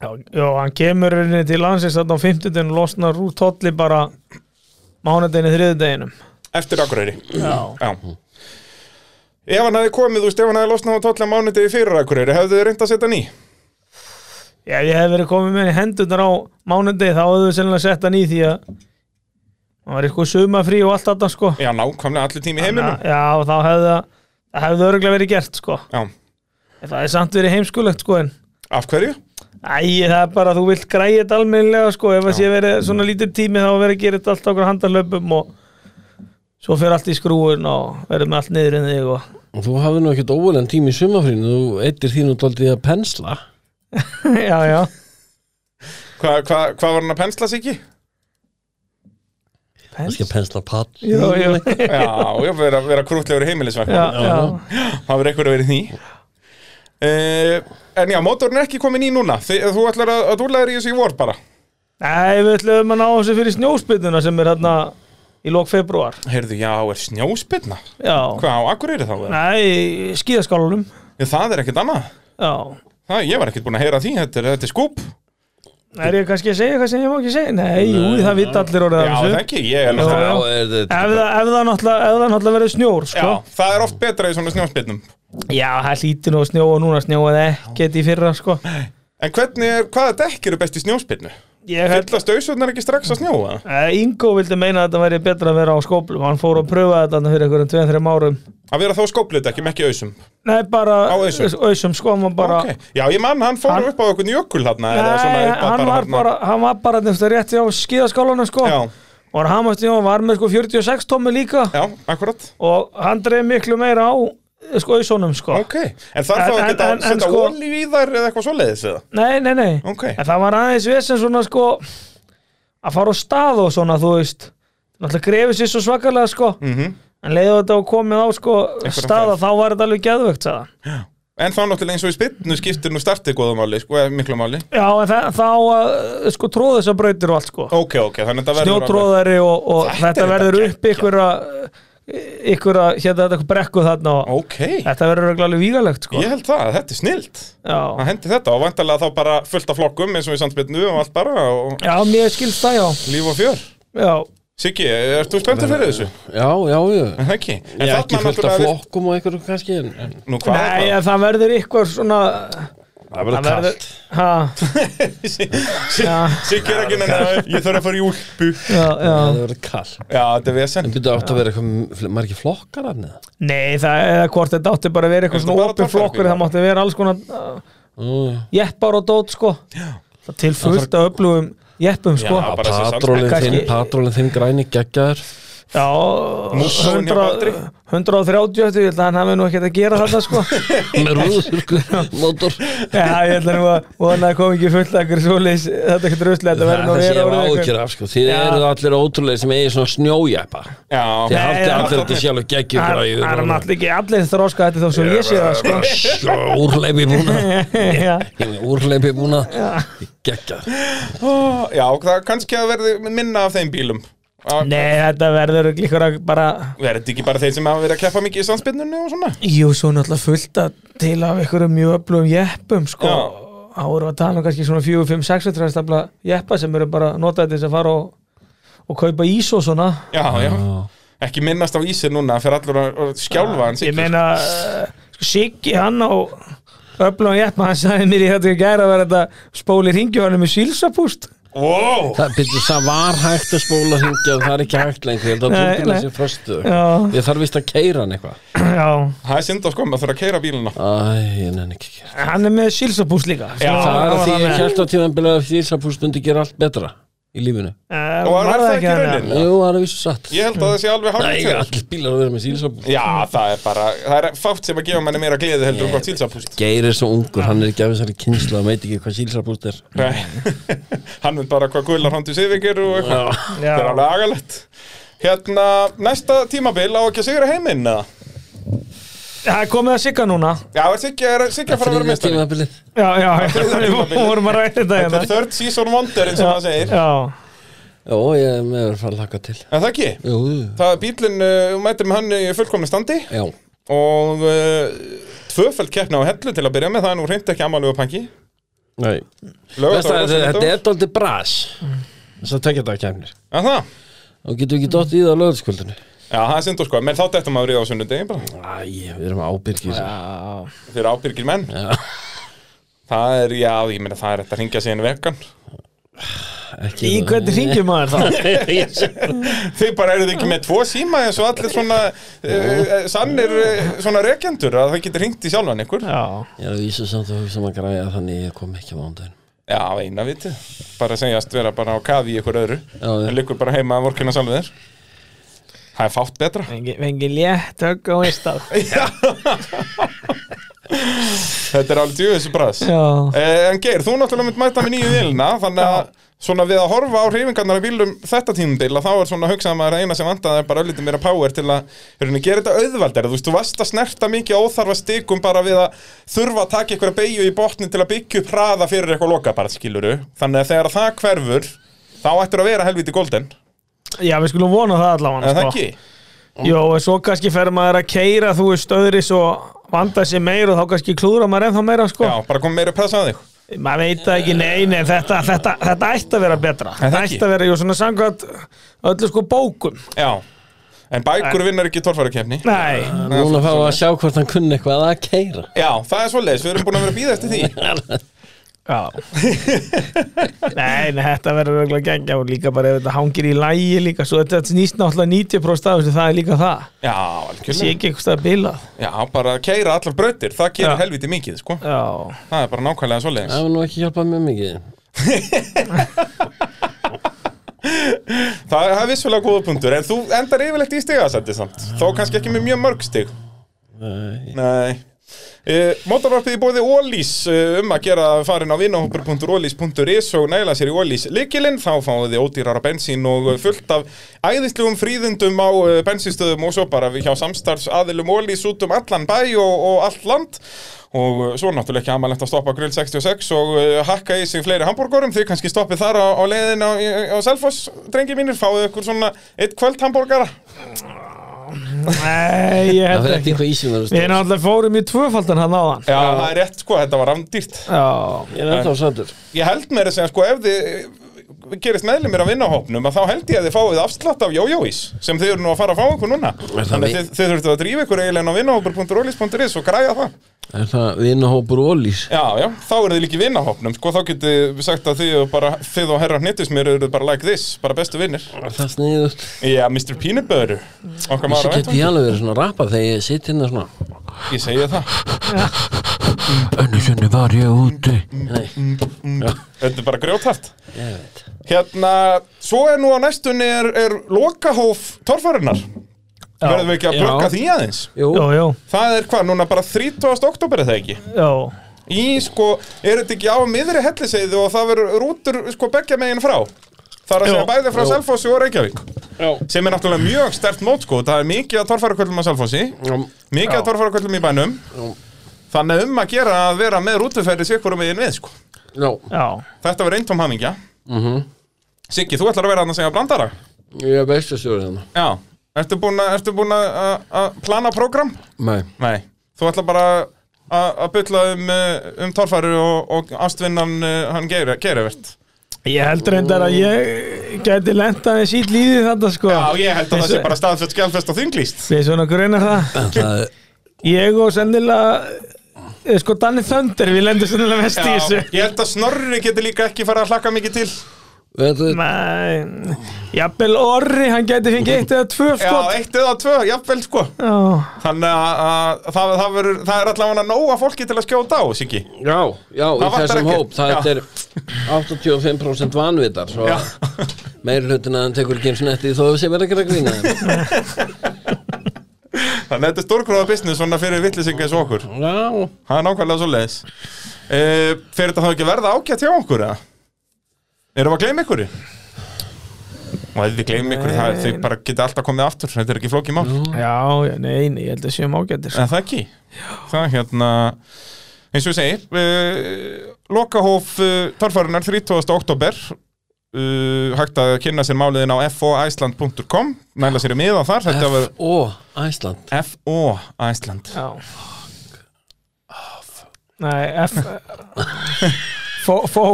Speaker 3: Já, já hann kemur henni til landsins þarna á 50 og losnar úr tolli bara mánudeginni þriðudeginum
Speaker 1: Eftir Akureyri
Speaker 3: Já,
Speaker 1: Já Ef hann hefði komið, þú veist, ef hann hefði losnað á tóllega mánudegi fyrir Akureyri, hefðu þið reynd að setja hann í?
Speaker 3: já ég hef verið komið með henni hendunar á mánudegi þá hefðu við sennilega sett hann í því að það var eitthvað sumafrí og allt þetta sko
Speaker 1: Já, nákvæmlega allir tími í heiminum.
Speaker 3: Já, já, þá hefði það- það hefði örgulega verið gert sko
Speaker 1: Já.
Speaker 3: En Það er samt verið heimskulegt sko en
Speaker 1: Af hverju?
Speaker 3: Æ, það er bara að þú vilt græja þetta almennilega sko ef það sé verið svona lítur tími þá verið að gera þetta allt á okkur handarlöpum og svo fer allt í skrúin og verður með allt niður en þig og
Speaker 2: og þú hafði nú ekkert óvölan tími í sumafrínu þú eittir þín út aldrei að pensla
Speaker 3: Já, já,
Speaker 1: Hva, hva, hvað var hann að pensla sig ekki?
Speaker 3: pens
Speaker 2: kannski að pensla pall
Speaker 3: Jú, jú,
Speaker 1: Já, já, vera, vera krútlegur heimilisverk.
Speaker 3: já, já
Speaker 1: Það verður eitthvað að vera í því Eh, uh, En já, mótorn er ekki komin í núna Þi, Þú ætlar að, að þú læri í þessu í vor bara
Speaker 3: Nei, við ætlum að ná þessu fyrir snjóspituna sem er hérna í lók februar
Speaker 1: Heyrðu, já, er snjóspilna?
Speaker 3: Já,
Speaker 1: Hvað á Akureyri þá? eða?
Speaker 3: nei, í skíðaskálunum
Speaker 1: Ég, Það er ekkert annað.
Speaker 3: Já,
Speaker 1: Það, ég var ekkert búin að heyra því, þetta er, þetta er skúp.
Speaker 3: er ég kannski að segja eitthvað sem ég má ekki segja? Nei, jú, það vita allir orðið
Speaker 1: Já,
Speaker 3: af
Speaker 1: það
Speaker 3: þessu
Speaker 1: ekki, ég er
Speaker 3: Já,
Speaker 1: náttúrulega...
Speaker 3: já.
Speaker 2: Já, er þetta
Speaker 3: Ef það, ef það náttúrulega, ef það náttúrulega verður snjór, sko
Speaker 1: Já, það er oft betra í svona snjóspilnum.
Speaker 3: Já, það hlýtur nú að snjóa núna, snjóaði ekkert í fyrra, sko
Speaker 1: En hvernig er, hvaða dekk eru best í snjóspilnu?
Speaker 3: Ég held
Speaker 1: Fyllast auðsvöldnar ekki strax að snjóa?
Speaker 3: Eh, Ingo vildi meina að þetta væri betra að vera á skóplum Hann fór að pröfa þetta þarna fyrir einhverjum 2-3 árum
Speaker 1: Að vera þá skóplið dekkjum, ekki auðsum.
Speaker 3: Nei, bara
Speaker 1: Á ausum?
Speaker 3: ausum, sko, hann var bara
Speaker 1: Ok. Já, ég mann, hann fór
Speaker 3: Hann-
Speaker 1: upp á einhvern jökul þarna. eða svona
Speaker 3: Nei,
Speaker 1: upp að
Speaker 3: hann var
Speaker 1: þarna.
Speaker 3: bara, hann var bara nefnst rétt hjá skíðaskálanum sko
Speaker 1: Já,
Speaker 3: og hann hamast hjá, var með sko 46 tómi líka
Speaker 1: já, akkurat.
Speaker 3: og hann dreif miklu meira á eh, sko auðsónum sko
Speaker 1: Ok, en þarf
Speaker 3: En-
Speaker 1: þá ekki
Speaker 3: en-
Speaker 1: að
Speaker 3: en- en
Speaker 1: setja
Speaker 3: sko-
Speaker 1: olíu í þær eða eitthvað svoleiðis eða?
Speaker 3: Nei, nei, nei,
Speaker 1: Ok.
Speaker 3: en það var aðeins vesen svona sko að fara á stað og svona þú veist náttúrulega grefið sér svo svakalega sko
Speaker 1: Mhm.
Speaker 3: en leiðu þetta og komið á sko staða þá var þetta alveg geðvögt sagði hann
Speaker 1: En þá náttúrulega eins og í spilnu skiptir nú startið góðumáli, sko, eða miklu máli.
Speaker 3: Já, en það, þá eh, sko tróð þessar brautir og allt sko
Speaker 1: Ok, ok, þannig að þetta verður...
Speaker 3: snjótróðari og, og
Speaker 1: Þetta
Speaker 3: þetta,
Speaker 1: er
Speaker 3: verður
Speaker 1: þetta
Speaker 3: upp ykkur að ykkur að hérna þetta brekku þarna og
Speaker 1: Ok,
Speaker 3: þetta verður örugglega alveg vígalegt sko
Speaker 1: ég held það, þetta er snilt.
Speaker 3: já.
Speaker 1: Það hendi þetta og vantarlega þá bara fullt af flokkum eins og í sandspilnu og allt bara og
Speaker 3: já, mér skilst það já,
Speaker 1: líf og fjör.
Speaker 3: já.
Speaker 1: Siggi, ert þú spenntur fyrir þessu?
Speaker 2: Já, já, já
Speaker 1: Er það ekki? En
Speaker 2: Ég er
Speaker 1: þarna
Speaker 2: ekki fullt af
Speaker 1: náttúrulega við-
Speaker 2: flokkum og einhverju kannski en, en
Speaker 1: Nú hvað?
Speaker 3: Nei, en það verður ykkur svona
Speaker 2: það
Speaker 3: það
Speaker 2: verður
Speaker 3: verður,
Speaker 2: kallt
Speaker 3: ha,
Speaker 1: Sig-
Speaker 3: já,
Speaker 1: Siggi er ekki neina, ég þarf að fara í úlpu.
Speaker 3: já,
Speaker 2: Það
Speaker 3: já
Speaker 2: verður kallt
Speaker 1: Já, þetta er vesen.
Speaker 2: En byrja átt að vera eitthvað margir flokkar hann eða?
Speaker 3: nei, það eða hvort þetta átti bara að
Speaker 1: Er
Speaker 3: vera eitthvað
Speaker 1: þetta
Speaker 3: svona
Speaker 1: bara
Speaker 3: opið
Speaker 1: torfæra
Speaker 3: flokkur
Speaker 1: bílar?
Speaker 3: það mátti vera alls konar uh,
Speaker 2: Nú, já.
Speaker 3: jeppar og dót sko það til fullt að öflugum jeppum sko
Speaker 1: Já,
Speaker 3: já,
Speaker 1: bara þessi
Speaker 2: Patrólin
Speaker 3: sandbæk.
Speaker 2: þinn,
Speaker 3: Kannski-
Speaker 2: patrólin þinn græni geggjaður
Speaker 1: Músson hjá
Speaker 3: 100,
Speaker 1: Baldri.
Speaker 3: 130 eftir, ég held að hann hafi nú ekkert að gera þetta sko
Speaker 2: með rúðurkur, mótor
Speaker 3: Já, ég ætla nú að vona að koma ekki fullt akkur svoleiðis, þetta er ekkert ruslega, þetta verður
Speaker 2: Það
Speaker 3: nú að
Speaker 2: sé
Speaker 3: vera
Speaker 2: ég
Speaker 3: orðið
Speaker 2: ákjör af sko Þið
Speaker 3: Já.
Speaker 2: eru allir ótrúlega sem eigi svona snjójæpa
Speaker 1: Já,
Speaker 2: Þið
Speaker 3: Nei,
Speaker 2: haldið
Speaker 3: já.
Speaker 2: allir þetta sjálf geggjur
Speaker 3: Það er- það er
Speaker 2: græður
Speaker 3: náttúrulega ekki allir þróska þetta þá sem ég sé það, sko.
Speaker 2: Úrleipi búna
Speaker 3: Já,
Speaker 2: Úrleipi búna Geggjað
Speaker 1: Ó, Já, það kannski að verði minna af þeim bílum Að-
Speaker 3: Nei, þetta verður líkur að bara,
Speaker 1: Verði þetta ekki bara þeir sem hafa verið að keppa mikið í sandspinnunni og svona?
Speaker 3: jú, svo náttúrulega fullt að til af einhverjum mjög öflugum jeppum, sko.
Speaker 1: Já.
Speaker 3: Þá erum við að tala um kannski svona 4, 5, 6 træðstafla jeppa sem eru bara notaði til þess að fara og, og kaupa ís og svona.
Speaker 1: Já, já Ekki minnast á ísir núna fyrir allur að að skjálfa hann
Speaker 3: Ég
Speaker 1: Siggi.
Speaker 3: meina, eh, sko, Siggi hann á öflugum jeppa, hann sagði mér í þetta í gæra að vera þetta spóli ringjóðanum með sílsapúst.
Speaker 1: Wow!
Speaker 2: Það byrju það var hægt að spóla hringja Það er ekki hægt lengur Ég held að
Speaker 3: Nei,
Speaker 2: tjókina
Speaker 3: nei.
Speaker 2: sé föstu
Speaker 3: Já.
Speaker 2: Ég þarf vist að keira hann eitthvað
Speaker 3: Já,
Speaker 1: Það er synd á sko, maður þarf að keira bíluna
Speaker 2: Æ, ég nenni ekki að gera
Speaker 3: hann er með sílsapús líka
Speaker 1: Já,
Speaker 2: Það er að því ég
Speaker 3: ekki
Speaker 2: held að tíðan byrja að því Ísapús myndi gera allt betra í lífinu
Speaker 1: Og var það ekki raunin?
Speaker 2: Jú, það er að vissu satt
Speaker 1: Ég held að það sé alveg hálf
Speaker 2: Nei, allir bílar að vera með sílsapús
Speaker 1: Já, það er bara, það er fátt sem að gefa manni meira gleði heldur um gott sílsapúst
Speaker 2: Geir er svo ungur, hann er ekki af þessari kynsla hann veit ekki hvað sílsapúst er
Speaker 1: Nei. Hann veit bara hvað gular hóndu siðvíkir og eitthvað Það er alveg agalegt Hérna, næsta tímabil á ekki að sigra heiminn eða?
Speaker 3: Það er komið að sigga núna
Speaker 1: Já, er Siggi er Siggi að fara að vera mistari
Speaker 2: tímabilið
Speaker 3: Já, já, já,
Speaker 1: þriðja
Speaker 3: við
Speaker 1: tímabilið.
Speaker 3: vorum að ræta þetta
Speaker 1: Þetta
Speaker 3: hérna
Speaker 1: er third season wonder eins og það segir
Speaker 3: Já,
Speaker 2: Jó, ég er með að fara að laka til
Speaker 1: En það ekki
Speaker 2: Jú,
Speaker 1: Það bílinn, uh, mættir með hann í fullkomni standi
Speaker 2: já,
Speaker 1: og uh, tvöfæld keppna á hellu til að byrja með það er nú hreint ekki amalega pangi
Speaker 2: nei Veist það, þetta- Þetta er daldið bras þess að tekja þetta að kemnir
Speaker 1: er það
Speaker 2: Mm. og getum ekki dott í það á lögðskvöldinu
Speaker 1: Já, það er sindur sko, menn þá dettum maður í á sunnudegi bara
Speaker 2: Æ, við erum ábyrgir
Speaker 1: Þeir eru ábyrgir menn
Speaker 2: Já.
Speaker 1: Það er, já, ég meina það er þetta hringja síðan í vegan
Speaker 2: Ekki
Speaker 3: í
Speaker 2: það.
Speaker 3: hvernig ringjum maður þá?
Speaker 1: Þið bara eruð ekki með tvo síma eins og allir svona uh, sannir uh, svona rekendur að það getur hringt í sjálfan ykkur
Speaker 3: Já,
Speaker 2: Ég er að vísa samt að hugsa maður græja þannig ég kom ekki á mándaginn
Speaker 1: Já, eina viti Bara segjast vera bara á kafi í ykkur öðru
Speaker 2: Já, já.
Speaker 1: En liggur bara heima að vorkina sjálfum þér Það er fátt betra
Speaker 3: fengi, fengi létt högg á einstað
Speaker 1: Þetta er alveg djúðis bræðs
Speaker 3: Já.
Speaker 1: En Geir, þú náttúrulega mynd mæta með nýju vélina Þannig að svona við að horfa á hreyfingarnar að bílum þetta tímabil að þá er svona að hugsa að maður að eina sem vandaði er bara öllítið meira power til að hérna, gera þetta auðvaldar þú veist, þú varst að snerta mikið á óþarfa stikum bara við að þurfa að taka einhverja beigju í botni til að byggja upp hraða fyrir eitthvað lokabarð skiluru þannig að þegar það hverfur þá ættir að vera helviti golden
Speaker 3: Já, við skulum vona það allavega sko.
Speaker 1: en það ekki
Speaker 3: Jó, og svo kannski fer maður að keira þú veist öðri svo vanda sér meir og þá kannski klúðra maður ennþá meira sko.
Speaker 1: Já, bara kom meira pressa að þig
Speaker 3: maður veit það ekki, nei, nei þetta, þetta, þetta ætti að vera betra
Speaker 1: það
Speaker 3: þetta
Speaker 1: ekki?
Speaker 3: ætti að vera, jú, svona samkvæmt öllu sko bókum
Speaker 1: Já, en bækur vinnar ekki torfærukefni
Speaker 3: nei,
Speaker 2: Núna fáum við að sjá hvort hann kunni eitthvað að keira
Speaker 1: Já, það er svoleiðis, við erum búin að vera að býða eftir því
Speaker 3: já nei, nei, þetta verður örugglega að gengja og líka bara ef þetta hangir í lægi líka svo þetta þetta snýst náttúrulega 90% af þessu það er líka það,
Speaker 1: Já,
Speaker 3: sé
Speaker 1: algjörlega
Speaker 3: ekki eitthvað að bilað
Speaker 1: Já, bara að keira allar brautir, það gerir
Speaker 3: Já.
Speaker 1: helviti mikið, sko
Speaker 3: já,
Speaker 1: Það er bara nákvæmlega svoleiðis
Speaker 2: Það var nú ekki hjálpað mjög mikið
Speaker 1: Það það er vissulega góða punktur, en þú endar yfirleitt í stigasætti samt Þó kannski ekki með mjög mörg stig
Speaker 2: Nei.
Speaker 1: Nei Uh, Mótorvarpið í bóði Ólís uh, um að gera farin á vinahópur.ólís.is og næla sér í Ólís likilinn þá fáið þið ódýrara bensín og uh, fullt af æðislegum fríðundum á uh, bensinstöðum og svo bara við hjá samstarfs aðilum Ólís út um allan bæ og, og allt land og uh, svo náttúrulega ekki amalegt að stoppa grill 66 og uh, hakka í sig fleiri hambúrgurum þið kannski stoppið þar á, á leiðin á, á Selfoss, drengi mínir, fáið ykkur svona eitt kvöld hambúrgara
Speaker 3: nei, ég
Speaker 2: Það
Speaker 3: held
Speaker 2: fyrir
Speaker 3: ekki
Speaker 2: ekki hvað ísum
Speaker 3: við
Speaker 2: verður
Speaker 3: erum alltaf fórum í tvöfaldan hann áðan
Speaker 1: Já, það er rétt sko, þetta var randýrt
Speaker 3: já,
Speaker 2: Ég er alltaf sattur
Speaker 1: Ég held mér að segja sko ef þið gerist meðlumir af vinnahópnum að þá held ég að þið fáið afslátt af jójóís sem þið eru nú að fara að fá ykkur núna
Speaker 2: það
Speaker 1: þannig að þið, þið þurftu að drífa ykkur eiginlega inn á vinnahópur.rolis.is og græja það
Speaker 2: Er það vinahópur ólís?
Speaker 1: Já, já, þá eru þið líka í vinnahópnum sko þá getið þið sagt að þið, og bara, þið og herra hnittismir eru bara like this bara bestu vinnir
Speaker 2: Það sniðugt
Speaker 1: Já, Mr. Peanut Butter okkar
Speaker 2: Þessi
Speaker 1: maður á
Speaker 2: geti
Speaker 1: vettvangi.
Speaker 2: ég alveg verið svona að rappa þegar ég sitt hérna svona
Speaker 1: Ég segi það
Speaker 2: Önnu sinni var ég úti Nei,
Speaker 1: Þetta er bara grjóthart
Speaker 2: ég veit
Speaker 1: Hérna, svo er nú á næstunni er, er lokahóf torfarinnar Verðum við ekki að
Speaker 2: Já.
Speaker 1: plugga því aðeins?
Speaker 2: Jú,
Speaker 3: jú, jú,
Speaker 1: Það er hvað, núna bara 30. oktober er það ekki
Speaker 3: jú
Speaker 1: Í sko, er þetta ekki á miðri helliseiðu og það verður rútur sko beggja megin frá Það er að
Speaker 3: Jú.
Speaker 1: segja bæði frá
Speaker 2: Jú.
Speaker 1: Selfossi og Reykjavík
Speaker 2: já
Speaker 1: Sem er náttúrulega mjög stert mót sko, það er mikið að torfæraköllum á Selfossi Mikið að torfæraköllum í bænum
Speaker 2: Jú.
Speaker 1: Þannig að um að gera að vera með rútuferði sér hverju megin við sko
Speaker 2: Já, Mhm.
Speaker 3: já,
Speaker 1: Þetta verður eintóm hamingja Siggi, þú ætlar að vera að segja brandara
Speaker 2: ég er bestu stjórið hérna
Speaker 1: Já, ertu búin að- ertu búin að að- að plana program?
Speaker 2: Nei,
Speaker 1: Nei, þú ætla bara að að bylla um, eh, um torfæru og, og ástvinnan eh, hann geirivert
Speaker 3: Ég held reyndar að ég geti lentað með sítt líði þetta sko
Speaker 1: Já, ég held að það sé bara staðfett skjálfest og þinglýst
Speaker 3: Við svona grunar það
Speaker 2: en það er
Speaker 3: Ég og sennilega eh, sko Danni Thunder, við lendum sennilega mest
Speaker 1: Já,
Speaker 3: í þessu
Speaker 1: ég held að snorri getur líka ekki fara að hlakka mikið til
Speaker 2: Þetta er
Speaker 3: Nei, jafnvel Orri, hann geti fengið eitt eða tvö
Speaker 1: Já,
Speaker 3: skot
Speaker 1: eitt eða tvö, jafnvel sko
Speaker 3: Já,
Speaker 1: Þannig að, að það, það, verður, það er allavega nóga fólki til að skjóta á, Siggi
Speaker 2: Já, já, í
Speaker 1: vantar
Speaker 2: þessum
Speaker 1: ekki.
Speaker 2: hóp Það
Speaker 1: Já.
Speaker 2: er 85% vanvitar Svo
Speaker 1: Já.
Speaker 2: meiri hlutin að hann tekur ekki eins og netti Þó sem er ekki að grína þeim.
Speaker 1: Þannig að þetta er stórgróða business svona fyrir vittlisinga eins og okkur
Speaker 2: Já,
Speaker 1: Það er nákvæmlega svo leiðis Fyrir þetta þá ekki að verða ágætt hjá okkur eða? Erum við að gleyma ykkur? Og ef við gleymum ykkur það er þau bara geta alltaf komið aftur Þetta er ekki flókið mál
Speaker 3: já, já, nei, nei, ég held að séum ágættir sko.
Speaker 1: En það ekki Það er hérna eins og ég segi uh, Lokahóf uh, torfarinnar 30. oktober uh, Hægt að kynna sér máliðin á foiceland.com Næla sér í miða þar Þetta var
Speaker 2: F.O. Æsland
Speaker 1: FO Iceland
Speaker 3: Já Nei, F Fó, fó,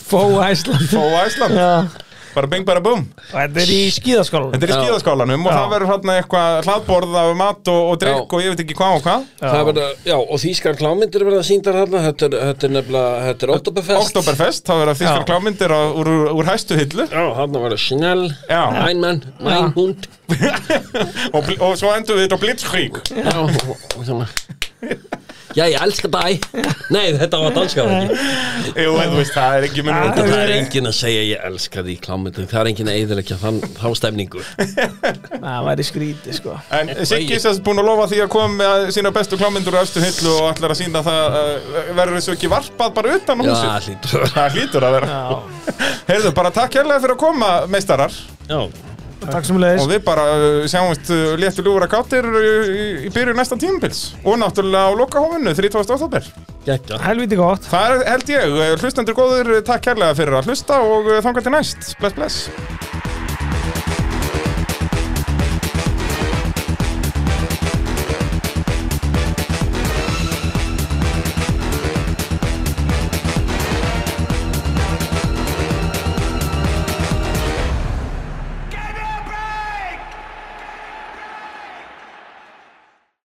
Speaker 3: fó Æsland
Speaker 1: FO Iceland
Speaker 3: Já,
Speaker 1: Bara bing bara bum
Speaker 3: þetta er í skíðaskólanum
Speaker 1: Þetta er í
Speaker 2: Já.
Speaker 1: skíðaskálanum og
Speaker 3: Já.
Speaker 1: það verður hérna eitthvað hlaðborð af mat og, og drikk
Speaker 2: Já.
Speaker 1: og ég veit ekki hvað og hvað
Speaker 2: Það er bara, já, og þýskar klámyndir verða síndar hérna, þetta er, þetta er nefnilega, þetta er Oktoberfest
Speaker 1: Oktoberfest, það verður þýskar
Speaker 3: Já.
Speaker 1: klámyndir á- úr, úr hæstu hillu
Speaker 2: Já, hérna verða Chanel,
Speaker 1: Já.
Speaker 2: Einmann, Mænhund
Speaker 1: og, bl- og svo endur við þetta á Blitzkrieg
Speaker 2: Já, og- og svona Já, ég elska dæ Nei, þetta var danska var ekki
Speaker 1: Jú, en þú veist, það er ekki munur á
Speaker 3: Já.
Speaker 2: Það er enginn að segja ég elska því klámyndum Það er enginn að eyðilegja þann, þá stemningu
Speaker 3: Það væri skrítið sko
Speaker 1: En Siggi sérst búin að lofa því að koma með sína bestu klámyndur á hæstu hillu og ætlar að sína það uh, verður þessu ekki varpað bara utan á
Speaker 2: Já,
Speaker 1: húsið
Speaker 2: hlýtur
Speaker 1: Það hlýtur að vera
Speaker 3: Já,
Speaker 1: Heyrðu, bara takk hérlega fyrir að koma, meistarar
Speaker 2: Já,
Speaker 3: takk sem leiðis
Speaker 1: Og við bara uh, sjáumst uh, léttu ljúfur að kátir uh, í, í byrju næsta tímpils Og náttúrulega á lokahófinu, 30. oktober
Speaker 2: geggja
Speaker 3: helviti gott
Speaker 1: uh, Það er, held ég, hlustendur góður, takk kærlega fyrir að hlusta og þangað til uh, næst. Bless, bless.